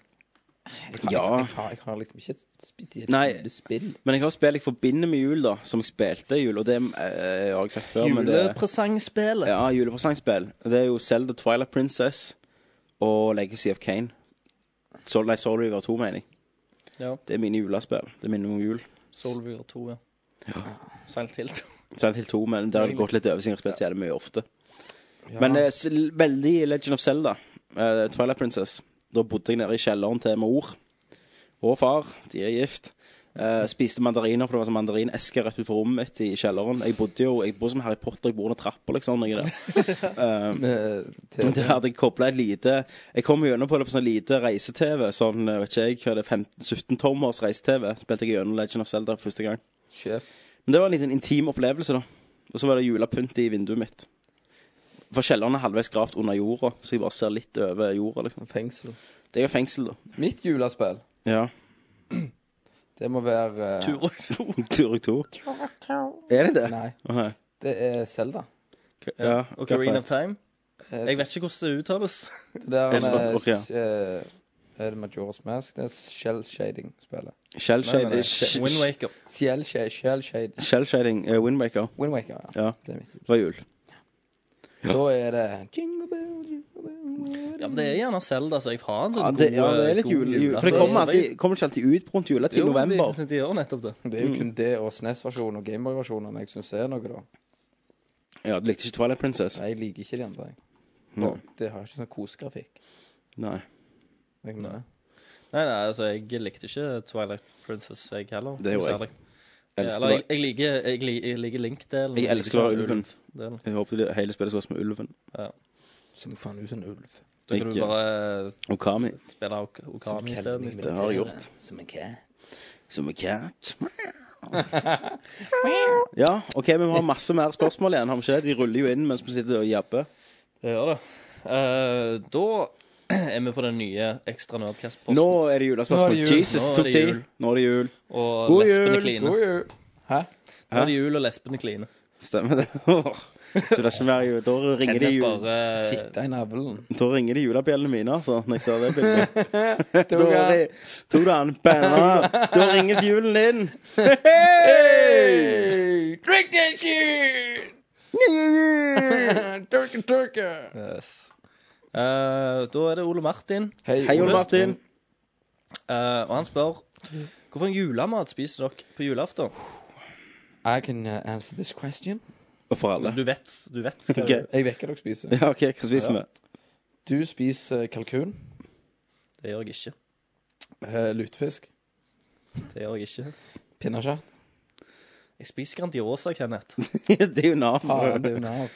Ja.
Jeg, har, jeg har liksom ikke et spesielt
Nei.
julespill.
Men jeg har spill jeg forbinder med jul, da, som jeg spilte i jul. Og det eh, har jeg sagt før. men det-
Julepresangspillet.
Ja, julepresangspill. Det er jo Zelda Twilight Princess og Legacy of Kane. Soul, nei, Soul River 2, mener jeg.
Ja.
Det er mine julespill. Det minner meg om jul.
Solvur 2, ja. Silent Hill 2.
Silent Hill 2, men det har gått litt over siden jeg har spilt så jævlig mye ofte.
Ja.
Men eh, s- veldig Legend of Zelda, eh, Twilight Princess. Da bodde jeg nede i kjelleren til mor og far. De er gift. Eh, spiste mandariner, for det var sånn mandarineske rett utenfor rommet mitt i kjelleren. Jeg bodde jo jeg bodde som Harry Potter, jeg bor under trappa, liksom. Når jeg er der.
Med
Men
TV.
Der hadde jeg kobla et lite Jeg kom gjennom på det på sånn lite reise-TV. Sånn, eh, vet ikke jeg, hva det er, 15 17-tommers reise-TV. Spilte jeg gjennom Legend of Zelda for første gang.
Sjef.
Men det var en liten intim opplevelse, da. Og så var det julepynt i vinduet mitt. For kjelleren er halvveis gravd under jorda, så jeg bare ser litt over jorda, liksom.
Fengsel.
Det er jo fengsel, da.
Mitt julespill,
Ja.
det må være eh,
Turok.
Turok 2. Er det det?
Nei,
Å, nei.
det er Selda.
K- Ja,
Og Green
hva
of Time. Jeg vet ikke hvordan det uttales.
Det der
Elsker
med
dere, ja.
eh, Er det Majora's Mask? Det er Shell Shading-spillet.
for- Shellshading Sh-
Wind Waker.
Shell Shade
Shellshading eh, Windmaker.
Windwaker, ja.
Ja,
Det er mitt.
det var jul.
Da er det Jingle bell, jingle bell
Ja, men det er gjerne Zelda, så jeg har en sånn
Ja, det, ja, det er litt
god altså,
jul, jul. For det
julaften.
kommer, alltid, kommer ikke alltid ut på rundt juletid i
sånn Jo,
november.
De, de gjør nettopp det.
Det er jo
Mm.
kun det og SNES-versjonen og Gameboy-versjonen jeg syns er noe, da.
Ja, du likte ikke Twilight Princess?
Nei, jeg liker ikke de andre. jeg. For Det har ikke sånn kosegrafikk.
Nei.
Jeg mener.
Nei, nei, altså, jeg likte ikke Twilight Princess, jeg heller.
Det gjorde jeg.
Særlig.
Jeg
Ja,
elsker,
Eller, jeg, jeg liker, jeg, li- jeg liker Link-delen.
Jeg elsker å være ulven.
Delen.
jeg håper det hele spillet skal være som ulven.
Ser faen ut som en ulv.
Da kan du
Jeg-
bare
Og Kami.
spille Ok- Okami isteden.
Det har jeg gjort.
Som en cat.
Som en cat. Ja, OK, men vi har masse mer spørsmål igjen, har vi ikke? det? De ruller jo inn mens vi sitter og jabber.
Det gjør det. Eh, da er vi på den nye Ekstra Nerdcast-posten.
Nå er det
Nå er
julespørsmål.
det jul.
Jesus,
Nå er
tok
det
tid.
jul.
Nå er det jul.
og
God
lesbene
jul!
kline.
God jul. Hæ?
Nå er det jul, og lesbene kline.
Stemmer det? Du lar ikke mer jul. Da ringer de,
Kenneth
jul.
bare
Fitta i navlen.
da ringer de julebjellene mine, altså, når jeg ser det bildet.
Det
Da
var
ri- Tok du den? Banna. Da ringes julen inn.
Hey! Drink that shit! Turkey, turkey.
yes. Eh, Da er det Ole Martin,
Hei, Ole Martin.
eh, og han spør Hvorfor en julemat spiser dere på julaften?
I can uh, answer this question.
Og for alle.
Du vet, du vet hva
Ok.
Jeg vet hva dere spiser.
Ja, OK, hva spiser vi?
Du spiser eh, kalkun,
det gjør jeg ikke.
eh, lutefisk,
Det gjør jeg ikke.
pinnekjøtt
Jeg spiser Grandiosa, Kenneth.
Det er jo
ah, det
Nav.
er jo nav.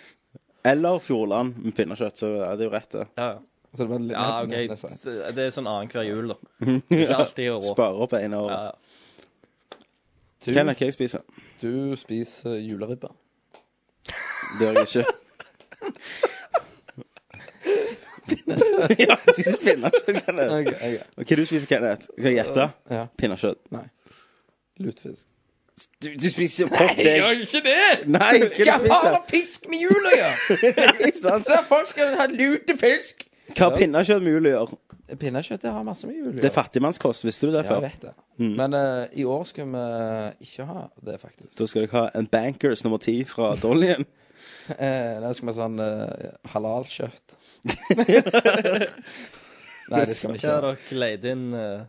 Eller Fjordland med pinnekjøtt, så er det jo rett, det.
Ja, ja.
Så det var litt
ja ok.
nesten jeg sa.
Det er sånn annenhver jul, da. Det er Ikke alltid i år.
Spare opp en av
Ja, ja.
Kenneth, hva jeg spiser
altså. Du, du spiser juleribbe.
Det gjør jeg ikke. ja, jeg spiser pinnekjøtt, Kenneth.
Okay, jeg,
Og Hva du spiser Kenneth? Kan jeg gjette?
ja,
Pinnekjøtt.
Lutefisk.
Du, du spiser jo kokk, deg.
gjør ikke det!
Nei, hva du spiser
fisk med jul å gjøre?
Ikke sant?
Der folk skal ha lutefisk.
Hva har pinnekjøtt med jul å gjøre?
Pinnekjøtt det har masse med jul å
Det er
gjøre.
fattigmannskost, visste du det
Ja, jeg
før?
vet det.
Mm.
Men eh, i år skal vi ikke ha det, faktisk.
Da skal dere ha en Bankers nummer ti fra Dollyen.
Eh, nei, det skal vi ha sånn eh, halalkjøtt. nei, det skal vi
Hva
ikke.
har dere leid inn eh,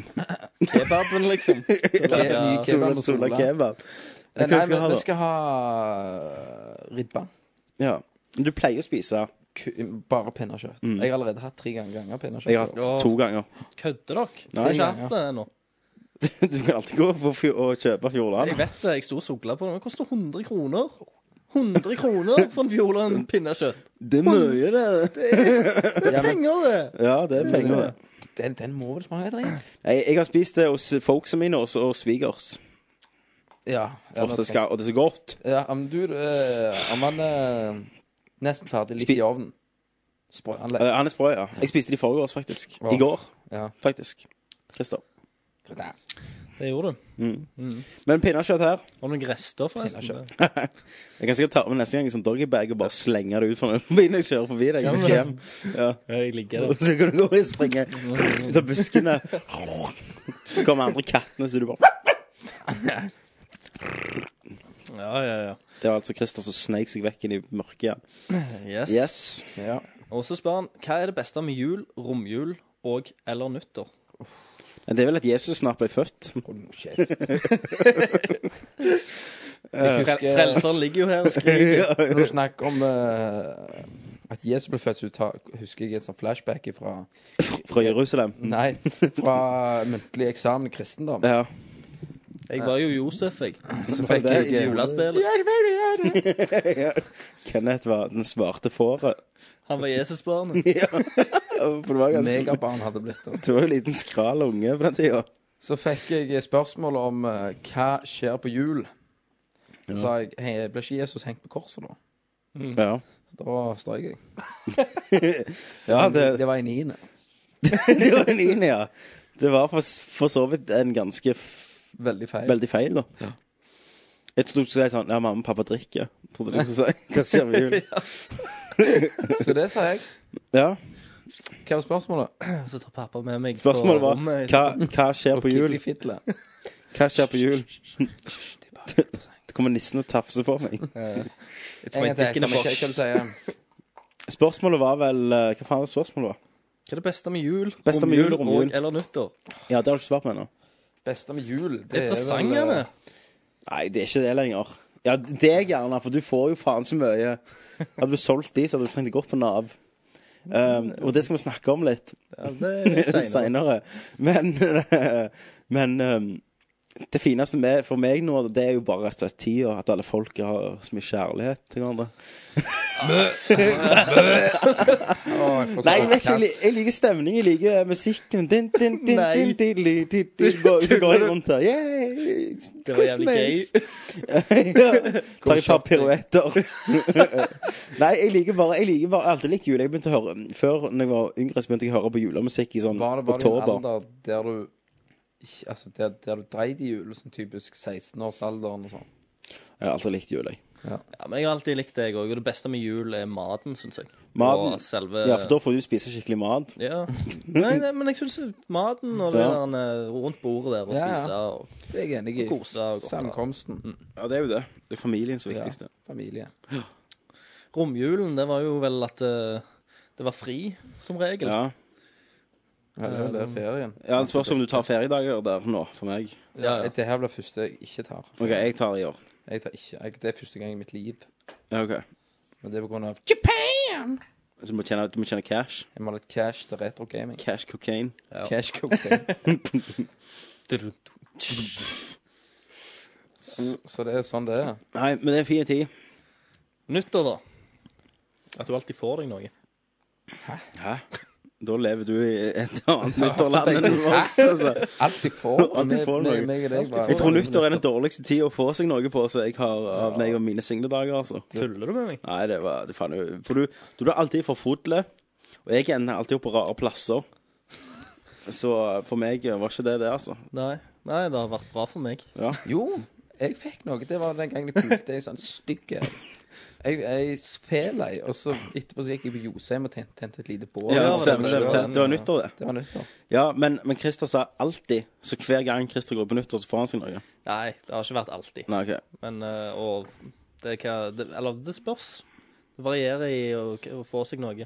Kebaben, liksom.
Ny kebab med
Sola
Sola. Eh,
kebab.
Nei,
Hva skal vi
vi,
ha,
vi
da?
skal ha eh, ribba.
Ja. Men Du pleier å spise
Ku- Bare pinnekjøtt.
Mm.
Jeg har allerede hatt tre ganger, ganger pinnekjøtt.
Jeg har hatt to ganger.
Kødder dere?
Nei.
Nei, jeg har ikke eh, hatt det ennå.
Du kan alltid gå på fjo- og kjøpe Fjordland.
Jeg vet det, jeg sto og sogla på det. Det koster 100 kroner. 100 kroner for en Fjordland pinnekjøtt.
Det er mye, det.
Det er penger, det.
Ja, det er penger, det.
Den, den må vel smake dritt?
Jeg, jeg har spist det hos folks mine og og svigers.
Ja. ja,
Og
nå
det
skal-
skal- og det er så godt.
Ja, men du eh, Om han er nesten ferdig litt i ovnen Sprø han
Eh, Han er sprø, ja. Jeg spiste det i forgårs, faktisk.
Wow.
I går,
Ja.
faktisk. Christer.
Det gjorde du.
Mm.
Mm.
Men pinnekjøtt her
Har du noen rester, forresten?
Jeg kan sikkert ta med neste gang en sånn doggybag og bare slenge det ut fra bilen jeg kjører forbi deg.
Ja,
når jeg
men-
skal hjem. Ja.
Jeg ligger
Og så kan du gå og springe ut av buskene. Så kommer andre kattene, så du bare
Ja, ja, ja.
Det var altså Christer som sneik seg vekk inn i mørket igjen.
Yes.
Yes.
Ja.
Og så spør han hva er det beste med jul, romjul og eller nyttår?
Men det er vel at Jesus snart ble født.
Hold nå kjeft.
Eh,
Frel-
husker-
Frelseren ligger jo her og skriker.
Når du snakker om eh, at Jesus ble født, så ta- husker jeg et sånt flashback fra
Fra Jerusalem.
Nei, fra muntlig eksamen i kristendom.
Ja.
Jeg var jo Josef, jeg.
Så
var
fikk
det
jeg eh,
i
Julespillet.
ja. Kenneth var den svarte fåret.
Han var Jesusbarnet.
ja. For det var
eh,
ganske
Megabarn hadde blitt det.
Du var jo en liten skral unge på den tida.
Så fikk jeg spørsmål om eh, hva skjer på jul. Så sa jeg hei, ble ikke Jesus hengt på korset da?
Ja.
Så da strøk jeg.
ja, det,
det var i niende.
det var en inn, ja. Det var for, for så vidt en ganske f-
Veldig feil.
veldig feil, da.
Ja.
Jeg trodde du skulle si sånn Ja, mamma og pappa drikker. Trodde du skulle si Hva skjer med jul?
Så det sa jeg.
Ja.
Hva var spørsmålet?
Så tar pappa med meg
Spørsmålet
på
var
rommet.
hva, hva skjer
Og
på jul?
Kikli Fiddle.
Hva skjer på jul? Det kommer nissen og tafser på meg.
It's
En
my
gang
dick in
til. Hva
a box.
skal du si?
Spørsmålet var vel eh, Hva faen var spørsmålet? var?
Hva er det beste med jul,
Beste med jul,
romjul
romjul.
og eller nyttår?
Ja, det har du ikke svart på ennå.
Beste med jul, det,
Det er
vel,
presangene.
eh,
Nei, det er ikke det lenger. Ja, det gjerne, for du får jo faen så mye. Hadde du solgt de, så hadde du trengt å gå på Nav. Um, og det skal vi snakke om litt
Ja, det er litt
seinere.
senere.
Men, men um, det fineste med, for meg nå, det er jo bare rett og slett tida. At alle folk har så mye kjærlighet til hverandre.
å, jeg får så
Nei, jeg vet ikke. Jeg,
oppkast.
li- jeg liker stemning, jeg liker eh, musikken. Din, din, din,
Nei.
din, din, din, din, din. Går- Så går jeg rundt her. Yeah, it's
Det var jævlig gay.
Christmas! ja. Tar et par
shopping.
piruetter. Nei, jeg liker bare Jeg liker bare jeg har alltid likt jul. Jeg begynte å høre Før, når jeg var yngre, så begynte jeg å høre på julemusikk i sånn
Var det bare i en
oktober.
alder der du ikke- Altså, der, der du dreit i jul, sånn typisk 16-årsalderen og sånn?
Jeg har alltid likt jul, jeg.
Ja, men jeg har alltid likt deg òg. Og det beste med jul er maten, syns jeg.
Maten?
Og selve
Ja, for da får du spise skikkelig mat.
Ja. Nei, nei, men jeg syns maten og det
Ja.
der eh, rundt bordet der og
Ja, ja.
spise og
Det er jeg enig i.
kose og godt. da. Mm.
Samkomsten.
Ja, det er jo det. Det er familiens
Ja,
viktigste.
familie.
Romjulen, det var jo vel at eh, det var fri, som regel.
Ja.
Ja, det er vel det ferien.
ja det spørs om du tar feriedager der nå, for meg.
Ja,
ja.
Det her blir første jeg ikke tar.
OK, jeg tar i år.
Jeg tar ikke. Jeg, det er første gang i mitt liv.
Ja, ok
Men det er på grunn av Japan!
Så du må tjene, du må tjene cash.
Jeg må ha litt cash til retro gaming.
Cash cocaine.
Ja.
Cash cocaine. Så det er sånn det er.
Nei, men det er en fin tid.
Nyttår, da. At du alltid får deg noe.
Hæ? Da lever du i et annet nyttårland enn oss, altså.
Alt de får. og
Alt de
meg-
får,
meg-
Norge.
meg og deg bare-
Jeg tror nyttår er den dårligste tida å få seg noe på som jeg har av meg og mine singledager, altså.
Tuller du med meg?
Nei, det var det faen jo- For du, du blir alltid forfodlet, og jeg ender alltid opp på rare plasser. Så for meg var ikke det det, altså.
Nei. Nei, det har vært bra for meg.
Jo, jeg fikk noe. Det var den gangen jeg pulte ei sånn stygg en. Jeg, jeg fel ei, og så etterpå så gikk jeg på Josheim og tente, tente et lite bål.
Ja,
Ja,
det stemmer.
det var-
Det, var- det var nyttår, det.
Det var nyttår.
Ja, men, men Christer sa alltid, så hver gang Christer går på nyttår, så får han seg noe.
Nei, det har ikke vært alltid.
Nei, ok.
Men eh, og det, er hva, det Eller det spørs. Det varierer i å, å få seg noe.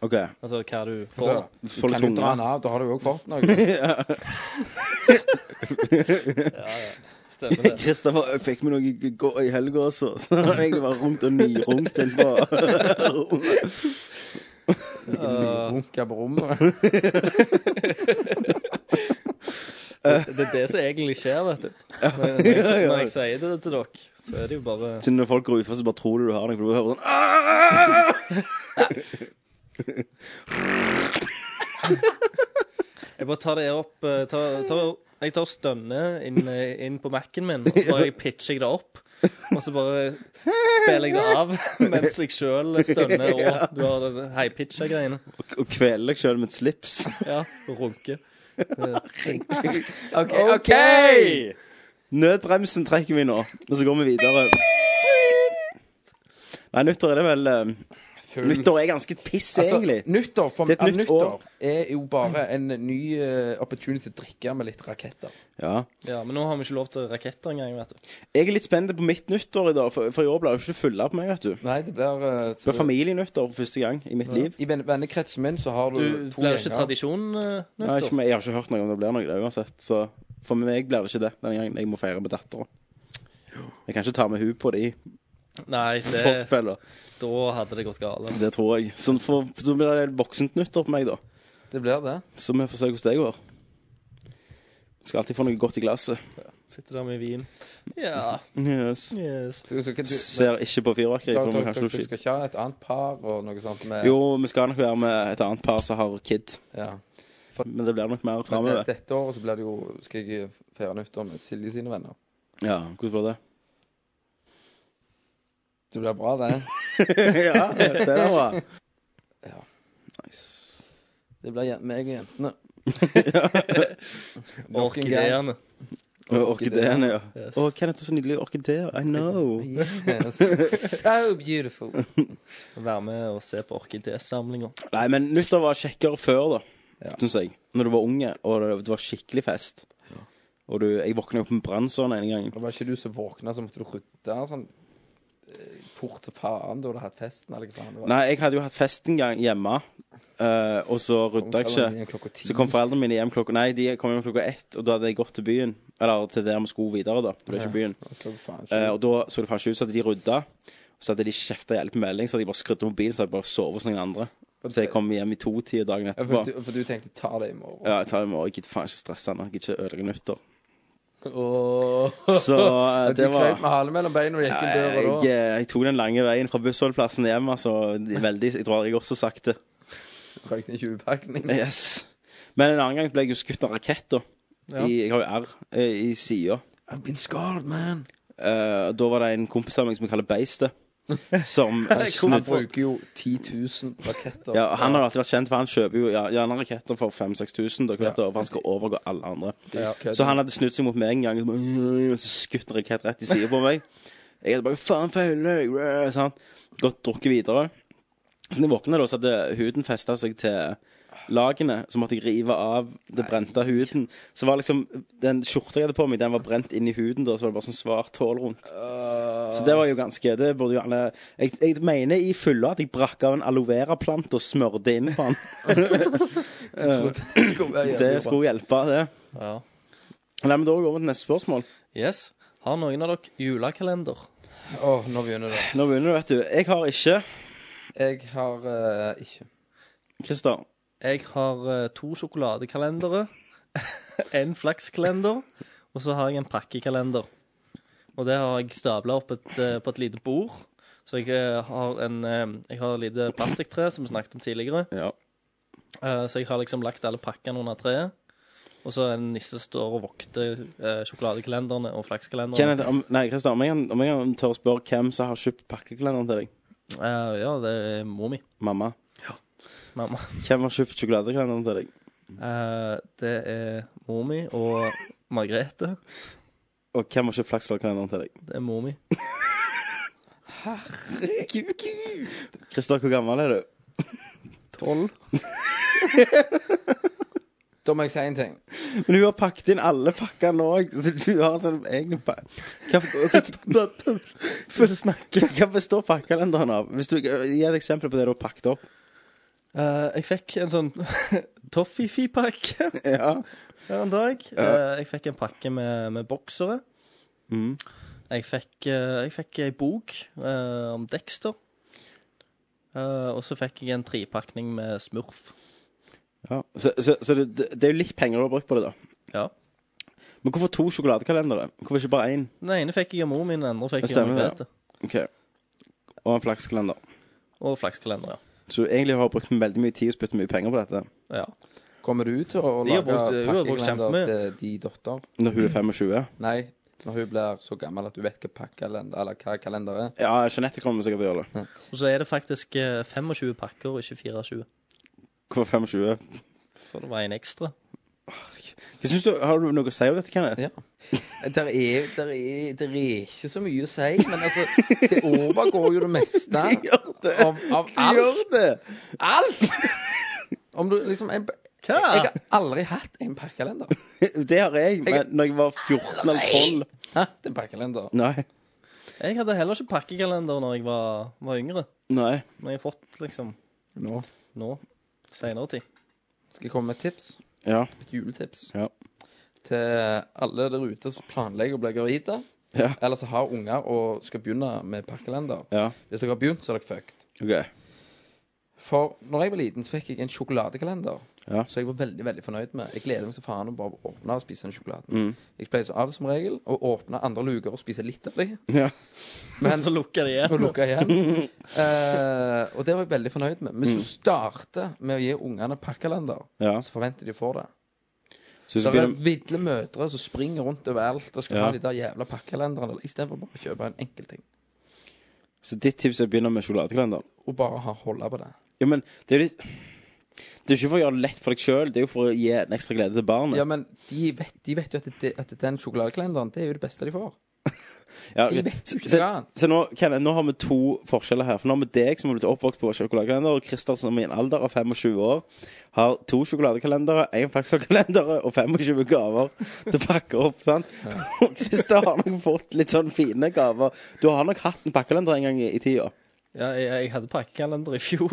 OK.
Altså hva du får.
Altså,
da.
du kan jo dra den av, da har du jo òg fått noe.
Ja.
ja,
ja. Stemmer det.
Kristoffer jeg fikk meg noe i går- i helga også, så han har egentlig bare rundt og nyrunkt inn på
Eh,
Nyrunka på rommet.
Det, det er det som egentlig skjer, vet du. Når jeg, når jeg, når jeg sier det til dere, så er det jo bare
Så når folk går utenfor, så bare tror du du har noe, for du hører sånn
Jeg bare tar det opp eh, tar, tar, Jeg tar stønnet inn, eh, inn på Mac-en min, og så bare pitcher jeg det opp. Og så bare spiller jeg det av mens jeg sjøl stønner og du har det high-pitcha-greiene.
Og og kveler deg sjøl med et slips.
Ja, og runker.
Herregud. OK! ok
OK! Nødbremsen trekker vi nå, og så går vi videre. Nei, nyttår er det vel eh, Nyttår er ganske piss,
Altså,
egentlig.
Nyttår, for,
Det er et
ja,
nytt år.
nyttår er jo bare en ny eh, opportunity til å drikke med litt raketter.
Ja.
Ja, Men nå har vi ikke lov til raketter engang, vet du.
Jeg er litt spent på mitt nyttår i dag, for, for i år blir det jo ikke fulla på meg, vet du.
Nei, det blir eh,
Det blir familienyttår for første gang i mitt liv.
I ven- vennekretsen min så har du,
Du
to
blir jo ikke
gjenger.
tradisjon eh,
Nei, ikke,
nyttår.
meg- jeg har ikke hørt noe om det blir noe der uansett, så for meg blir det ikke det denne gangen. Jeg må feire med dattera. Jeg kan ikke ta med hun på de
Nei, det,
forfellene.
da hadde det gått galt. altså.
Det tror jeg. Så for, så blir det voksent nyttår på meg, da.
Det blir det.
Så vi får se hvordan det går. Skal alltid få noe godt i glasset.
Sitter der med vin. Ja.
Yes.
Yes.
Så, så, kan du,
Ser ikke på fyrverkeri.
da,
for
da,
vi kan
da,
ikke
du
skyte.
skal ikke ha et annet par og noe sånt med
Jo, vi skal nok være med et annet par som har kid.
Ja.
Men det blir nok mer
Men det,
framover.
dette året så blir det jo Skal jeg feire nyttår med Silje sine venner.
Ja, hvordan blir det?
Det blir bra, det.
ja, det er bra.
Ja.
Nice.
Det blir jen- meg og jentene. Nok en gang.
Orkideene.
Og Orkideene, ja.
Yes.
Å, Kenneth, så nydelige orkideer. I know.
Yes. So beautiful.
Være med og se på orkidésamlinger.
Nei, men nyttår var kjekkere før, da.
Ja.
Syns jeg. Når du var unge, og det det var skikkelig fest. Og du, jeg våkna opp med brannsårn en gang.
Og var ikke du som våkna, så måtte du rydde sånn eh, fort som faen da du hadde hatt festen? Eller hva faen det var?
Nei, jeg hadde jo hatt fest en gang hjemme, eh, og så rydda jeg
Foreldrene
ikke.
mine klokka ti.
Så kom foreldrene mine hjem klokka Nei, de kom hjem klokka ett, og da hadde jeg gått til byen. Eller til der vi skulle videre, da. Det ble ikke byen.
Jeg så faen ikke.
Eh, og da så det faen ikke ut, så hadde de rydda. Og så hadde de kjefta jævlig på melding, så hadde de bare skrudd av mobilen, så hadde jeg bare sovet hos noen andre. Så jeg kom hjem i to-tida dagen
Ja,
etterpå.
for, du, for du tenkte 'ta det i morgen'.
Ja, jeg tar det i morgen. Jeg gidder faen ikke stresse nå. Jeg gidder ikke ødelegge nyttår.
Åh.
Så eh,
Ja, du
det var
krøp med halen mellom beina og gikk
Ja,
inn
jeg,
døra da.
eh, jeg tok den lange veien fra bussholdeplassen hjem, altså. Veldig, jeg tror jeg også sakte.
Røykte en 20-pakning.
Yes. Men en annen gang ble jeg jo skutt av rakett, da. I, jeg har jo R eh, i sida.
I've been scarred, man.
Eh, da var det en kompis av meg som jeg kaller Beistet, som
Han
snudde
bruker jo 10 000 raketter.
Ja, han har alltid vært kjent, for han kjøper jo ja, gjerne raketter for 5000-6000 da, hvert år,
Ja.
for han skal overgå alle andre.
Ja, kødder.
Så han hadde snudd seg mot meg en gang og så bare, «Øh, så skutt en rakett rett i siden på meg. Jeg hadde bare faen øh», feile deg, sant. Gått drukket videre. Så når jeg våkna, da, så hadde huden festa seg til lagene. Så måtte jeg rive av det brente huden. Så var liksom Den skjorta jeg hadde på meg, den var brent inn i huden, da, så var det bare sånn svart hål rundt. Så det var jo ganske Det burde jo alle Jeg, jeg mener i fylla at jeg brakk av en aloe vera-plante og smørte inn på den.
Det skulle være
Det
jævlig bra.
skulle hjelpe, det.
Ja.
Nei, men Da går vi over til neste spørsmål.
Yes. Har noen av dere julekalender?
Åh, nå begynner det.
Nå begynner du, vet du. Jeg har ikke
Jeg har eh, ikke
Christer.
Jeg har eh, to sjokoladekalendere, en flakskalender, og så har jeg en pakkekalender. Og det har jeg stabla opp et, eh, på et lite bord. Så jeg eh, har en eh, Jeg har et lite plastikktre som vi snakket om tidligere.
Ja.
Eh, Så jeg har liksom lagt alle pakkene under treet. Og så en nisse står og vokter eh, sjokoladekalenderne og flakskalenderne.
Kenneth, om, nei, Christer, om jeg, kan- om jeg kan tør å spørre hvem som har kjøpt pakkekalenderen til deg?
Eh, ja, det er mor mi.
Mamma.
Mamma.
Hvem har kjøpt sjokoladekalenderen til deg?
Eh, det er mor mi og Margrethe.
Og hvem har kjøpt flakskalenderen til deg?
Det er mor mi.
Christer, hvor gammel er du?
Tolv.
Da må jeg si en ting.
Men hun har pakket inn alle pakkene òg, så du har sånn egen pakke Hva, hva, hva, hva består pakkekalenderen av? Hvis du, Gi et eksempel på det du har pakket opp.
Eh, jeg fikk en sånn Toffifee-pakke her en dag.
Ja.
Eh, jeg fikk en pakke med, med boksere.
Mm.
Jeg fikk, eh, jeg fikk ei bok eh, om Dexter. Eh, og så fikk jeg en trepakning med Smurf.
Ja. Så, så, så det, det er jo litt penger du har brukt på det, da. Men hvorfor to sjokoladekalendere? Hvorfor ikke bare én?
Den ene fikk jeg av mor min, den andre fikk
Det
jeg av min
stemmer,
fetter.
Ok. Og en flakskalender.
Og flakskalender, ja.
Så du egentlig har brukt veldig mye tid og spyttet mye penger på dette
ja.
Kommer du til å
De har
lage
brukt- hun har brukt
pakkekalender
kjempemye.
til de datter?
når hun er 25?
Nei, når hun blir så gammel at hun vet hva pakkekalender eller hva kalender er.
Ja, Jeanette kommer sikkert til å gjøre det.
Og så er det faktisk eh, 25 pakker, og ikke 24.
Hvorfor 25?
For det var en ekstra.
Hva synes du, Har du noe å si om dette, Kenneth?
Der er, der, er, der er ikke så mye å si, men altså, det overgår jo det meste av, av alt.
det!
Alt! Om du liksom en,
Hva?
Jeg har aldri hatt en pakkekalender.
Det har jeg, men
Jeg-
når jeg var 14 eller 12
Hæ? Det er en pakkekalender.
Nei.
Jeg hadde heller ikke pakkekalender når jeg var, var yngre.
Nei.
Når jeg har fått, liksom,
Nå
nå. Senere tid.
skal jeg komme med et tips.
Ja.
Et juletips.
Ja.
Til alle der ute som planlegger å bli gravide,
Ja.
eller som har unger og skal begynne med pakkekalender.
ja.
Hvis dere har begynt, så er dere fucked.
OK.
For når jeg var liten, så fikk jeg en sjokoladekalender.
Ja.
Så jeg var veldig veldig fornøyd med. Jeg gleder meg til faen å bare åpne og spise den sjokoladen.
Mm.
Jeg pleier så av som regel å åpne andre luker og spise litt av dem,
Ja.
Men så lukker de
og
igjen.
lukke igjen. Eh, og det var jeg veldig fornøyd med.
Mm.
Men hvis du starter med å gi ungene pakkekalender,
ja.
så forventer de å få det.
Så hvis
Det
du
er
begynner
ville mødre som springer rundt overalt og skal
Ja.
ha de der jævla pakkekalenderne istedenfor bare å kjøpe en enkel ting.
Så ditt tips er å begynne med sjokoladekalender?
Og bare ha holde på det.
Ja, men det er jo litt Det er jo ikke for å gjøre det lett for deg sjøl, det er jo for å gi en ekstra glede til barnet.
Ja, men de vet, de vet jo at, det, at den sjokoladekalenderen, det er jo det beste de får.
Ja,
de
ok.
vet jo ikke
så,
hva annet.
så nå, Kenneth, nå har vi to forskjeller her. For nå har vi deg, som har blitt oppvokst på sjokoladekalender, og Christer, som i en alder av 25 år har to sjokoladekalendere, én flakskalender og 25 gaver til å pakke opp. sant? Og Christer har nok fått litt sånn fine gaver. Du har nok hatt en pakkekalender en gang i, i tida.
Ja, jeg, jeg hadde pakkekalender i fjor.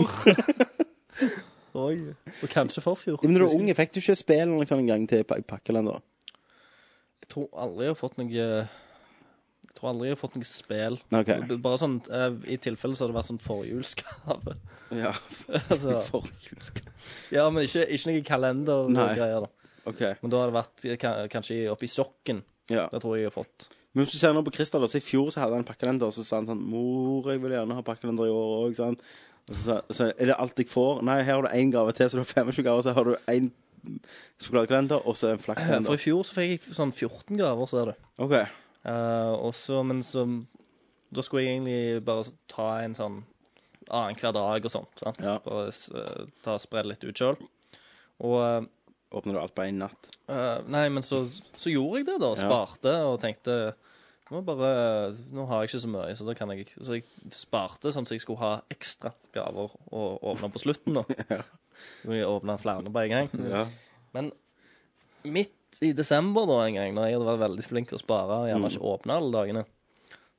Oi. Og kanskje forfjor.
Men da du var unge, fikk du ikke spill eller noe sånt en gang til pak- pakkekalender?
Jeg tror aldri jeg har fått noe Jeg tror aldri jeg har fått noe spill.
Ok.
B- Bare sånn, eh, I tilfelle så har det vært sånn forhjulsgave.
Ja.
altså, ja, men ikke, ikke noe kalender og
Nei.
greier. da
OK.
Men da har det vært eh, ka- kanskje oppi sokken.
Ja.
Det tror jeg jeg har fått.
Men hvis du ser nå på Christer, da, så i fjor så hadde han pakkelender, og så sa han sånn 'Mor, jeg vil gjerne ha pakkelender i år òg', sant. Og så, sa- så er det alt jeg får. Nei, her har du én gave til, så du har 25 gaver, så har du én sjokoladekalender, og så en
For i
flakskalender.
fjor så fikk jeg sånn 14 gaver, ser du.
OK.
Eh, og så, men så Da skulle jeg egentlig bare ta en sånn annenhver dag og sånn. sant?
Ja.
Bare s- eh, ta og spre det litt ut sjøl. Og
Åpner du alt på én natt?
eh, Nei, men så, så gjorde jeg det, da. Sparte og tenkte nå, bare, nå har jeg ikke så mye, så da kan jeg ikke Så jeg sparte sånn at jeg skulle ha ekstra gaver å åpne på slutten, da. Så jeg åpna flere på en gang.
Ja.
Men midt i desember da en gang, når jeg hadde vært veldig flink til å spare og
Mm.
gjerne ikke åpne alle dagene,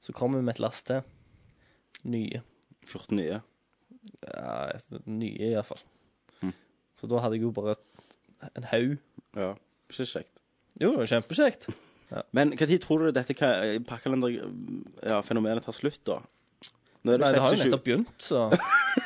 så kom hun med et lass til. Nye.
14 nye.
Ja, nye iallfall.
Mm.
Så da hadde jeg jo bare en haug.
Ja. Ikke kjekt.
Jo, det var kjempekjekt.
Men når tror du dette ka- pakkelender-fenomenet tar slutt, da? Nå er
Nei, det har jo
26.
nettopp begynt, så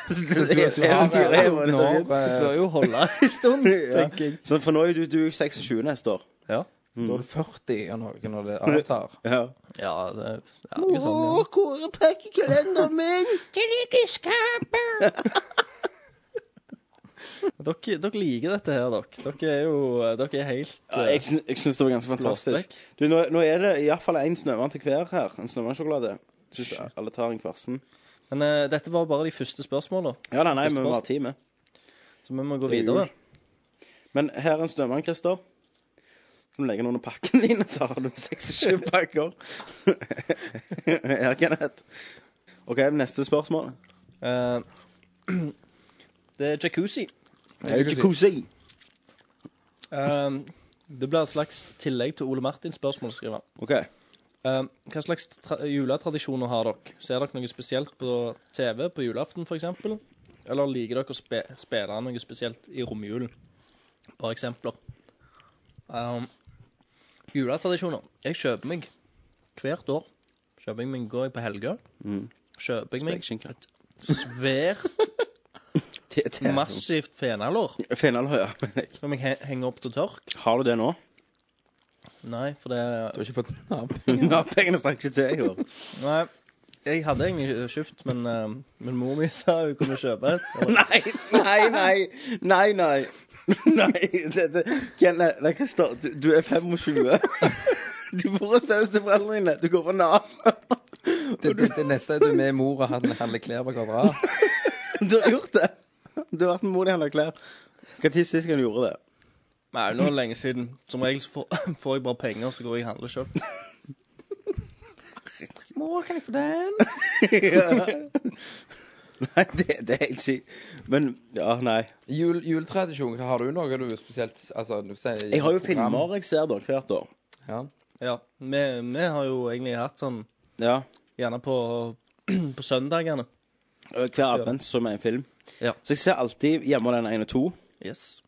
Eventyret er jo
Nå,
nettopp begynt.
det
eh,
bør jo holde en stund, tenker jeg.
Så For nå er du, du er 26 neste år.
Ja,
Mm.
Da er du 40 og noe når det avtar.
Ja.
ja det ja, det er jo sånn. Ja.
hvor er pakkekalenderen min?
Dere, dere liker dette her, dere. Dere er jo Dere er helt
Ja,
eh,
jeg, syn- jeg syns det var ganske fantastisk.
Blåstek.
Du, nå, nå er det iallfall én snømann til hver her. En snømannsjokolade. Syns alle tar en kvarsen.
Men eh, dette var bare de første spørsmålene,
Ja, nei, nei,
Første
vi må ha
post.
ti med.
så vi må gå
Det er
videre.
jul. Men her er en snømann, Christer. Kan du legge den under pakken din, så har du 26 pakker. her, Kenneth. OK, neste spørsmål.
Eh, det er jacuzzi.
Hey, jacuzzi.
Eh, det blir et slags tillegg til Ole Martins spørsmål. skriver han.
OK.
Eh, hva slags tra juletradisjoner har dere? Ser dere noe spesielt på TV på julaften, f.eks.? Eller liker dere å spe spille noe spesielt i romjulen? Bare eksempler. Um, juletradisjoner. Jeg kjøper meg hvert år kjøper jeg meg, Går jeg på Helgø,
Mm.
kjøper jeg meg
Spekeskinke.
et svært, massivt fenalår
Fenalår, ja.
som jeg he- henger opp til tørk.
Har du det nå?
Nei, for det Du
har ikke fått
Nav-pengene strakk ikke til i år.
Nei. Jeg hadde egentlig kjøpt, men, eh, men mor mi sa hun kunne kjøpe et. Og-
Nei, nei, nei. Nei, nei. Nei, det, det. Ken, nei, nei, Christer, du, du er 25. Du bor hos besteforeldrene dine. Du går på Nav.
Det, det, det neste er du med mor og han handler klær på hverandre.
Du har gjort det. Du har vært med mor di og handla klær. Når sist gang du gjorde det?
Nei, nå er det lenge siden. Som regel så får, får jeg bare penger, så går jeg og handler sjøl.
Mor, kan jeg få den?
Nei, det, det er helt sykt. Men ja, nei.
Jul, juletradisjon, har du noe du spesielt altså, du sier,
Jeg har jo
program?
filmer jeg ser da hvert år.
Ja.
Ja. Vi, vi har jo egentlig hatt sånn
Ja.
gjerne på, på søndagene.
Eh, Hver advent som er en film.
Ja.
Så jeg ser alltid hjemme den ene og to.
Yes.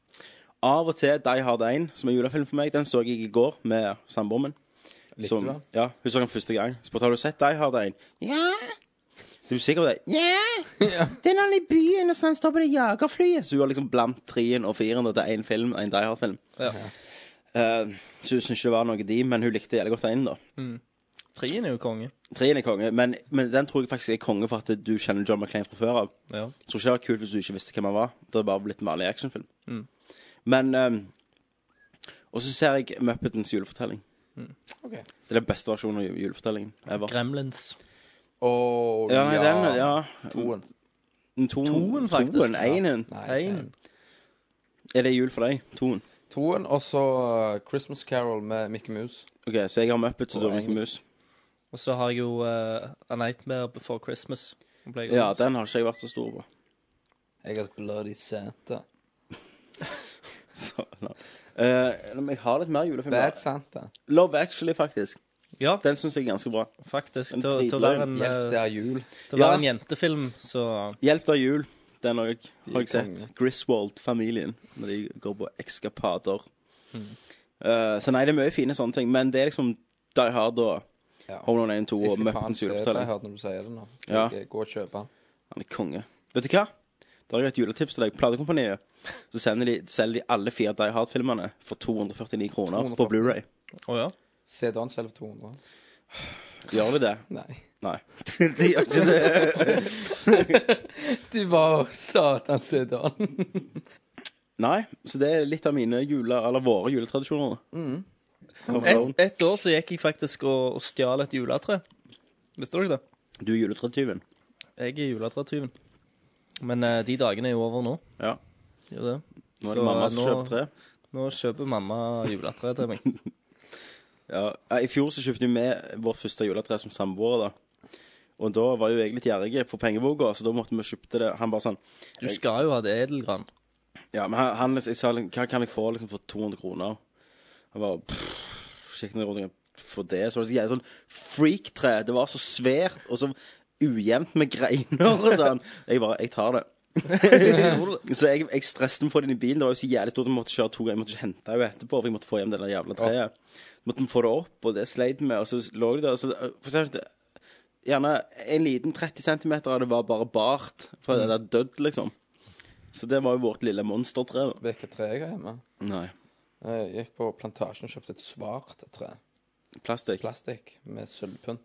Av og til Die Hard 1, som er julefilm for meg, den så jeg i går med samboeren min.
Likte
Som-
du den?
Ja, hun så den første gang. Spurte har du sett Die Hard 1. Ja. Du er sikker på det? Ja. Det er han i byen, og så han står på det jagerflyet. Så hun har liksom blandt treen og firen da, til én film, en Die Hard-film.
Ja.
Eh, så hun syntes ikke det var noe de, men hun likte jævlig godt den, da.
Mm. Trien er jo konge.
Treen er konge, men, men den tror jeg faktisk er konge for at du kjenner John McClain fra før av.
Ja.
Jeg tror ikke det var kult hvis du ikke visste hvem han var. Det hadde bare blitt en vanlig actionfilm.
Mm.
Men ehm, Og så ser jeg Muppetens julefortelling.
Ok.
Det er den beste versjonen av ju- julefortellingen ever.
Gremlins.
Åh,
Ja, nei, den, ja.
Toen.
Den To,
Toen, faktisk.
Toen, einen.
Nei,
Én.
Er det jul for deg? Toen.
Toen, og så eh, Christmas Carol med Mickey Mouse.
OK, så jeg har Muppets og du har Mickey Mouse.
Og så har jeg jo eh, A Nightmare Before Christmas. Den ble jeg
Ja,
også-
den har ikke jeg vært så stor på.
Jeg har Bloody Santa.
Så, la- Eh, men jeg har litt mer julefilmer.
Bad Santa.
Love Actually, faktisk.
Ja.
Den syns jeg er ganske bra.
Faktisk.
En
Til, å- til å være en,
Hjelp, det
eh,
er jul.
til å være
Ja.
en jentefilm, så
Hjelp av jul. Den har jeg, har jeg
De er
sett.
konge.
Griswold-familien. Når de går på ekskapader. Eh, så nei, det er mye fine sånne ting. Men det er liksom Die Hard og
Ja.
Home Alone 1 2
Jeg
og
skal faen
Muppens
se det. Jeg
julefortelling.
hørte når du sier det nå. Skal
Ja.
jeg gå og kjøpe den?
Han er konge. Vet du hva? Da har jeg et juletips til deg. Platekompaniet. Så sender de, selger de alle fire Die Hard-filmene for 249 kroner på
249.
Blu-ray.
Å ja.
CD-en selv for 200.
Gjør de det?
Nei.
Nei. de gjør ikke det.
Du var satan CD-en.
Nei, så det er litt av mine jule, eller våre juletradisjoner. Home Alone.
Et, et år så gikk jeg faktisk og, og stjal et juletre. Visste dere det?
Du er juletradtyven.
Jeg er juletretyven. Men eh, de dagene er jo over nå.
Ja.
Gjør det.
Nå er
Så
det mamma som
nå-
kjøper tre.
Nå kjøper mamma juletre til meg.
Ja, I fjor så kjøpte vi med vårt første juletre som samboere, da. Og da var jo jeg litt gjerrig på pengeboka, så da måtte vi kjøpte det. Han bare sånn
Du skal jo ha det edelgran.
Ja, men han, han jeg sa liksom, hva kan jeg få liksom for 200 kroner? Han bare pff, Sjekk noen runder for det. Så var det så jævlig sånn freak-tre. Det var så svært og så ujevnt med greiner og sånn. Jeg bare Jeg tar det. så jeg, jeg stresset med å få det inn i bilen. Det var jo så jævlig stort. Jeg måtte kjøre to ganger. Jeg måtte ikke hente henne etterpå, for jeg måtte få hjem det der jævla treet. Måtte vi få det opp, og det sleit vi med, og så lå det der. Så det- for eksempel, gjerne en liten 30 cm av det var bare bart. For det er dødd, liksom. Så det var jo vårt lille monstertre. da.
Vet du hva tre jeg har hjemme?
Nei.
Jeg gikk på plantasjen og kjøpte et svart tre.
Plastikk.
Plastikk med sølvpynt.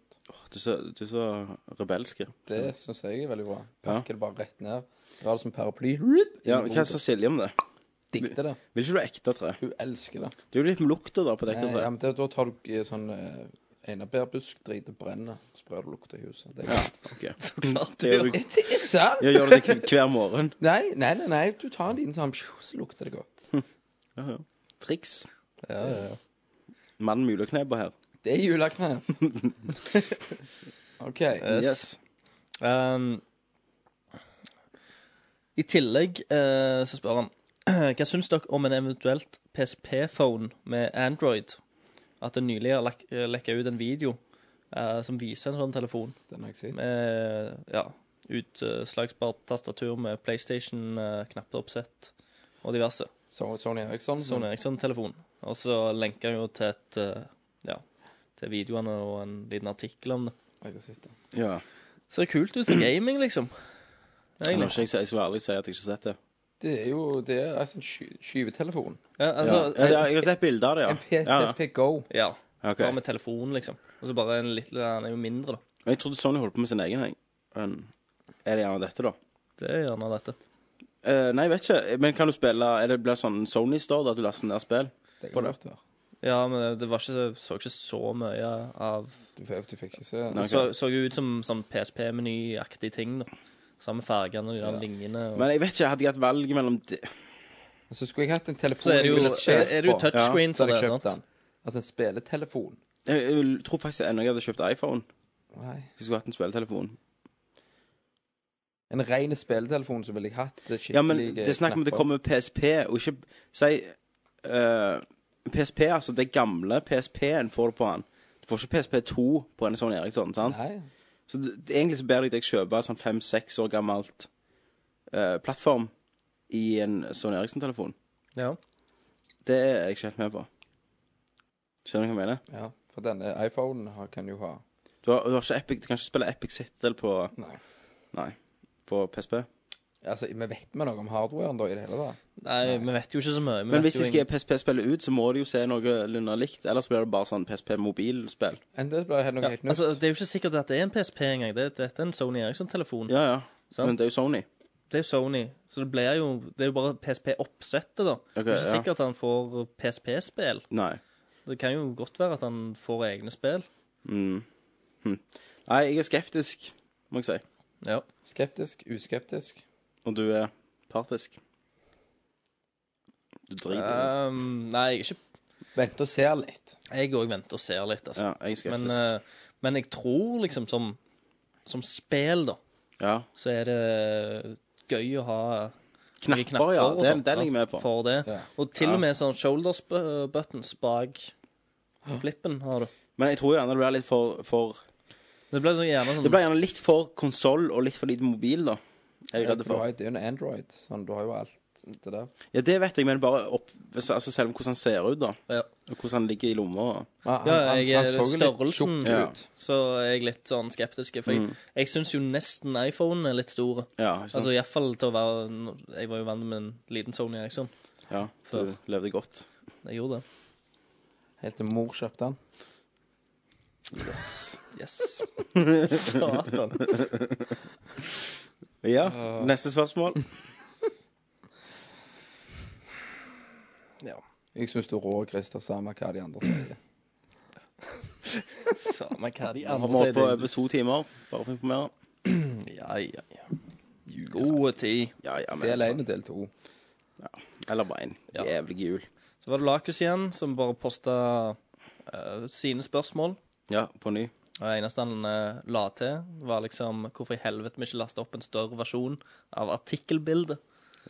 Du er så, du er så rebelsk.
Det syns jeg er veldig bra.
Ja.
Pakker det bare rett ned. Drar det som paraply. Rip!
Ja, men Hva sa Silje om det?
Digger det.
Vil ikke du ha ekte tre?
Hun elsker det.
Det er jo litt med lukta da på et ekte
Eh,
tre.
Ja, men det, Da tar du eh, sånn eh, einebærbusk, drit og brenner, sprer du lukt i huset. Det er
Ja,
godt.
ok.
Klart
Det gjør du,
Det er sant!
jeg gjør det k- hver morgen.
Nei, nei, nei, nei, du tar en liten sånn, psjo, så lukter det godt.
Ja, ja. Triks.
Ja, ja, ja.
Mann med julekneber her.
Det er julekne. OK.
Yes.
Um, I tillegg eh, så spør han Hva syns dere om en eventuelt PSP-phone med Android? At det nylig har lak- eh, lekket ut en video eh, som viser en sånn telefon
Den har jeg sett.
med ja, Utslagsbart tastatur med PlayStation-knappeoppsett og diverse. Sånn
Sony Eriksson.
Sony Eriksson-telefon. Og så lenker jeg jo til et eh, Ja, til videoene og en liten artikkel om det.
Jeg har sett det.
Ja.
Ser kult ut til gaming, liksom.
Jeg, må ikke, jeg, jeg skal ærlig si at jeg ikke har sett det.
Det er jo det er altså en sky skyvetelefon.
Ja, altså-
Ja. Ja, jeg har sett bilder av det, ja.
En P-
Ja, ja.
PSP Go.
Ja.
Ok.
Bare med telefon, liksom. Og så bare en litt Den er jo mindre, da.
Jeg trodde Sony holdt på med sin egen. jeg. Men er det gjerne dette, da?
Det er gjerne dette.
Eh, nei, jeg vet ikke. Men kan du spille Er det blir sånn Sony Store, da at du laster ned spill?
Det
På
kan
det?
godt være.
Ja, men det var ikke, så ikke så mye av
Du, f- du fikk ikke se
Det så, så jo ut som sånn PSP-menyaktig ting, da. Samme fargene og de der linjene. Og...
Men jeg vet ikke. Hadde jeg hatt valget mellom de...
Så skulle jeg hatt en telefon
Så er det jo-
jeg ville kjøpt
er det jo
på.
touchscreen
Så
for
hadde jeg
det,
kjøpt
sant?
den. Altså en spilletelefon.
jeg, jeg tror faktisk ennå jeg hadde kjøpt iPhone.
Nei.
Hvis jeg skulle hatt en spilletelefon.
En ren spilletelefon som ville jeg hatt det skikkelig
Ja, men det er snakk om at det kommer PSP, og ikke Si eh, PSP, altså det gamle PSP-en får du på den. Du får ikke PSP2 på en sånn Eriksson, sant?
Nei.
Så det, det, egentlig så ber jeg deg kjøpe sånn fem-seks år gammelt eh, plattform i en Sony Eriksen-telefon.
Ja.
Det er jeg ikke helt med på. Skjønner du hva jeg mener?
Ja, for denne iPhonen har, kan jo ha
Du, har, du, har ikke Epic, du kan ikke spille Epic Sittel på
Nei.
Nei. På PSP.
Altså, vi vet vi noe om hardwaren da i det hele tatt?
Nei, vi vet jo ikke så mye. vi
Men
vet
hvis
jo
de skal PSP-spillet ut, så må de jo se noenlunde likt. Ellers blir det bare sånn PSP-mobilspill.
Mm.
Enda ble det helt noe
Ja,
helt nytt.
altså, det er jo ikke sikkert at det er en PSP engang. Det, det, det er en Sony Eriksson-telefon.
Ja, ja.
Sant.
Men det er jo Sony.
Det er jo Sony, så det blir jo Det er jo bare PSP-oppsettet, da. det er jo ikke
ja.
sikkert at han får PSP-spill.
Nei.
Det kan jo godt være at han får egne spill.
Mm. Hm. Nei, jeg er skeptisk, må jeg si.
Ja.
Skeptisk? Uskeptisk?
Og du er partisk. Du driter. i det.
Ehm, nei, jeg er ikke
Vent og ser litt.
Jeg òg venter og ser litt,
Ja,
altså.
jeg er
men,
skeptisk.
eh, men jeg tror liksom som Som spill, da,
ja.
så er det gøy å ha
Knapper,
mye knapper
ja.
og
Den-
sånt,
den er jeg med
sant,
på.
For det.
Ja.
Og til
Ja.
og med sånn shoulders bu- buttons bak flippen har du.
Men jeg tror gjerne det blir litt for, for
Mm. Det ble så gjerne sånn
Det blir gjerne litt for konsoll og litt for lite mobil, da. Er jeg
Ja,
redd
Du
for.
har jo det er jo en Android, sånn, du har jo alt det der.
Ja, det vet jeg, men bare opp, altså selv om hvordan han ser ut, da.
Ja.
Og hvordan han ligger i lomma. og-
Han,
Ja, jeg er
så jo litt
størrelsen
tjukk
Ja.
ut.
Så er jeg litt sånn skeptisk. For jeg, jeg syns jo nesten iPhonen er litt stor.
Ja, ikke Mm. sant?
Altså iallfall til å være Jeg var jo vant med en liten Sony Eriksson.
ja, du levde godt.
Jeg gjorde det.
Helt til mor kjøpte den.
Yes. Satan.
Ja, neste spørsmål.
Ja.
Jeg syns du er rå, Christer, samme hva de andre sier.
Samme hva de
Han
andre
må
sier.
opp på
det
over to timer, bare for å informere.
er- Ja, ja, ja. Gode tid.
Ja, ja, men
Del
altså.
én og del to.
Eller bare en
Ja.
jævlig jul.
Så var det Lakus igjen, som bare posta eh, sine spørsmål.
Ja, på ny.
Og det eneste han eh, la til, var liksom hvorfor i helvete vi ikke lasta opp en større versjon av artikkelbildet.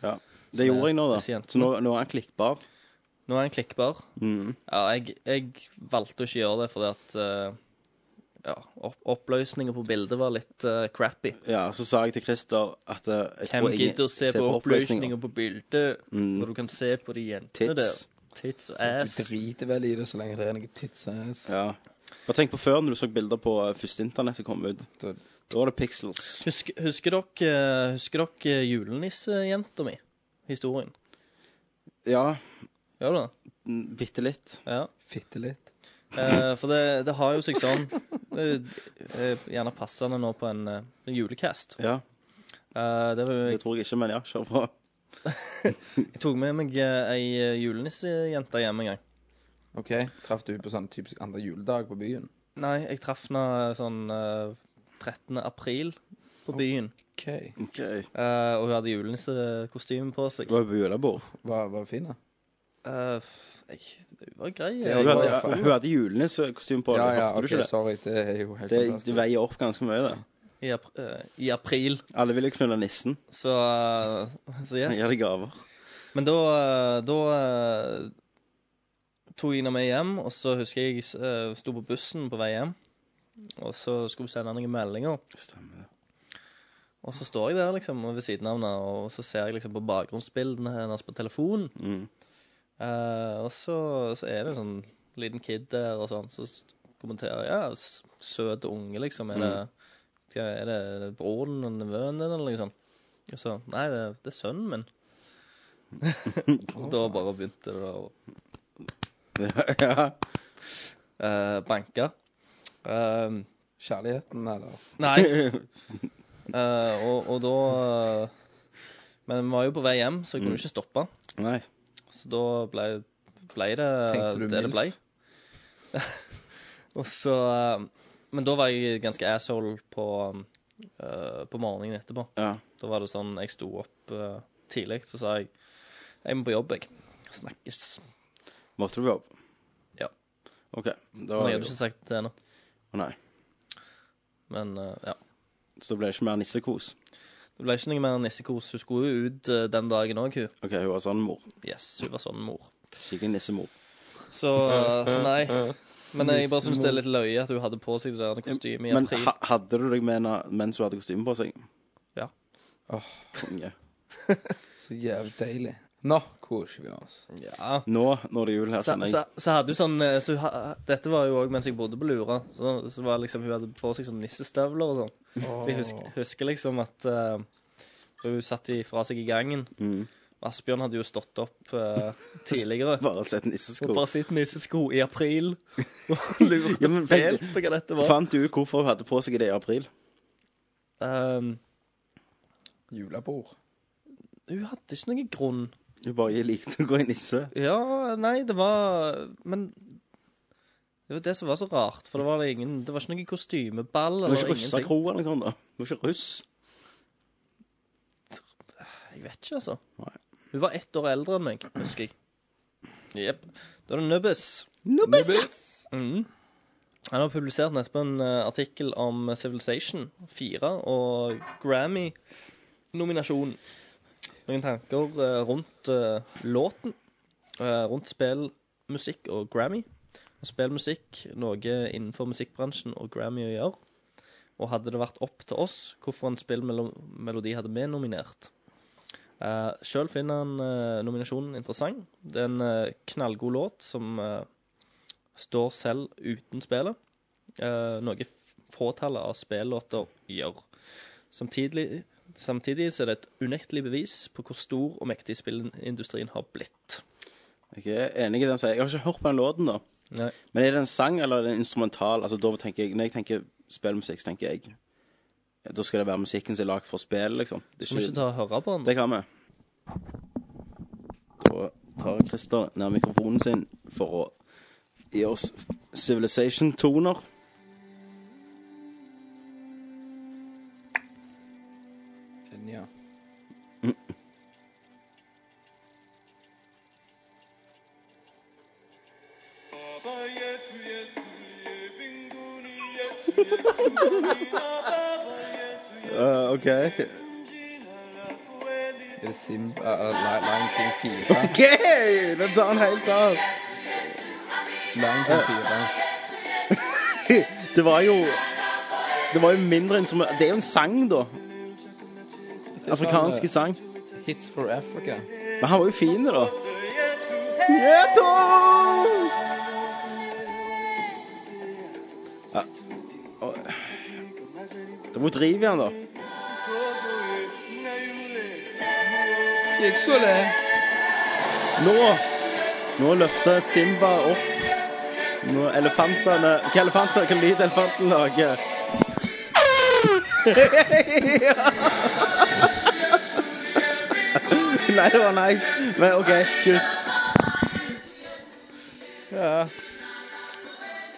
Ja. Det gjorde jeg nå, da.
Pasienten.
Så nå, nå er han Mm. klikkbar.
Nå er han klikkbar. Ja, jeg, jeg valgte å ikke gjøre det fordi at eh, ja, opp, oppløsningen på bildet var litt eh, crappy.
Ja, så sa jeg til Christer at eh, jeg
Hvem
tror ingen
gidder å se
ser oppløsninger.
på
Mm.
oppløsningen på bildet når du kan se på de
Tits.
jentene der? Tits og
Du
ass.
driter vel i det så lenge det er noe tidsass.
Ja. Bare tenk på før, når du så bilder på eh, første internett som kom ut.
Da-
Da var det pixels.
Husker, husker dere, eh, husker dere julenissejenta mi? Historien?
Ja, mm,
Gjør du det?
bitte litt.
Ja.
Fitte litt.
Eh, for det, det har jo seg sånn Det er gjerne passende nå på en, eh, en julecast.
Ja,
Eh, det var jo
det tror jeg ikke, men ja, kjør på.
Jeg tok med meg eh, ei eh, julenissejente hjem en gang.
OK, traff du på sånn typisk andre juledag på byen?
Nei, jeg traff henne sånn eh, 13. april på byen.
OK.
Ok.
Eh, og hun hadde julenissekostyme på seg.
Det var jo på julebord.
Var, var fin, da?
Eh, f- jeg, det var grei. eh,
Det
Hun
var-
hadde, hun hadde julenissekostyme på.
Ja, ja,
hørte du
OK,
ikke det?
sorry. Det er jo helt
Det, det
fantastisk.
veier opp ganske mye, det.
I, ap eh, I april,
Alle ville knulle nissen.
så, eh, så yes.
Gi deg gaver.
Men da, eh, da eh, tok jeg henne med hjem, og så husker jeg jeg sto på bussen på vei hjem. Og så skulle hun sende noen meldinger.
Stemmer det.
Og så står jeg der liksom ved siden av henne, og så ser jeg liksom på bakgrunnsbildene hennes på telefonen.
Mm.
Eh, og så, så er det en sånn liten kid der og sånn, så s- kommenterer jeg, ja, s- søt unge, liksom. Er det,
Mm.
hva- er det broren og nevøen din, eller liksom? Og så, nei, det, det er sønnen min. og da bare begynte det å
ja.
eh, banke. Eh,
Kjærligheten, eller?
Nei. Eh, og, og da eh, Men vi var jo på vei hjem, så jeg kunne
Mm.
ikke stoppe.
Nei.
Så da ble, ble det
Tenkte du
det det
MILF?
ble. og så eh, Men da var jeg ganske asshole på, eh, på morgenen etterpå.
Ja.
Da var det sånn Jeg sto opp eh, tidlig, så sa jeg Jeg må på jobb, jeg. Snakkes.
Måtte du på jobb?
Ja.
OK. Da var
Men jeg
det
hadde
jo-
ikke sagt det ennå.
Å, Nei.
Men eh, ja.
Så det ble ikke mer nissekos?
Det ble ikke noe mer nissekos. Hun skulle jo ut eh, den dagen òg, hun.
OK, hun var sånn mor.
Yes, hun var sånn mor.
Skikkelig nissemor.
Så, eh, så nei. Men jeg bare syns det er litt løye at hun hadde på seg det der kostymet i
Men
april.
ha, hadde du deg med henne mens hun hadde kostyme på seg?
Ja.
Åh,
Konge.
så jævlig deilig. Nå koser vi oss.
Ja.
Nå når det er jul her,
Så,
kjenner
så,
jeg
så hadde hun sånn eh, så, hun ha- Dette var jo òg mens jeg bodde på Lura. Så, så var liksom, Hun hadde på seg sånn nissestøvler og sånn.
Åh.
Jeg husker, husker liksom at eh, hun satt de fra seg i gangen.
Mhm.
Asbjørn hadde jo stått opp eh, tidligere.
bare sett
Og
nissesko.
bare sitt nissesko i april og lurte
Ja, men vent-
fælt på hva dette var.
Fant du ut hvorfor hun hadde på seg det i april?
Um,
Julebord.
hun hadde ikke noen grunn.
Hun bare likte å gå i nisse.
Ja, nei, det var Men det var det som var så rart, for det var, ingen, det var ikke noe kostymeball
Hun var
eller
ikke russa
ingenting.
kro eller noe sånt, da. Hun var ikke russ.
Jeg vet ikke, altså.
Nei.
Hun var ett år eldre enn meg, husker jeg. Jepp. Da er det Nubbes. Mm. Han har publisert nettopp en eh, artikkel om Civilization 4 og Grammy-nominasjonen. Noen tanker eh, rundt eh, låten, eh, rundt spillmusikk og Grammy. Og Spillmusikk, noe innenfor musikkbransjen og Grammy å gjøre. Og hadde det vært opp til oss hvorfor en spillmelodi hadde vi nominert. Uh, Sjøl finner han eh, nominasjonen interessant. Det er en eh, knallgod låt som eh, står selv uten spillet. eh, noe f- fåtallet av spillåter gjør. Samtidig, samtidig så er det et unektelig bevis på hvor stor og mektig spillindustrien har blitt.
Jeg er enig i det han sier. Jeg har ikke hørt på den låten, da.
Nei.
Men er det en sang, eller er det en instrumental? Altså, da tenker jeg, Når jeg tenker spillmusikk, så tenker jeg Da skal det være musikken som er lagd for spill, liksom. Det,
Skal vi ikke ta og høre på den?
det kan vi. Da tar Christer ned mikrofonen sin for å gi oss Civilization-toner.
Kenya.
Uh, OK.
Er det Simba eller Li- Lion King 4?
OK! Nå tar han helt av.
Lion King 4.
Det var jo Det var jo mindre instrument... Det er jo en sang, da.
eh,
Afrikansk sang.
Hits for Africa.
Men han var jo fin, da. Ja. Å. Det var driv i han, da.
Kiksole.
Nå Nå løfter Simba opp Nå elefantene Hva er elefanter? Hva lyd elefanten lager? Nei, det var nice. Men OK, kutt.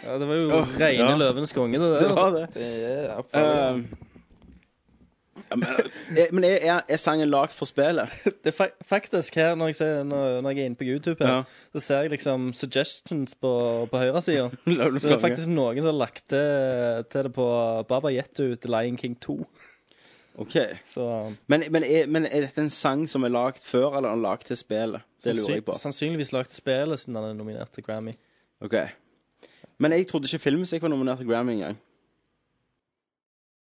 Ja, det var jo rene
ja.
Løvenes konge, det der. altså.
Det var det.
Det er
Uh,
iallfall
Ja, men eh, men er, er- er sangen lagd for spillet?
det er fa- faktisk her, når jeg, ser, når, når jeg er inne på YouTube, her,
Ja.
så ser jeg liksom suggestions på, på høyresida.
Løvenes
Så det
konge.
er faktisk noen som har lagt det til det på Baba Yetu til Lion King 2.
OK.
Så
Men, men, er, men er dette en sang som er lagd før, eller er den lagd til spillet? Det lurer jeg på.
sannsyn- sannsynligvis lagt spillet siden han er nominert til Grammy.
OK. Men jeg trodde ikke filmmusikk var nominert til Grammy engang.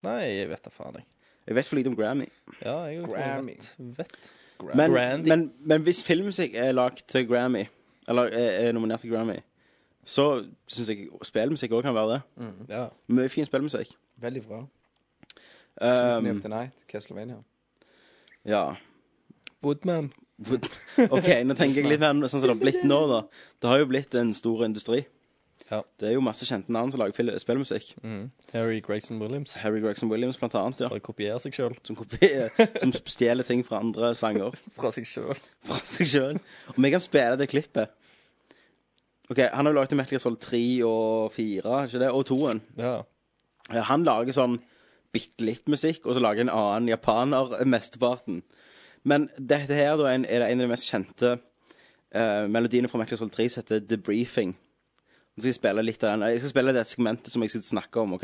Nei, jeg vet da faen, jeg.
Jeg vet for lite om Grammy.
Ja, jeg tror jeg
Grammy.
vet, vet.
Men,
Grandy.
men, men hvis filmmusikk er lagd til Grammy, eller eh, er, er nominert til Grammy, så syns jeg spillmusikk òg kan være det.
Ja,
Mye fin spillmusikk.
veldig bra. Symphony
Um,
of the Night, Castlevania.
ja.
Woodman.
OK, nå tenker jeg litt mer sånn som det har blitt nå, da. Det har jo blitt en stor industri.
Ja.
Det er jo masse kjente navn som lager fil- spillmusikk.
Harry Gregson Williams.
Harry Gregson Williams, blant annet, ja.
Bare kopierer seg sjøl.
Som, kopierer- som stjeler ting fra andre sanger.
Fra seg sjøl.
fra seg sjøl. Om jeg kan spille det klippet OK, han har jo laget Metal Gear Solid 3 og 4, ikke det? Og 2-en.
Ja.
Eh, Han lager sånn bitte litt musikk, og så lager en annen japaner eh, mesteparten. Men dette her da, er en er det en av de mest kjente eh, melodiene fra Metal Gear Solid 3 som heter Debriefing. Nå skal jeg spille litt av den. Jeg skal spille det segmentet som jeg skal snakke om, OK?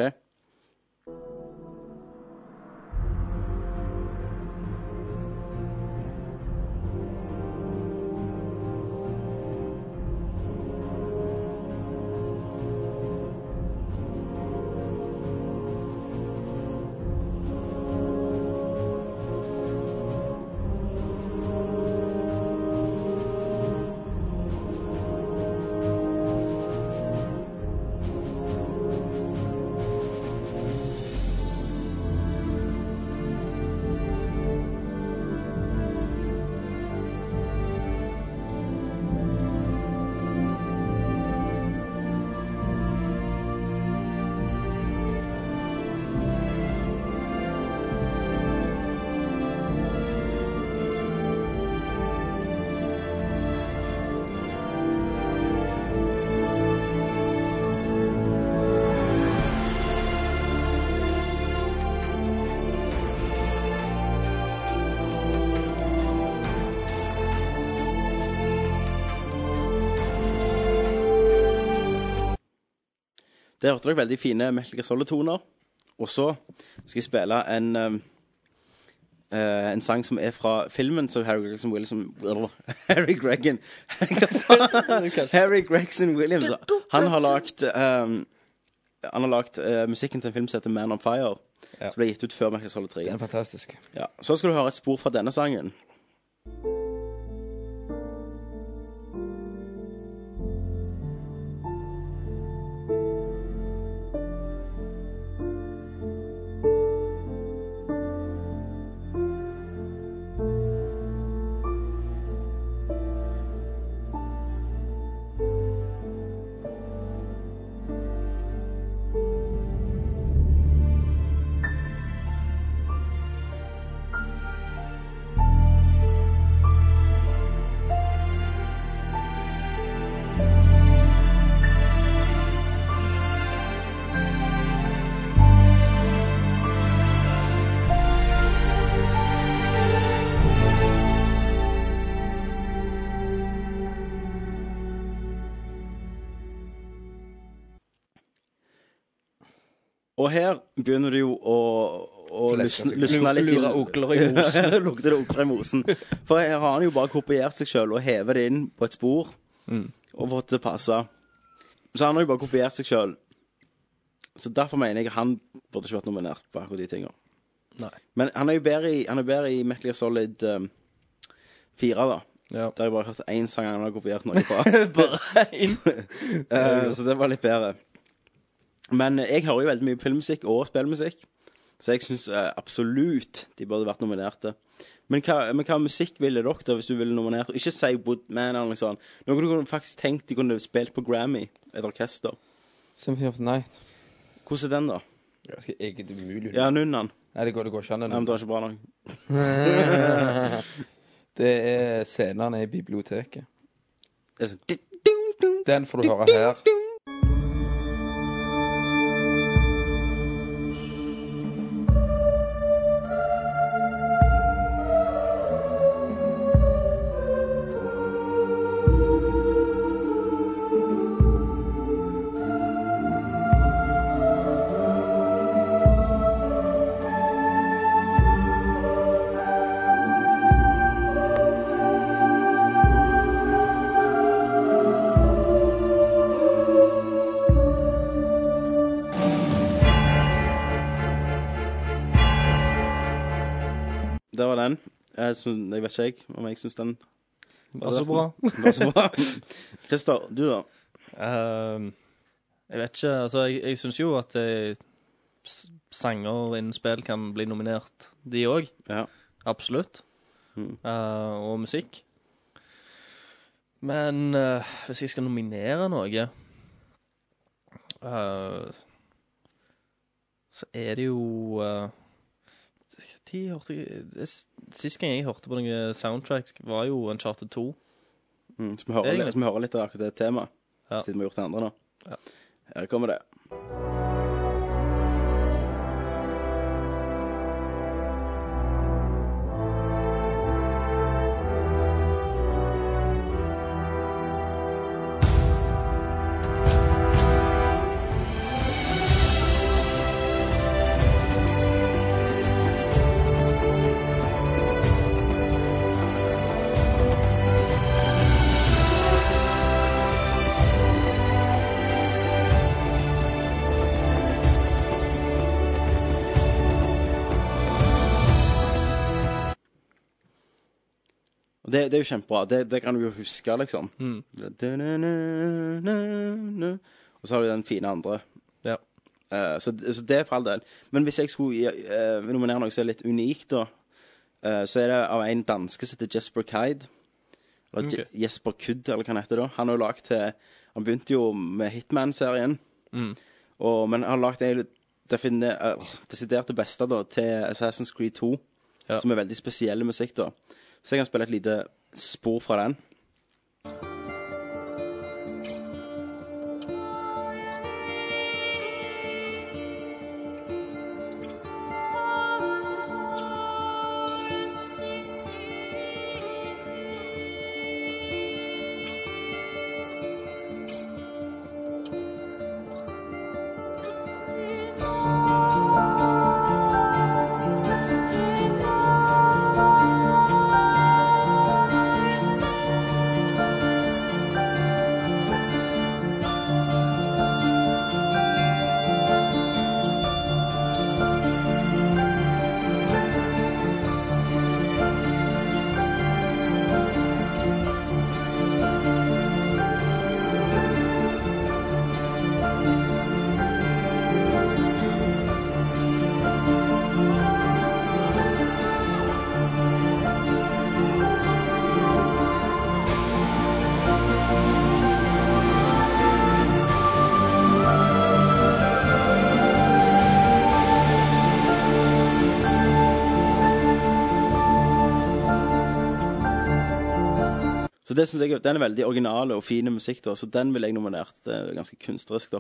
Der hørte dere veldig fine Metal Gear Solid-toner. Og så skal jeg spille en um, eh, en sang som er fra filmen som Harry Gregson Williams eller, Harry Greggan Hva faen? Harry Gregson Williams. Han har lagd um, han har lagt eh, musikken til en film som heter Man on Fire.
Ja.
Som ble gitt ut før Metal Gear Solid 3.
Den er fantastisk.
Ja. Så skal du høre et spor fra denne sangen. Og her begynner du jo å, å
Fleske
lysne,
seg.
lysne litt
Lure okler i mosen.
Lukter det okler i mosen. For her har han jo bare kopiert seg sjøl og hevet det inn på et spor og fått det passe. Så han har jo bare kopiert seg sjøl. Så derfor mener jeg han burde ikke vært nominert på akkurat de tinga.
Nei.
Men han er jo bedre i, han er bedre i Metal Gear Solid um, 4, da.
Ja.
Der jeg bare hørte én sang han har kopiert noe fra.
Bare inn.
Eh, så det var litt bedre. Men eh, jeg hører jo veldig mye på filmmusikk og spillmusikk, så jeg syns absolutt de burde vært nominerte. Men hva, men hva musikk ville dere da hvis du ville nominert? Og Ikke si Woodman eller noe sånt. Noe du kunne faktisk tenkt de kunne spilt på Grammy, et orkester.
Symphony of the Night.
Hvordan er den, da?
Jeg skal egentlig det er umulig.
Ja, Nunnan.
Nei, det går, det går ikke an.
Nei,
det.
men det var ikke bra nok.
Det er scenene i biblioteket.
Det er sånn dit, ding, ding.
Den får du høre her.
Å, Der var den. Jeg, syn- jeg vet ikke jeg, om jeg syns den
Var så Altså, bra.
Var så bra. Christer, du da?
Ehm, jeg vet ikke. Altså, jeg, jeg syns jo at eh, s- sanger innen spill kan bli nominert, de òg. Absolutt. Eh, og musikk. Men eh, hvis jeg skal nominere noe eh, Så er det jo eh, de hørte, jeg- det s- Sist gang jeg hørte på noe soundtrack, var jo Uncharted 2.
Mm, så vi hører,
Egentlig.
litt- så vi hører litt av akkurat det temaet, siden vi har gjort det andre nå. Her kommer det. Og det, det er jo kjempebra. Det, det kan du jo huske, liksom.
Mm.
Og så har du den fine andre.
Ja.
Eh, så, så det er for all del. Men hvis jeg skulle gi- eh, nominere noe som er litt unikt, da, eh, så er det av en danske som heter Jesper Kide. Eller Je-
Ok.
Jesper Kudd, eller hva han heter da. Han har jo lagt til Han begynte jo med Hitman-serien.
Mm.
Og, men har lagt en define, eh, desidert det beste da, til Assassin's Creed 2, som er veldig spesiell musikk. da. Så jeg kan spille et lite spor fra den. Så det synes jeg, Den er veldig original og fin musikk, da, så den ville jeg nominert. Det er ganske kunstnerisk, da.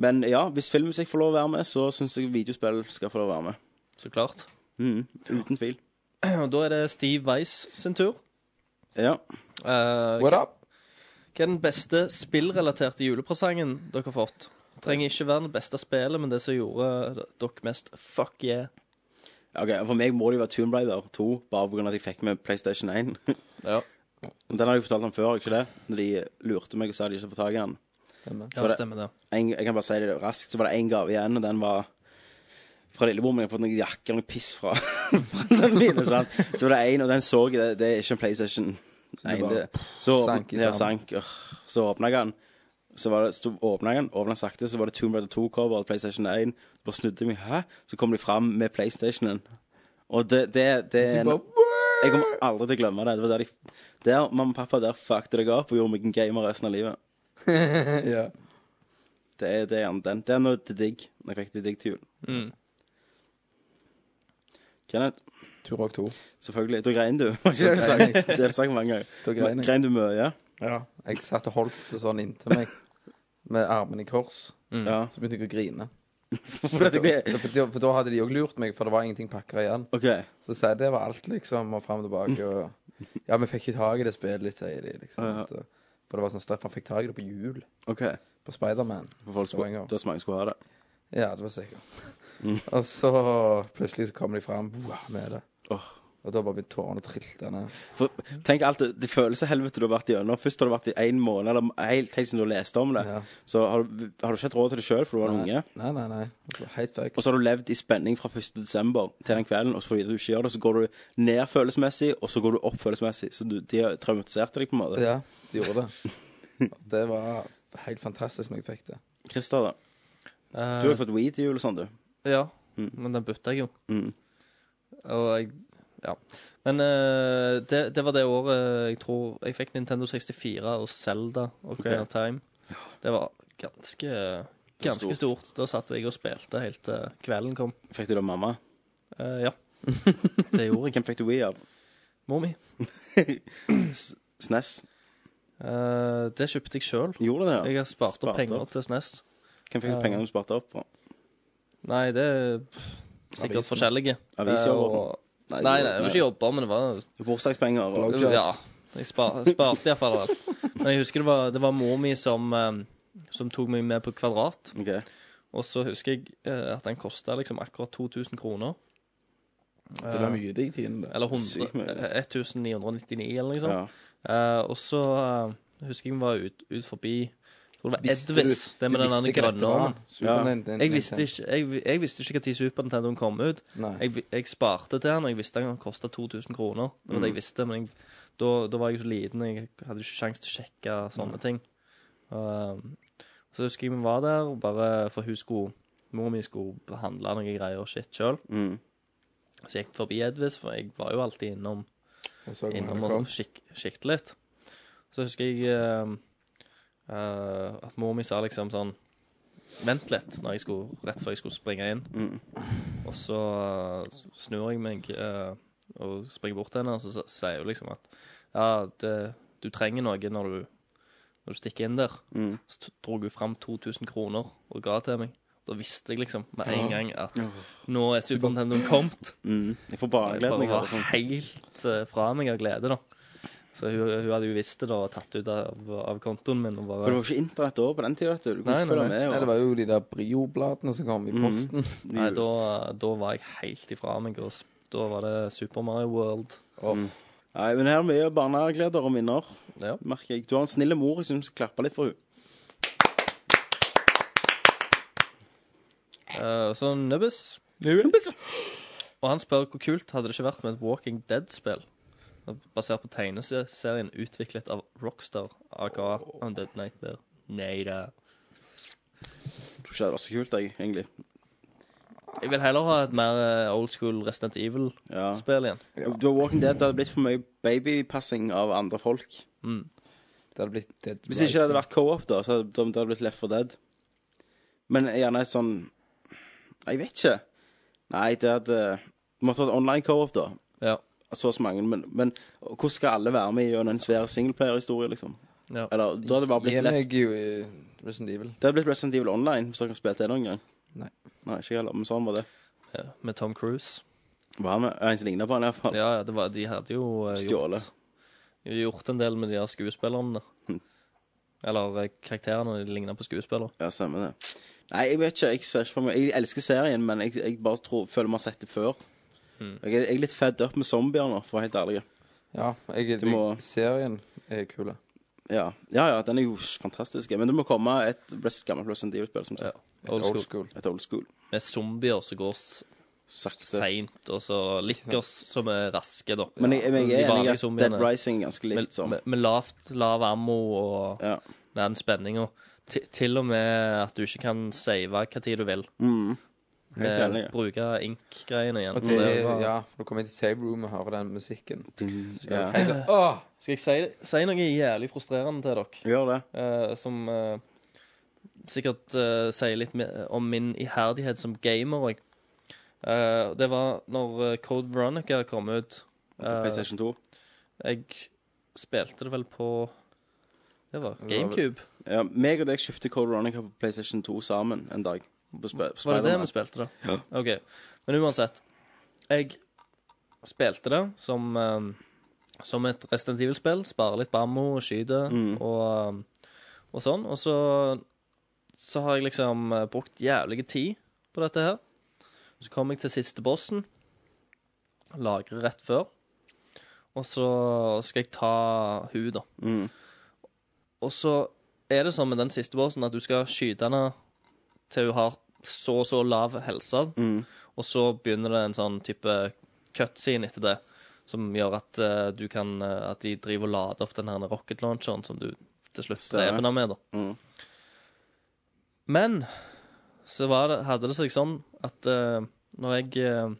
Men ja, hvis filmmusikk får lov å være med, så syns jeg videospill skal få lov å være med.
Så klart.
Mm, uten tvil.
Og da er det Steve Weiss sin tur.
Ja.
What up? Hva er den beste spillrelaterte julepresangen dere har fått? Trenger ikke være det beste spillet, men det som gjorde dere mest fuck yeah.
Ok, For meg må det jo være Tomb Raider 2, bare pga. at jeg fikk med PlayStation 1.
ja.
Den har jeg jo fortalt om før, har jeg ikke det? Når de lurte meg og sa de ikke får tak i den. Så
Ja,
var
stemmer det.
En, jeg kan bare si det raskt, så var det én gave igjen, og den var fra lillebror min. Jeg har fått noen jakker og noe piss fra foreldrene mine. Sant? Så var det én, og den så jeg, det, det er ikke en PlayStation.
du
Nei,
bare
det, så
sank i
ja,
sanden.
sank. Ør, Så åpna jeg den. Så var det, sto- åpnet jeg den, åpnet den sakte, så var det Tomb Raider 2-cover og PlayStation 1. Så bare snudde jeg meg, hæ? Så kom de fram med PlayStationen. Og det, det, det er en- Jeg kommer aldri til å glemme det. Det var der, de, der mamma og pappa der fuckte deg opp og gjorde meg en gamer resten av livet.
ja.
Det er, det er gjerne den. Det er noe til digg. Jeg fikk det digg til jul.
Mm.
Kenneth?
Turok 2.
Selvfølgelig. Da grein du.
Da
Var ikke det du
grein
sa?
jeg.
Det har du sagt mange ganger.
Da grein jeg.
Grein du mye? Ja.
Ja. Jeg satt og holdt det sånn inntil meg med armene i kors.
Ja.
Så begynte jeg å grine.
For at det-
For, da- for da hadde de òg lurt meg, for det var ingenting pakka igjen.
Ok.
Så sa jeg det var alt, liksom, og fram og tilbake. Og, ja, vi fikk ikke tak i det spillet litt, sier de. liksom.
Ja, ja.
At, uh, for det var sånn straff. Han fikk tak i det på jul.
Ok.
På Spiderman. Det
For folk
var en
skulle,
gang.
da så mange skulle ha det. Mm.
Ja, det var sikkert. Og så plutselig så kommer de fram med det.
Åh.
Og da bare begynte tårene å trille ned.
For, tenk alt det, det følelseshelvetet du har vært gjennom. Først har du vært i én måned, eller helt tenk siden du leste om det. Så har du, har du ikke hatt råd til det sjøl, for du var en unge.
Nei, nei, nei. Altså, helt vekk.
Og så har du levd i spenning fra 1. desember til den kvelden, og så får du vite at du ikke gjør det, så går du ned følelsesmessig, og så går du opp følelsesmessig. Så du, de har traumatisert deg på en måte.
Ja, de gjorde det. Og Det var helt fantastisk når jeg fikk det.
Christer, da.
Eh.
Du har jo fått weed i jul og sånn, du.
Ja, men den bytta jeg jo.
Mm.
Og jeg Ja. Men eh, det, det var det året jeg tror jeg fikk Nintendo 64 og Zelda og
Ok.
okay. of Time. Det var ganske Ganske
stort.
stort. Da satt jeg og spilte helt til kvelden kom.
Fikk du det av mamma?
Eh, ja. Det gjorde jeg.
Hvem fikk du weed av?
Mor mi.
S- SNES?
Eh, det kjøpte jeg sjøl.
Gjorde det? ja?
Jeg har spart opp penger
opp.
til SNES.
Hvem fikk du
Eh,
pengene du sparte opp for?
Nei, det er pff, sikkert
Avisen.
forskjellige.
Avisjobber?
Eh, og- Nei, nei, det var ikke jobber, men det var
Bursdagspenger og
Blowjobs.
Ja. Jeg spar, sparte iallfall det. Men jeg husker det var, det var mor mi som, eh, som tok meg med på Kvadrat.
Ok.
Og så husker jeg eh, at den kosta liksom akkurat 2000 kroner. Eh,
Det var mye de tidene. det.
Eller 100,
Sykt mye.
eh, 1999, eller noe sånt.
Ja.
Eh, og så eh, husker jeg vi var ut, ut forbi jeg tror det var
Visste
Edvis,
du-
det med
du
den der
visste ikke dette
grønne
var
armen.
den? Super
Ja.
Nintendo.
Jeg visste ikke, jeg, jeg visste ikke når Super Nintendoen kom ut.
Nei.
Jeg, vi- jeg sparte til den, og jeg visste den kosta 2000 kroner. Det var det jeg visste, men jeg, da, da var jeg så liten, jeg hadde ikke sjanse til å sjekke sånne ting. Um, så husker jeg vi var der, og bare for hun skulle Mor mi skulle handle noen greier og shit sjøl.
Mm.
Så jeg gikk forbi Edvis, for jeg var jo alltid innom
Jeg så hvordan
innom
det kom.
og skik skikte litt. Så husker jeg eh, eh, at mor mi sa liksom sånn Vent litt, når jeg skulle, rett før jeg skulle springe inn.
mm,
Og så eh, snur jeg meg eh, og springer bort til henne, og så s- sier hun liksom at Ja, det, du trenger noe når du, når du stikker inn der.
mm,
Så t- dro hun fram 2000 kroner og ga til meg. Da visste jeg liksom med en gang at nå er Super Nintendoen kommet.
Mm. Jeg får
Jeg bare
bakgleden.
var helt eh, fra meg av glede, da. Så hun, hun hadde jo visst det da, og tatt ut av, av kontoen min
For
og
det
bare
var ikke internett da på den tida, vet du. Du
Nei,
kunne ikke følge
nei,
med.
Nei, det
Og...
var jo de der Brio-bladene som kom i posten.
Nei, da, da var jeg helt ifra meg. Og s- da var det Super Mario World.
Nei, men her er mye barnegleder og minner,
Ja.
merker jeg. Du har en snill mor. Jeg syns du skal klappe litt for henne.
Eh, så Nubbes liksom. Og han spør hvor kult hadde det ikke vært med et Walking Dead-spill basert på tegneserien utviklet av Rockstar, aka Undead Nightmare. Nei da.
Jeg tror ikke det var så kult, jeg, egentlig.
Jeg vil heller ha et mer eh, old school Resident
Ja.
Evil-spill igjen.
Du har Walking Dead, det hadde blitt for mye babypassing av andre folk.
Det hadde blitt Dead
Hvis ikke det hadde vært co-op, da, så hadde det hadde blitt Left for Dead. Men gjerne et sånn Jeg vet ikke. Nei, det hadde det måtte vært online co-op, da.
Ja.
Så og så mange. Men, men hvordan skal alle være med gjennom en svær singleplayerhistorie, liksom?
Ja.
Eller da hadde det bare
Gi
blitt left.
meg jo eh, Resident Evil.
Det hadde blitt Resident Evil Online, hvis dere har spilt det noen gang.
Nei.
Nei, ikke heller, men sånn var det.
Ja, Med Tom Cruise.
Var med en som lignet på han, iallfall.
Ja, ja, det var, de hadde jo eh,
Stjålet.
gjort, gjort en del med de her skuespillerne.
Hm.
Eller eh, karakterene de lignet på skuespillere.
Ja, stemmer det. Nei, jeg vet ikke. Jeg ser ikke for meg Jeg elsker serien, men jeg, jeg bare tror, føler vi har sett det før. Jeg, er- jeg er litt fedd opp med zombier nå, for å være helt ærlig.
Ja, jeg,
Du må-
serien er kul. da.
Ja. ja, ja, den er jo fantastisk. Men det må komme et rest, gammelt Resident Evil-spill, som sagt.
Old
Old
school.
school.
Et old school.
Med zombier som går s-
Sakte.
seint, og så likkers som er raske, da.
Men jeg, men jeg er enig
De
i
vanlige
at Dead
zombiene.
Rising er ganske
Med,
likt som
med, med lavt, lav ammo og
Ja.
den spenninga. Til- Til og med at du ikke kan save hva tid du vil.
Mm. Helt enig.
Eh, Bruke ink-greiene igjen.
Og det,
Det var-
ja, når du kommer inn til save room og hører den musikken
Mm, Ja.
Hei, det- Åh!
Skal jeg si, si noe jævlig frustrerende til dere?
Gjør det.
eh, som eh, sikkert eh, sier litt me- om min iherdighet som gamer òg. det var når eh, Code Veronica kom ut.
Til
eh,
PlayStation 2.
jeg spilte det vel på Det var GameCube.
Ja, meg og deg kjøpte Code Ronica på PlayStation 2 sammen en dag. På sp
Var det det vi spilte, da?
Ja.
OK. Men uansett. Jeg spilte det som eh, Som et Resident Evil-spill. Sparer litt bammo og skyter og, ehm, og sånn. Og så Så har jeg liksom eh, brukt jævlig tid på dette her. Så kom jeg til siste bossen. lagre rett før. Og så skal jeg ta hun, da.
Mm.
Og så er det sånn med den siste bossen at du skal skyte henne til hun har så og så lav helse.
Mm.
Og så begynner det en sånn type cutscene etter det, som gjør at eh, du kan eh, At de driver og lader opp den her rocket launcheren som du til slutt
Stemmer. Mm.
dreper henne med, da. Men så var det, hadde det seg sånn at eh, når jeg eh,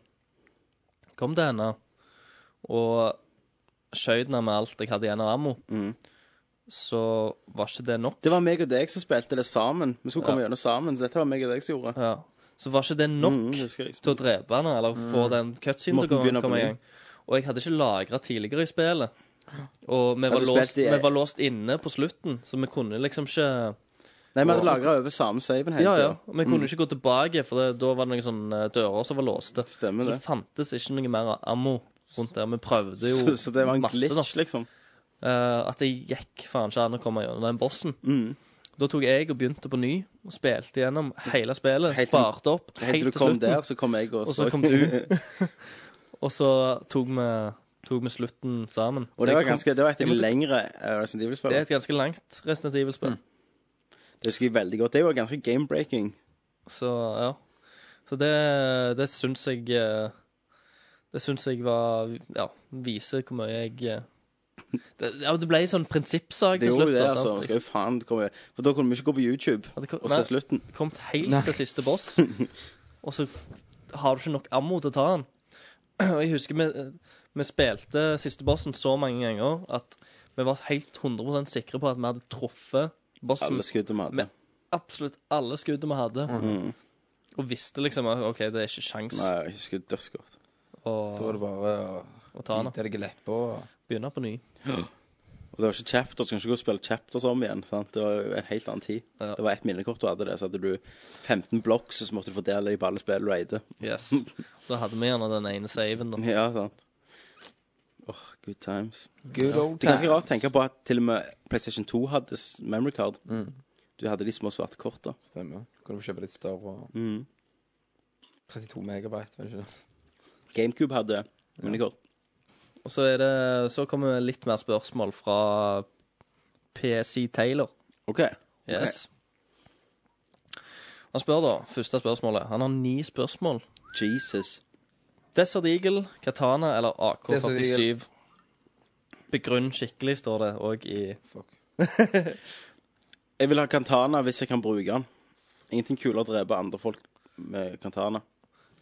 kom til henne og skjøt henne med alt jeg hadde igjen av ammo, så var ikke det nok.
Det var meg og deg som spilte det sammen. Vi skulle komme gjennom sammen, så dette var meg og deg som gjorde.
Ja. Så var ikke det nok
Mm, det husker jeg
til å drepe henne, eller få
Mm.
den cutscenen
Måtte
til å
begynne på
komme- komme i
ny.
gang. Og jeg hadde ikke lagra tidligere i spillet. Og vi
Hadde
var,
du
låst,
spilt i-
vi var låst inne på slutten, så vi kunne liksom ikke
Nei, vi hadde
Og-
lagra over samme saven hele
Ja, ja.
tiden.
Og Vi kunne
Mm.
ikke gå tilbake, for det, da var det noen sånne dører som var låste.
Stemmer
så det
det.
fantes ikke noe mer ammo rundt der. Vi prøvde jo
Så- så det var en
masse,
glitch, liksom.
Eh, at det gikk faen ikke an å komme gjennom den bossen.
Mm.
Da tok jeg og begynte på ny, og spilte gjennom hele spillet.
Helt til-
sparte opp
helt til
helt
du
til
kom
slutten.
der, så kom jeg og
og så
så.
kom du. og så tok vi, tok vi slutten sammen.
Og det var, ganske, det var et av de
lenge
lengre eh, Resident Evil-spill.
Det er et ganske langt Resident Evil-spill.
Mm. Det husker jeg veldig godt. Det var ganske game-breaking.
Så ja. Så det, det syns jeg eh, Det syns jeg var Ja, viser hvor mye jeg eh, det, ja, det ble en sånn prinsippsak
Det
til
gjorde
slutt.
det,
da,
altså.
sant?
Skal jo faen komme. For da kunne vi ikke gå på YouTube
det kom-
og se
nei.
slutten.
Komt helt
Nei.
til siste boss, og så har du ikke nok ammo til å ta han. Og jeg husker vi, vi spilte siste bossen så mange ganger at vi var helt 100 sikre på at vi hadde truffet bossen
Alle skuddene vi hadde.
med absolutt alle skuddene vi hadde.
Mhm.
Og visste liksom at OK, det er ikke sjans
Nei, jeg husker dødsgodt.
å-
Da var det bare å
å ta han.
bite deg i leppa og
Begynne på ny.
Og det var ikke chapters. Du kan ikke gå og spille chapters om igjen. sant? Det var jo en helt annen tid. Det var ett minnekort du hadde det, så hadde du 15 blocks, og så måtte du fordele de på alle spill du eide.
Yes. Da hadde vi gjerne den ene saven, da.
Ja, sant. Åh, good times.
Good old
Det er ganske
times.
rart å tenke på at til og med PlayStation 2 hadde s- memory card.
Mm.
Du hadde de små svarte korta.
Stemmer. Kunne du kjøpe litt større og
Mm.
32 megabyte, var det ikke det?
GameCube hadde minnekort.
Og så er det Så kommer litt mer spørsmål fra PC Taylor.
OK.
Yes. Han spør da, første spørsmålet. Han har ni spørsmål.
Jesus.
Desert Eagle, Katana eller
Desert Eagle.
AK-47? Begrunn skikkelig, står det òg i
Fuck.
Jeg vil ha Kantana hvis jeg kan bruke den. Ingenting kulere å drepe andre folk med Kantana.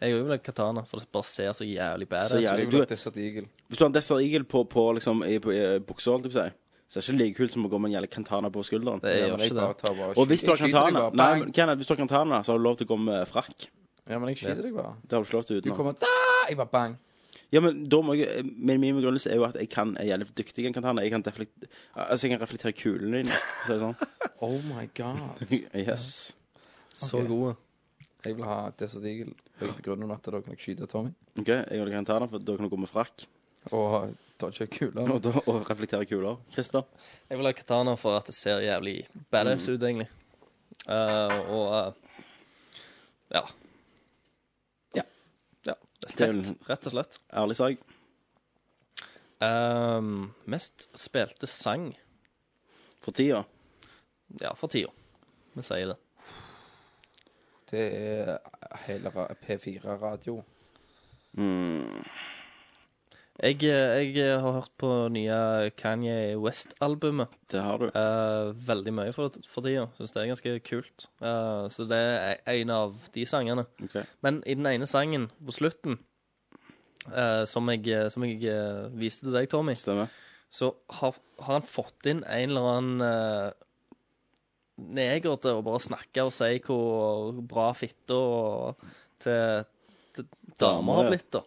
Jeg òg vil ha Katana, for det bare ser så jævlig badass
Så
ut.
jævlig
Jeg
du,
ble Desert Eagle.
Hvis du har en Desert Eagle på, på, liksom, i, på i buksa, holdt jeg på å si, så er det ikke like kult som å gå med en jævlig Kantana på skulderen.
Det
Ja,
gjør
men jeg
ikke
bare
det.
tar bare
Og hvis du har
Jeg skyter deg
Kantana,
bare,
nei,
bang.
men Kenneth, hvis du har Kantana, så har du lov til å gå med frakk.
Ja, men jeg skyter deg bare.
Det har du ikke lov til
Du
utenom.
kommer da! Jeg bare bang.
Ja, men da må jeg, min, min begrunnelse er jo at jeg kan er jævlig dyktig i en Kantana. Jeg kan, deflekt, altså, jeg kan reflektere kulene dine. Så er det sånn.
Oh my god.
Yes.
Så
Ok.
gode.
Jeg vil ha Desert Eagle. Jeg begrunner at da kan jeg skyte Tommy.
OK, jeg har Kantana, for da kan du gå med frakk
Og dodge kuler.
og, da, og reflektere kuler. Christer?
Jeg vil ha Katana for at det ser jævlig badass ut, egentlig. Eh, og eh, ja.
Ja.
ja.
Det er
Rett,
vel-
rett og slett.
Ærlig sak.
Ehm, mest spilte sang
For tida.
Ja, for tida. Vi sier det.
Det er hele ra- P4-radio.
Mm,
Jeg, eh, jeg har hørt på nye Kanye West-albumet.
Det har du.
eh, veldig mye for, for tida. Syns det er ganske kult. Eh, så det er en av de sangene.
Ok.
Men i den ene sangen på slutten, eh, som jeg, som jeg eh, viste til deg, Tommy,
Stemmer.
så har, har han fått inn en eller annen eh, neger til å bare snakke og si hvor bra fitta og- til, til damer
ja.
har blitt, da.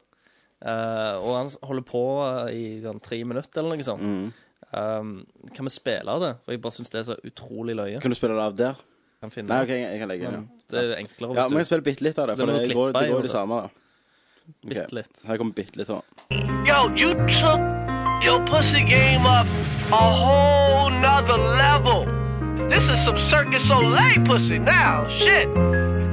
Eh, og han s- holder på eh, i sånn tre minutter eller noe
Mm.
sånt. Um, kan vi spille av det? For jeg bare syns det er så utrolig løye.
Kan du spille det av der?
Kan finne
Nei,
det.
OK, jeg, jeg kan legge den.
Men Det er jo enklere
Ja,
hvis
men jeg spiller bitte litt av det,
Det
for
må
det,
du
går,
klippe
det
i
går jo det
uansett.
samme. da.
du bitte
Ok.
litt.
Her kommer bitte litt av.
Yo, you took your pussy game up a whole nother level. This is some Circus Soleil pussy now. Shit.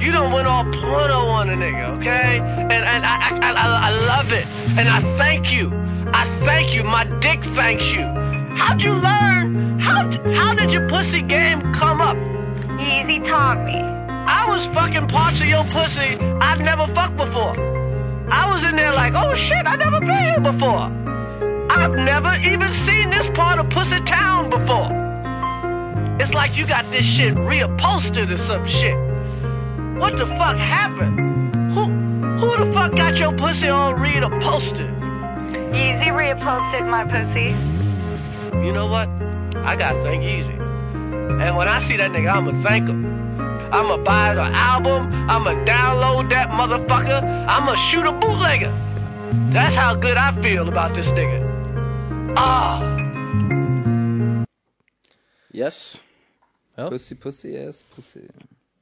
You don't went all porno on a nigga, okay? And, and I, I, I, I- I love it. it. And I thank you. I thank you. My dick thanks you. How'd you learn? How, how did your pussy game come up? Easy taught me. I was fucking parts of your pussy I've never fucked before. I was in there like, oh shit, I never been here before. I've never even seen this part of Pussy Town before. It's like you got this shit reupholstered or some shit. What the fuck happened? Who who the fuck got your pussy all reupholstered? Easy reupholstered my pussy. You know what? I gotta thank Easy. And when I see that nigga, I'ma thank him. I'ma buy the album. I'ma download that motherfucker. I'ma shoot a bootlegger. That's how good I feel about this nigga. Ah.
Yes.
Pussy, pussy, yes, pussy.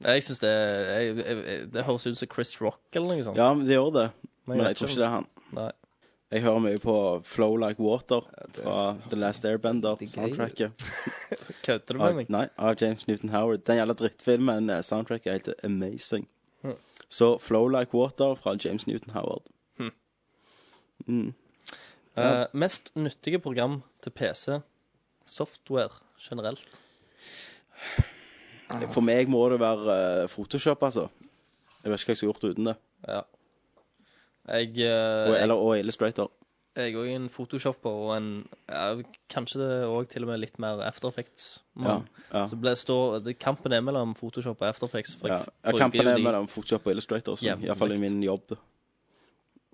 Jeg synes det, jeg, jeg, jeg, det høres ut som Chris Rock eller noe sånt.
Ja, men det gjør det. Men jeg
vet
tror
ikke.
ikke det er han.
Nei.
Jeg hører mye på Flow Like Water fra The Last Airbender, soundtracket.
Kødder du med meg?
Av- Nei, av James Newton Howard. Den gjelder drittfilmen. eh, Soundtracket heter Amazing.
Hm.
Så Flow Like Water fra James Newton Howard.
Hm.
Mm.
Eh, mest nyttige program til PC. Software generelt.
For meg må det være eh, Photoshop, altså. Jeg vet ikke hva jeg skulle gjort uten det.
Ja. Jeg eh,
Og, eller, og Illustrator.
Jeg er òg en photoshopper og en ja, Kanskje det er også til og med litt mer After Effects. Men,
Ja, ja.
Mm. Så ble, står, det, kampen er mellom Photoshop og After Effects. For
Ja.
jeg
Jeg
bruker
kampen
jo
er
de-
mellom Photoshop og Illustrator, så
Jevnlig.
iallfall i min jobb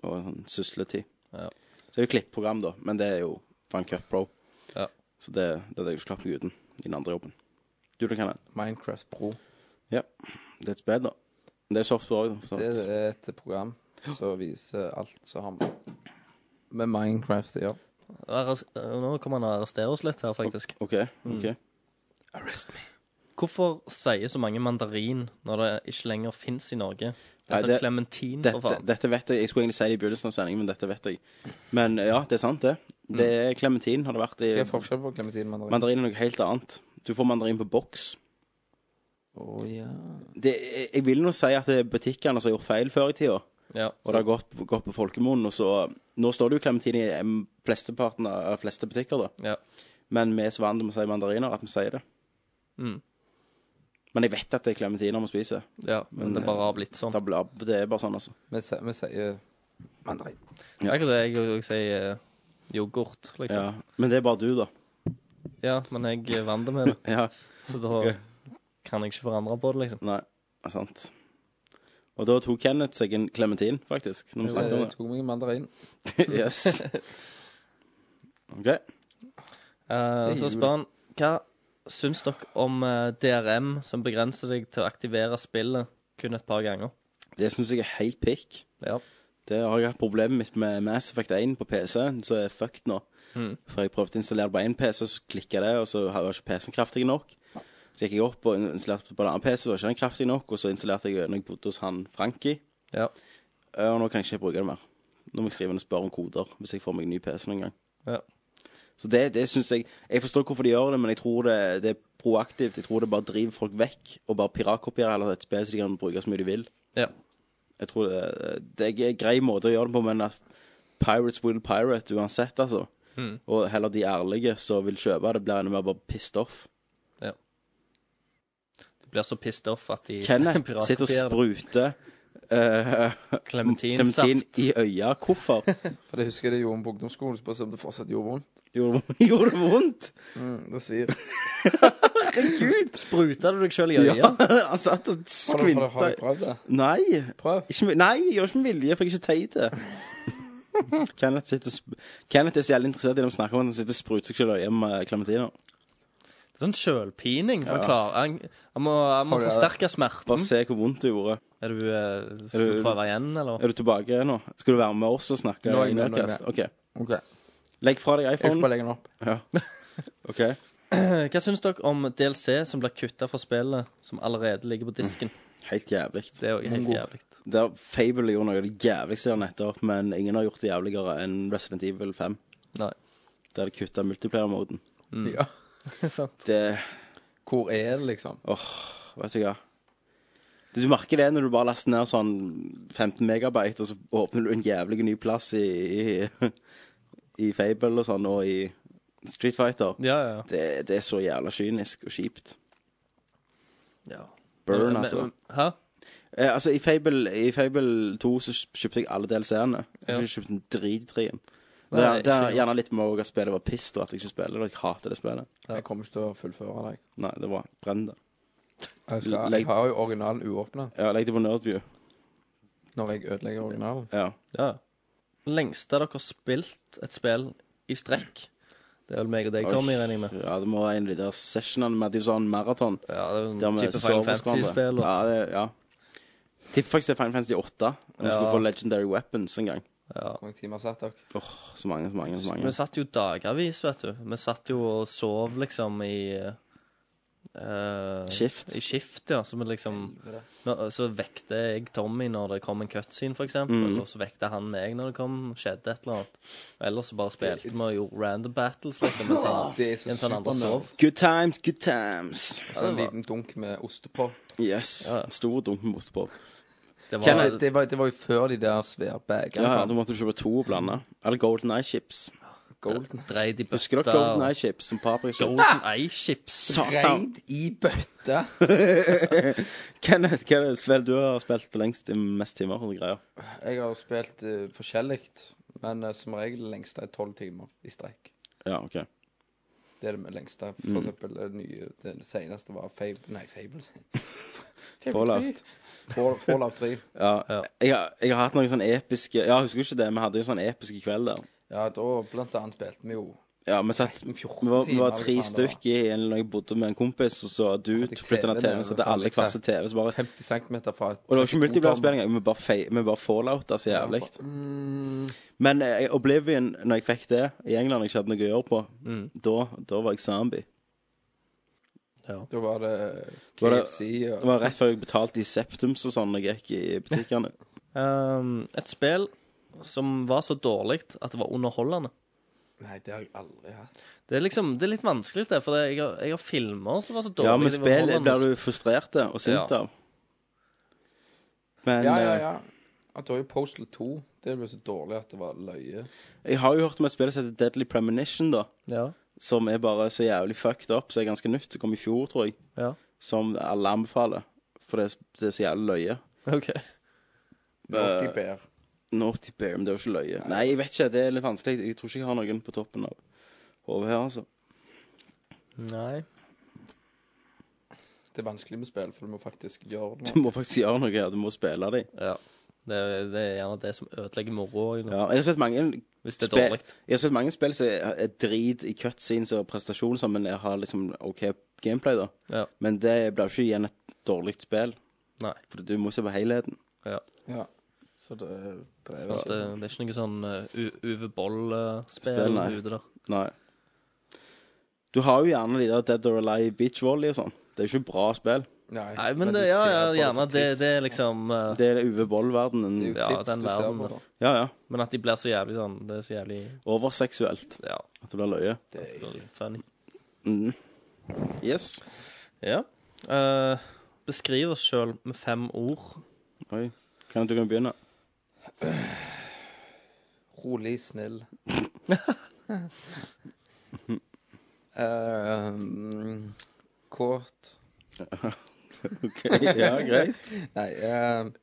og sånn sysletid.
Ja.
Så er det klipprogram, da, men det er jo Van Cup Pro.
Ja.
Så det, det hadde jeg jo ikke klart meg uten i den andre jobben. Du, da, Kenneth?
Minecraft Pro.
Ja. Det er et spill, da. Det er software òg,
Det er et program som viser alt som har med- med Minecraft å gjøre.
Arres- eh, Nå kommer han og arresterer oss litt her, faktisk.
OK.
Mm.
ok.
Arrest me. Hvorfor sier så mange mandarin når det ikke lenger fins i Norge? Det
Nei,
heter klementin,
dette,
for faen.
Dette vet jeg. Jeg skulle egentlig si det i begynnelsen av sendingen, men dette vet jeg. Men ja, det er sant, det. Det
Mm.
er klementin har det vært i
Hva er forskjellen på klementin og mandarin?
Mandarin er noe helt annet. Du får mandarin på boks.
Å ja.
det, jeg- jeg vil nå si at det er butikkene som har gjort feil før i tida.
Ja,
og det har gått, gått på folkemunn. Og så, nå står det jo klementin i em, flesteparten av de fleste butikker, da.
Ja.
Men vi er så vant til å si mandariner at vi sier det.
Mm.
Men jeg vet at det er klementiner vi spiser.
Ja, men det
eh,
bare har blitt sånn.
Det, blir- det er bare sånn, altså.
Vi sier- vi sier mandarin.
Ja.
Akkurat det jeg òg sier eh, yoghurt,
Ja.
liksom.
Men det er bare du, da.
Ja, men jeg er vant med det.
Ja.
Så da
Ok.
kan jeg ikke forandre på det, liksom.
Nei, det er sant. Og da tok Kenneth seg en klementin, faktisk, når vi snakket om
Jeg
det.
tok meg en mandarin.
yes. OK.
Eh,
Det er
så spør han hva syns dere om eh, DRM som begrenser deg til å aktivere spillet kun et par ganger?
Det syns jeg er helt pikk. Det har jeg hatt problemet mitt med Mass Effect 1 på PC, så er jeg fucked nå.
Mm.
For jeg prøvde å installere det på én PC, så klikka det, og så var ikke PC-en kraftig nok. Så gikk jeg opp og installerte på en annen PC, så var ikke den kraftig nok, og så installerte jeg når jeg bodde hos han Frankie.
Ja.
Eh, Og nå kan jeg ikke bruke det mer. Nå må jeg skrive inn og spørre om koder, hvis jeg får meg en ny PC noen gang.
Ja.
Så det, det syns jeg Jeg forstår hvorfor de gjør det, men jeg tror det, det er proaktivt. Jeg tror det bare driver folk vekk, og bare piratkopierer heller et spill så de kan bruke så mye de vil.
Ja.
Jeg tror det, det er en grei måte å gjøre det på, men at pirates will pirate uansett, altså.
Mm.
Og heller de ærlige som vil kjøpe det, blir enda mer bare pissed off.
De blir så pissed off at de
Kenneth sitter og
piratkopierer det.
spruter eh,
Clementinsaft.
clementin i øya. Hvorfor?
For det husker jeg det gjorde på ungdomsskolen. Spørs om det fortsatt gjorde vondt.
Gjorde gjorde det vondt?
Mm, det svir.
Herregud!
Spruta du deg sjøl i
Ja,
øyet?
han satt
Har du- har
og
du- har du
skvinta
prøvd det?
Nei. Ikke, med- nei, jeg gjør ikke med vilje, for jeg er ikke teit til det. Kenneth, sitter og sp- Kenneth er så jævlig interessert i det vi snakker om, at han sitter og spruter seg selv i øyet med klementiner.
Det er sånn sjølpining. for
Ja.
Han, klarer- han, han må, han må
Har du-
forsterke smerten.
Bare se hvor vondt det gjorde.
Er du, eh, skal du prøve igjen, eller?
Er du tilbake nå? Skal du være med oss og snakke?
Nå er jeg
i
med, nå er jeg
Nerdcast?
med.
Ok.
Ok.
Legg fra deg
Jeg skal bare
iPhone.
legge den opp.
Ja. OK.
Eh, Hva syns dere om DLC som blir kutta fra spillet, som allerede ligger på disken?
Helt jævlig.
Mm. Det er jo helt
Mongo.
jævlig.
Der Fable gjorde noe av det jævligste der nettopp, men ingen har gjort det jævligere enn Resident Evil 5.
Nei.
Der de kutta multiplayer-moden.
Ja.
Sant.
Det
Hvor er det, liksom?
Åh, vet du hva. Du merker det når du bare laster ned sånn 15 megabyte, og så åpner du en jævlig ny plass i, i, i Fable og sånn, og i Street Fighter. Det, det er så jævla kynisk og kjipt.
Ja.
Burn,
Men-
altså.
men- Hæ?
Eh, altså, i Fable, i Fable 2 så kjøp- kjøpte jeg alle DLC-ene. Jeg har
Ja.
ikke kjøpt en drit i trien.
Nei,
Det er, det
ikke
er
jeg.
gjerne litt med også at spillet var piss, og at jeg ikke spiller det. Jeg hater det spillet.
Jeg kommer ikke til å fullføre deg.
Nei, det var Brenn det.
Jeg, skal,
Legg-
jeg har jo originalen uåpna
Ja, legg det på Nerdview.
når jeg ødelegger originalen.
Ja.
Ja. Lengste dere har spilt et spill i strekk? Det er vel meg og deg, Tommy,
Oi.
regner jeg med.
Ja, det må være en av de der sessionene med at det er sånn maraton.
Ja, det er en
Der vi
type Final
sover hos hverandre.
Fantasy-spill, og-
Ja, det, ja. Tipper faktisk det er Final Fantasy 8. Når vi
Ja.
skulle få Legendary Weapons en gang.
Hvor mange timer satt dere?
Åh, så mange, så mange, så
Vi
mange.
satt jo dagevis, vet du. Vi satt jo og sov liksom i eh,
Skift.
I skift, ja. Så, vi liksom, Nå- så vekte jeg Tommy når det kom en cutscene, for eksempel.
Mhm.
Og så vekte han meg når det kom skjedde et eller annet. Og ellers så bare spilte vi og gjorde random battles, liksom. Mens han,
Det er så
mens han andre
supernerd.
sov.
Good times, good times.
Så en liten dunk med ostepop.
Yes. Stor dunk med ostepop.
Det
var-
var, det, var, det var jo før de der svære bagene.
Ja, ja,
kom.
da måtte du kjøpe to og blande. Eller Golden Eye Chips.
Golden.
Dreid i bøtta.
Husker dere Golden Eye Chips som paprika?
Golden Eye Chips.
Satan.
Reid i bøtta.
Kenneth, hva er det spill du har spilt lengst i mest timer? og greier?
Jeg har spilt eh, forskjellig, men eh, som regel det lengste er tolv timer i streik.
Ja, OK.
Det er det lengste. For
Mm.
eksempel eh, nye, det seneste var Fable Nei, Fable. Fable
Fallout.
3. Fall- Fallout 3.
Ja, Jeg, har, jeg har hatt noen sånne episke Ja, husker du ikke det? Vi hadde jo sånne episke kveld der.
Ja, da blant annet spilte vi jo
Ja, vi satt Vi var, vi var tre stykk i en når jeg bodde med en kompis, og så du flytta ned TV-en, så hadde alle hver sin TV. Så bare Og
50 cm fra et
det var ikke multiplayer-spill engang, vi bare, fei- vi bare fallouta så jævlig.
Mm.
Men eh, Oblivion, når jeg fikk det i England, jeg ikke hadde noe å gjøre på,
Mm.
da, da var jeg zombie.
Da var det
Det var,
KFC
det,
og
det var rett før jeg betalte i Septums og sånn, når jeg gikk i butikkene.
Um, et spill som var så dårlig at det var underholdende.
Nei, det har jeg aldri hatt.
Det er liksom, det er litt vanskelig, det, for det- jeg har, jeg har filmer som var så dårlige.
Ja, men
de var
spill
underholdende.
blir du frustrert og sint
Ja.
av. Men
ja, ja,
eh,
ja. At det var jo Postal 2. Det ble så dårlig at det var
Eh,
løye.
jeg har jo hørt om et spill som heter Deadly Premonition, da.
Ja.
Som er bare så jævlig fucked up, som er ganske nytt. Det kom i fjor, tror jeg.
Ja.
Som alle anbefaler. For det, er- det er så jævlig løye.
Ok.
Naughty
Eh,
Bear.
Naughty Bear, men det er jo ikke løye. Nei, jeg vet ikke. Det er litt vanskelig. Jeg tror ikke jeg har noen på toppen av hodet her, altså.
Nei.
Det er vanskelig med spill, for du må faktisk gjøre
Du
noe.
må faktisk gjøre noe. her, Du må spille dem.
Ja. Det, er- det er gjerne det som ødelegger moroa.
Ja, jeg har spilt mange
Hvis det er
spe-
dårlig.
Jeg har spilt mange spill som er er drit i cutscenes og prestasjon, sånn, men jeg har liksom OK gameplay, da.
Ja.
Men det blir jo ikke igjen et dårlig spill.
Nei.
For du må se på helheten.
Ja.
Ja. Så det drev
Så
jeg
at det,
ikke.
det er ikke noe sånn uh, U- Uwe Boll-spill
Spill, nei.
ute der.
Nei. Du har jo gjerne de der Dead or Alive Beach Volley og sånn. Det er jo ikke bra spill.
Nei,
Nei, men
men
det,
du
ja,
ser
ja,
bare
gjerne.
på
Det,
tips.
det er liksom uh,
Det er Uwe Boll-verdenen.
Det er jo
Ja,
tips
den
du ser
verden,
på,
da.
da.
Ja, ja.
Men at de blir så jævlig sånn Det er så jævlig
Overseksuelt.
Ja.
At det blir løye.
Det
Det blir litt funny.
Mm. Yes.
Ja. Eh, beskriv oss sjøl med fem ord.
Oi. Kan du kan begynne?
er rolig, snill. Ehm, kåt.
OK. Ja, greit.
Nei ehm,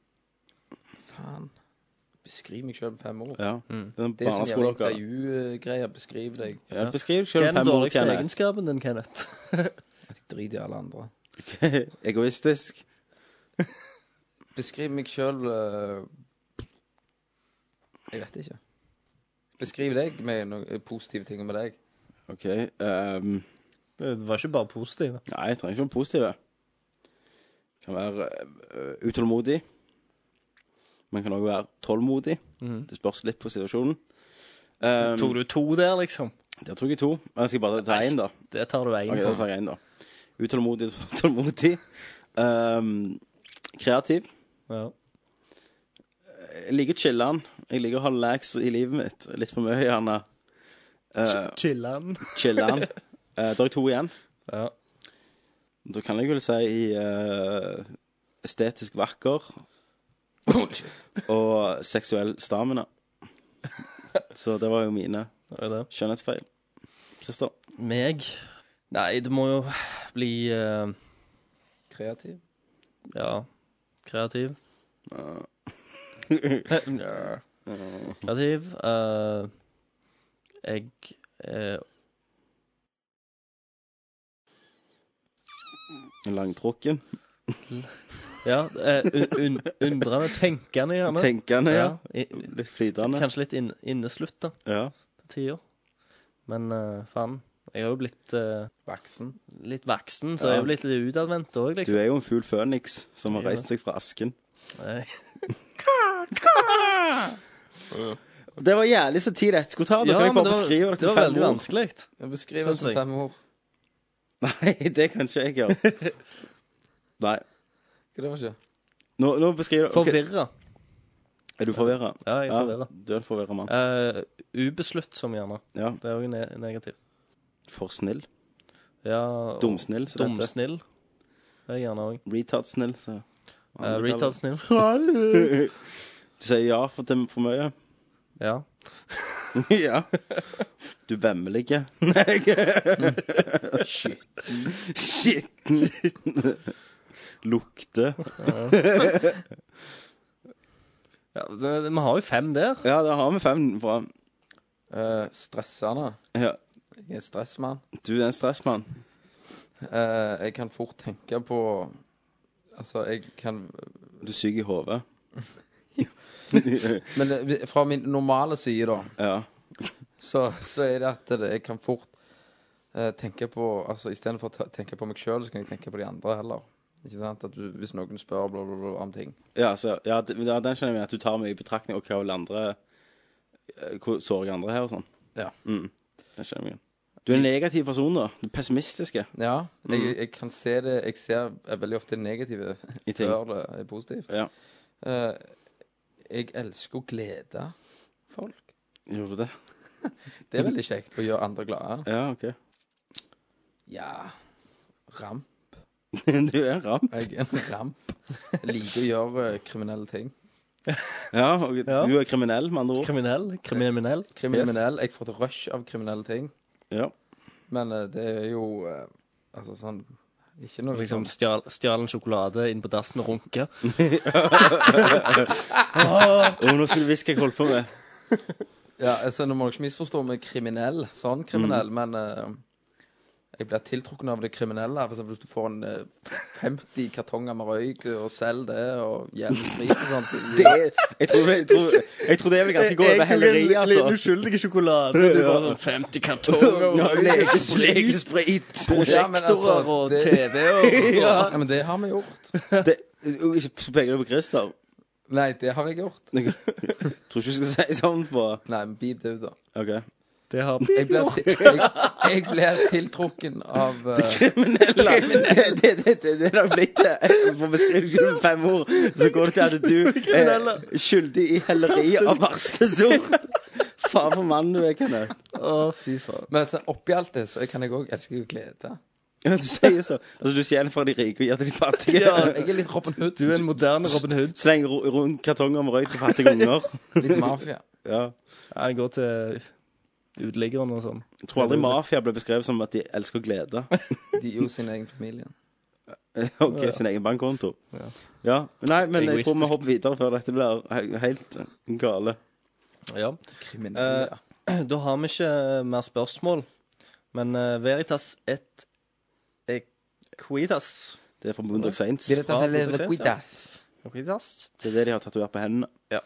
Faen. Beskriv meg sjøl med fem ord.
Ja. Det er en
Det er
barneskole
sånn jævla
dere har.
intervjugreier. Beskriv deg.
Ja, beskriv
Hva
selv
er den
fem ord,
dårligste
Kenneth.
egenskapen din, Kenneth?
At jeg driter i alle andre.
Egoistisk.
Beskriv meg sjøl Jeg vet ikke. Beskriv deg med noen positive ting med deg.
OK. ehm,
Det var ikke bare positiv.
nei, jeg trenger ikke noen positive. Kan være eh, utålmodig. Man kan òg være tålmodig.
Mhm.
Det spørs litt på situasjonen. Ehm,
Tok du to der, liksom?
Der tok jeg to. Men jeg skal bare ta én, da.
Det tar du én
Ok, da
på.
tar jeg en, da. Utålmodig, tålmodig. Ehm, kreativ.
Ja.
Jeg liker chiller'n. Jeg liker å ha lax i livet mitt. Litt for mye, gjerne. Uh,
Chiller'n.
chiller'n. Eh, Uh, da har jeg to igjen.
Ja.
Da kan jeg vel si eh, estetisk vakker og seksuell stamina. Så det var jo mine skjønnhetsfeil. Christer?
Meg? Nei, det må jo bli eh,
Kreativ.
Ja. Kreativ. Ja. Eh, Kreativ. eh, jeg eh,
Langtrukken.
Ja, eh, un, un, undrende. Tenkende, gjerne.
Tenkende, ja.
i-
Litt flytende.
Kanskje litt inn, inneslutta
Ja.
til tider. Men eh, faen, jeg har jo blitt eh,
Vaksen.
Litt vaksen, så
Ja.
jeg er jo blitt litt utadvendt òg,
Du
liksom.
er jo en fugl føniks som har
Ja.
reist seg fra asken.
Nei.
Det var jævlig så tid dette skulle ta. Da
Ja,
kan jeg bare
men det var-
beskrive dere
det var
med fem
veldig
ord.
vanskelig. Ja, beskriv
Sånn
Synes oss med jeg. fem
ord.
Nei, det kan ikke jeg gjøre. Nei.
Hva det var ikke?
Nå, nå beskriver ok.
Forvirra.
Er du forvirra?
Ja, jeg er forvirra.
du er en forvirra mann.
Eh, ubeslutt som gjerne.
Ja.
Det er òg ne negativt.
For snill.
Ja, og-
Dumsnill, som det heter.
Dumsnill. Det er jeg gjerne òg.
Retard-snill, så
Eh, retard-snill.
Du sier ja for, til for mye.
Ja.
ja. Du vemmelig ikke. Nei.
Skitten.
Skitten. Lukter.
Ja, det- vi har jo fem der.
Ja, da har vi fem bra.
Eh, stressende.
Ja.
Jeg er stressmann.
Du er en stressmann.
Eh, jeg kan fort tenke på Altså, jeg kan
Du er syk i hodet.
Men det- fra min normale side, da,
Ja.
så, så er det at det, jeg kan fort eh, tenke på Altså istedenfor å ta- tenke på meg sjøl, så kan jeg tenke på de andre heller. Ikke sant? At du, hvis noen spør bla, bla, bla, om ting.
Ja, så, ja, det- ja, den skjønner jeg at du tar med i betraktning og hva vil andre eh, Hvor sårer jeg andre her og sånn.
Ja.
Mm. Den skjønner jeg. Du er en negativ person, da. Du er pessimistiske.
Ja, jeg,
Mm.
jeg kan se det Jeg ser veldig ofte det negative
I ting.
før det er positivt.
Ja.
Eh, jeg elsker å glede folk.
Gjorde du det?
Det er veldig kjekt å gjøre andre glade.
Ja, OK.
Ja Ramp.
du er en ramp.
Jeg er en ramp. Jeg liker å gjøre eh, kriminelle ting.
Ja, og du er kriminell, med andre ord.
Kriminell. Kriminell.
Kriminell. Jeg får et rush av kriminelle ting.
Ja.
Men eh, det er jo eh, Altså sånn Ikke noe
Liksom stjal, stjal en sjokolade inn på dassen og runke.
Å, nå skulle du visst hva jeg holdt på med.
Ja, altså Nå må du ikke misforstå med kriminell, sånn kriminell, men eh, jeg blir tiltrukken av det kriminelle. For eksempel hvis du får en eh, 50 kartonger med røyk og selger det, og jevn sprit og sånn. så-
Det er, jeg, tror, jeg, tror, jeg tror det vil ganske gå over helleri, altså.
uskyldig sjokolade.
du bare sånn
50
Ja, leges- Legesprit.
Ja, men altså,
Prosjektorer og
det-
TV og
ja. men det har vi gjort.
Det, og ikke peker du på Christer?
Nei, det har jeg gjort.
Jeg tror ikke du skal si sånn på
Nei, men beep det ut, da.
OK.
Det har
Jeg blir, til, jeg, jeg blir tiltrukken av eh,
Kriminelle. Det, det, det, det er nok blitt eh, det. For å beskrive det med fem ord, så går det til at du er skyldig i helleri av verste sort. Faen for mannen du er, Kenneth.
Å, fy faen.
Men altså, oppi alt det, så kan jeg òg elske å glede.
Ja, du sier så. Altså, du stjeler fra de rike og gir til de fattige.
Jeg er litt Robin Hood.
Du er en moderne Robin Hood.
Slenger ro- rundt kartonger med røyk til fattige unger.
Litt mafia.
Ja.
Ja, Jeg går til uteliggeren og sånn.
Jeg tror aldri mafia ble beskrevet som at de elsker å glede. Eh,
De er jo sin egen familie.
OK, sin egen bankkonto.
Ja.
Ja. Nei, men jeg tror vi
Egoistisk.
hopper videre før dette blir he- helt gale.
Ja.
Kriminelle. ja.
Da har vi ikke eh, mer spørsmål. Men eh, Veritas et equitas.
Det er fra Bundag Saints.
Vil du ta
Ja,
hele
det er
Wicked
det, ja.
Death?
Equitas?
Det er det de har tatovert på hendene.
Ja.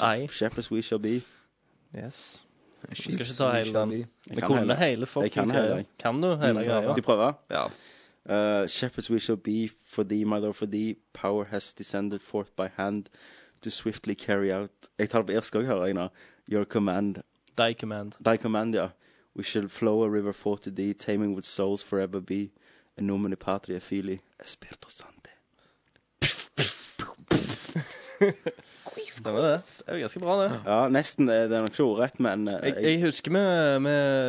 Nei.
Shepherds we shall be.
Yes. Vi skal ikke ta hele den. Vi
kan hele.
kunne hele
Jeg kan
fuckings
hele.
greia. Kan du hele greia?
Skal jeg prøve?
Ja.
Uh, Shepherds we shall be for thee, my lord, for thee. Power has descended forth by hand to swiftly carry out Jeg tar det på irsk òg, hører jeg nå. Your command.
Die command.
Thy command, ja. We shall flow a river forth to thee, taming with souls forever be. En nomine patria fili. Esperto sante.
Det var det. Det er jo ganske bra, det.
Ja, nesten. eh, Det det er nok ikke ordrett, men eh,
Jeg, jeg husker vi,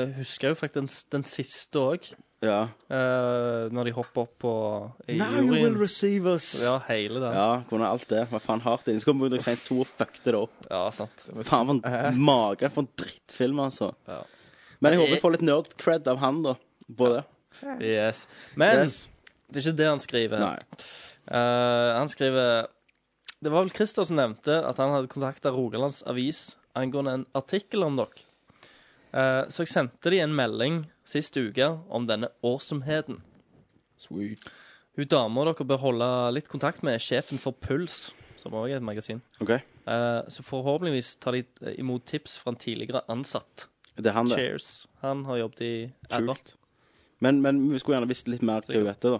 vi husker jo faktisk den, den siste òg.
Ja.
når de hopper opp på i
Now you
juryen.
will receive us.
Ja, hele den.
Ja, kunne alt det. Hva faen hardt inn. Så kom Woodrock Saints 2 og fucket det opp.
Ja, sant.
Faen, for en mage for en drittfilm, altså. Men jeg håper jeg får litt nerd-cred av han, da. På det.
Yes. Men
Yes.
det er ikke det han skriver.
Nei.
Eh, han skriver Det var vel Christer som nevnte at han hadde kontakta Rogalands Avis angående en artikkel om dere. Eh, så jeg sendte de en melding sist uke om denne årsomheten.
Sweet.
Hun dama dere bør holde litt kontakt med, er sjefen for Puls, som også er et magasin.
Ok.
Eh, så forhåpentligvis tar de imot tips fra en tidligere ansatt.
Det er han, det.
Cheers. Han har jobbet i Advert.
Men, men vi skulle gjerne visst litt mer hva hun heter, da.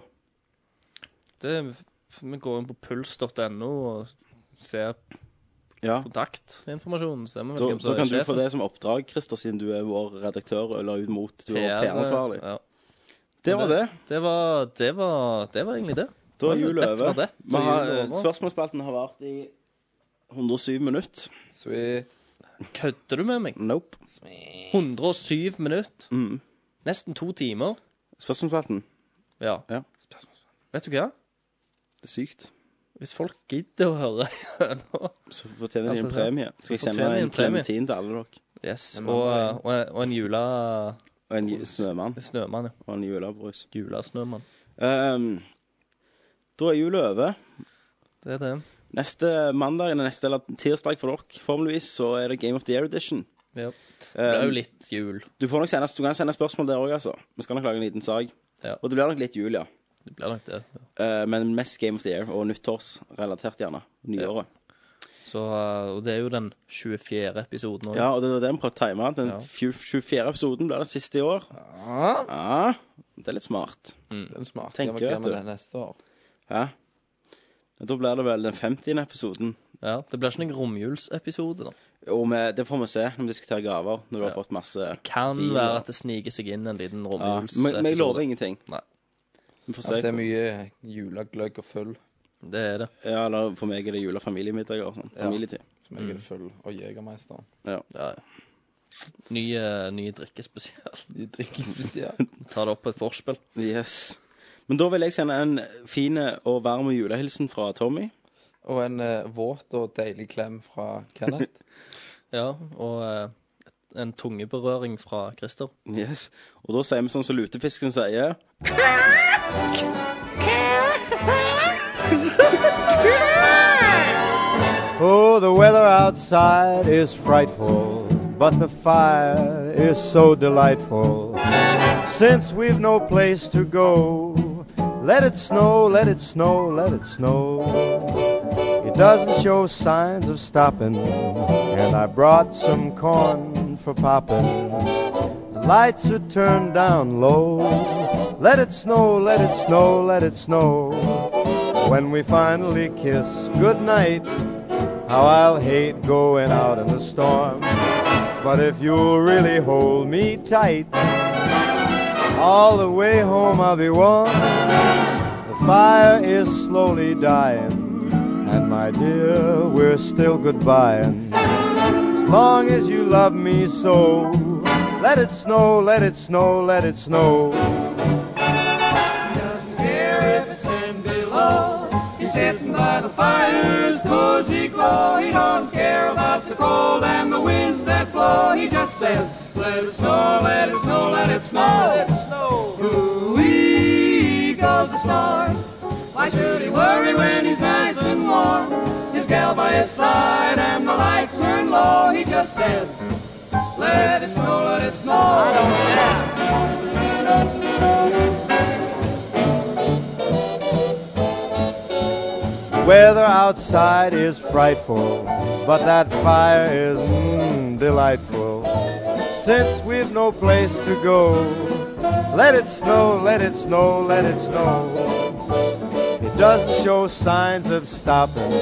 Det, vi går inn på puls.no og ser
Ja.
kontaktinformasjonen. Ser vi
Da,
vel hvem
da
som
kan
er
du få
sjefen.
det som oppdrag, Christer, siden du er vår redaktør eller ut mot du er vår
PR,
PR-ansvarlig.
ja.
Det var det.
Det var, det var, det var egentlig det.
Da er jul
Dette var
over.
det.
Vi har- Spørsmålsspalten har vært i 107 minutter.
Sweet.
Kødder du med meg?
Nope. Mm.
107 minutter. Nesten to timer.
Spørsmålsspalten.
Ja.
Ja.
Vet du hva?
Det er sykt.
Hvis folk gidder å høre nå
Så fortjener de en
Altså, så-
premie.
så
Skal jeg sende
fortjener de en
en
premie.
klementin til alle dere?
Yes. Og, og, og en jula...
Og en ju- snømann.
Snømann, ja.
Og en julebrus.
Julesnømann.
Ehm, da er jula over.
Det er det.
Neste mandag eller neste eller tirsdag for dere, formeligvis, så er det Game of the Year Edition.
Ja. Det er
Ehm,
jo litt jul.
Du, får nok sende, du kan sende spørsmål der òg, altså. Vi skal nok lage en liten sak.
Ja.
Og det blir nok litt jul, ja.
Det blir nok det.
Eh, men mest Game of the Year og nyttårsrelatert, gjerne. Nyåret.
Så, og det er jo den 24. episoden
Ja,
også.
og det var det vi prøvde å time. Den
Ja.
fju- 24. episoden blir den siste i år. Ja. Det er litt smart.
Mm.
Den smarte
Tenker,
var gøy
vet
med
du.
det neste år.
Ja. Da blir det vel den 50. episoden.
Ja, det blir ikke noen romjulsepisode, da.
Og vi- det får vi se når vi diskuterer gaver, når du har fått masse
Kan
biler.
være at det sniker seg inn en liten
ja.
romjulsepisode.
Men men jeg lover ingenting.
Nei.
Vi får
At
se.
det er mye julegløgg og full.
Det er det.
Ja, eller for meg er det jule- og familiemiddager og sånn. Familietid.
Som
Mm.
jeg er full. Og Jegermeister.
Ja.
Ja, ja. Ny, eh, ny drikkespesial.
De drikker spesielt.
Ta det opp på et forspill.
Yes. Men da vil jeg sende en fin og varm julehilsen fra Tommy.
Og en eh, våt og deilig klem fra Kenneth.
Ja, og eh, en tungeberøring fra Christer.
Yes. Og da sier vi sånn som lutefisken sier.
Oh, the weather outside is frightful, but the fire is so delightful. Since we've no place to go, let it snow, let it snow, let it snow. It doesn't show signs of stopping, and I brought some corn for popping. The lights are turned down low. Let it snow, let it snow, let it snow. When we finally kiss goodnight, how I'll hate going out in the storm. But if you'll really hold me tight, all the way home I'll be warm. The fire is slowly dying, and my dear, we're still goodbying. As long as you love me so, let it snow, let it snow, let it snow.
Here if it's ten below, he's sitting by the fire's cozy glow. He don't care about the cold and the winds that blow. He just says, let it snow, let it snow, let it snow. Let it snow. Ooh-wee goes the storm. Why should he worry when he's nice and warm? His gal by his side and the lights turn low. He just says, let it snow, let it snow. I don't care.
Weather outside is frightful, but that fire is mm, delightful. Since we've no place to go, let it snow, let it snow, let it snow. It doesn't show signs of stopping,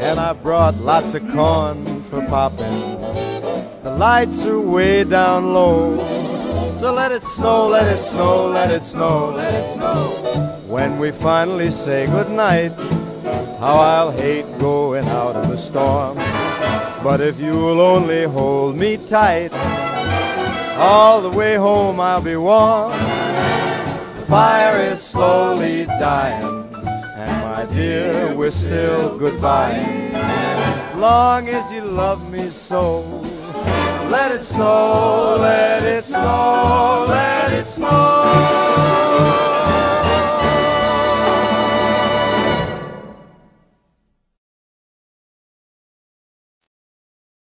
and I brought lots of corn for popping. The lights are way down low, so let it snow, let it snow, let it snow, let it snow. When we finally say goodnight, how I'll hate going out in the storm.
But if you'll only hold me tight, all the way home I'll be warm. The fire is slowly dying, and my dear, we're still goodbye. Long as you love me so, let it snow.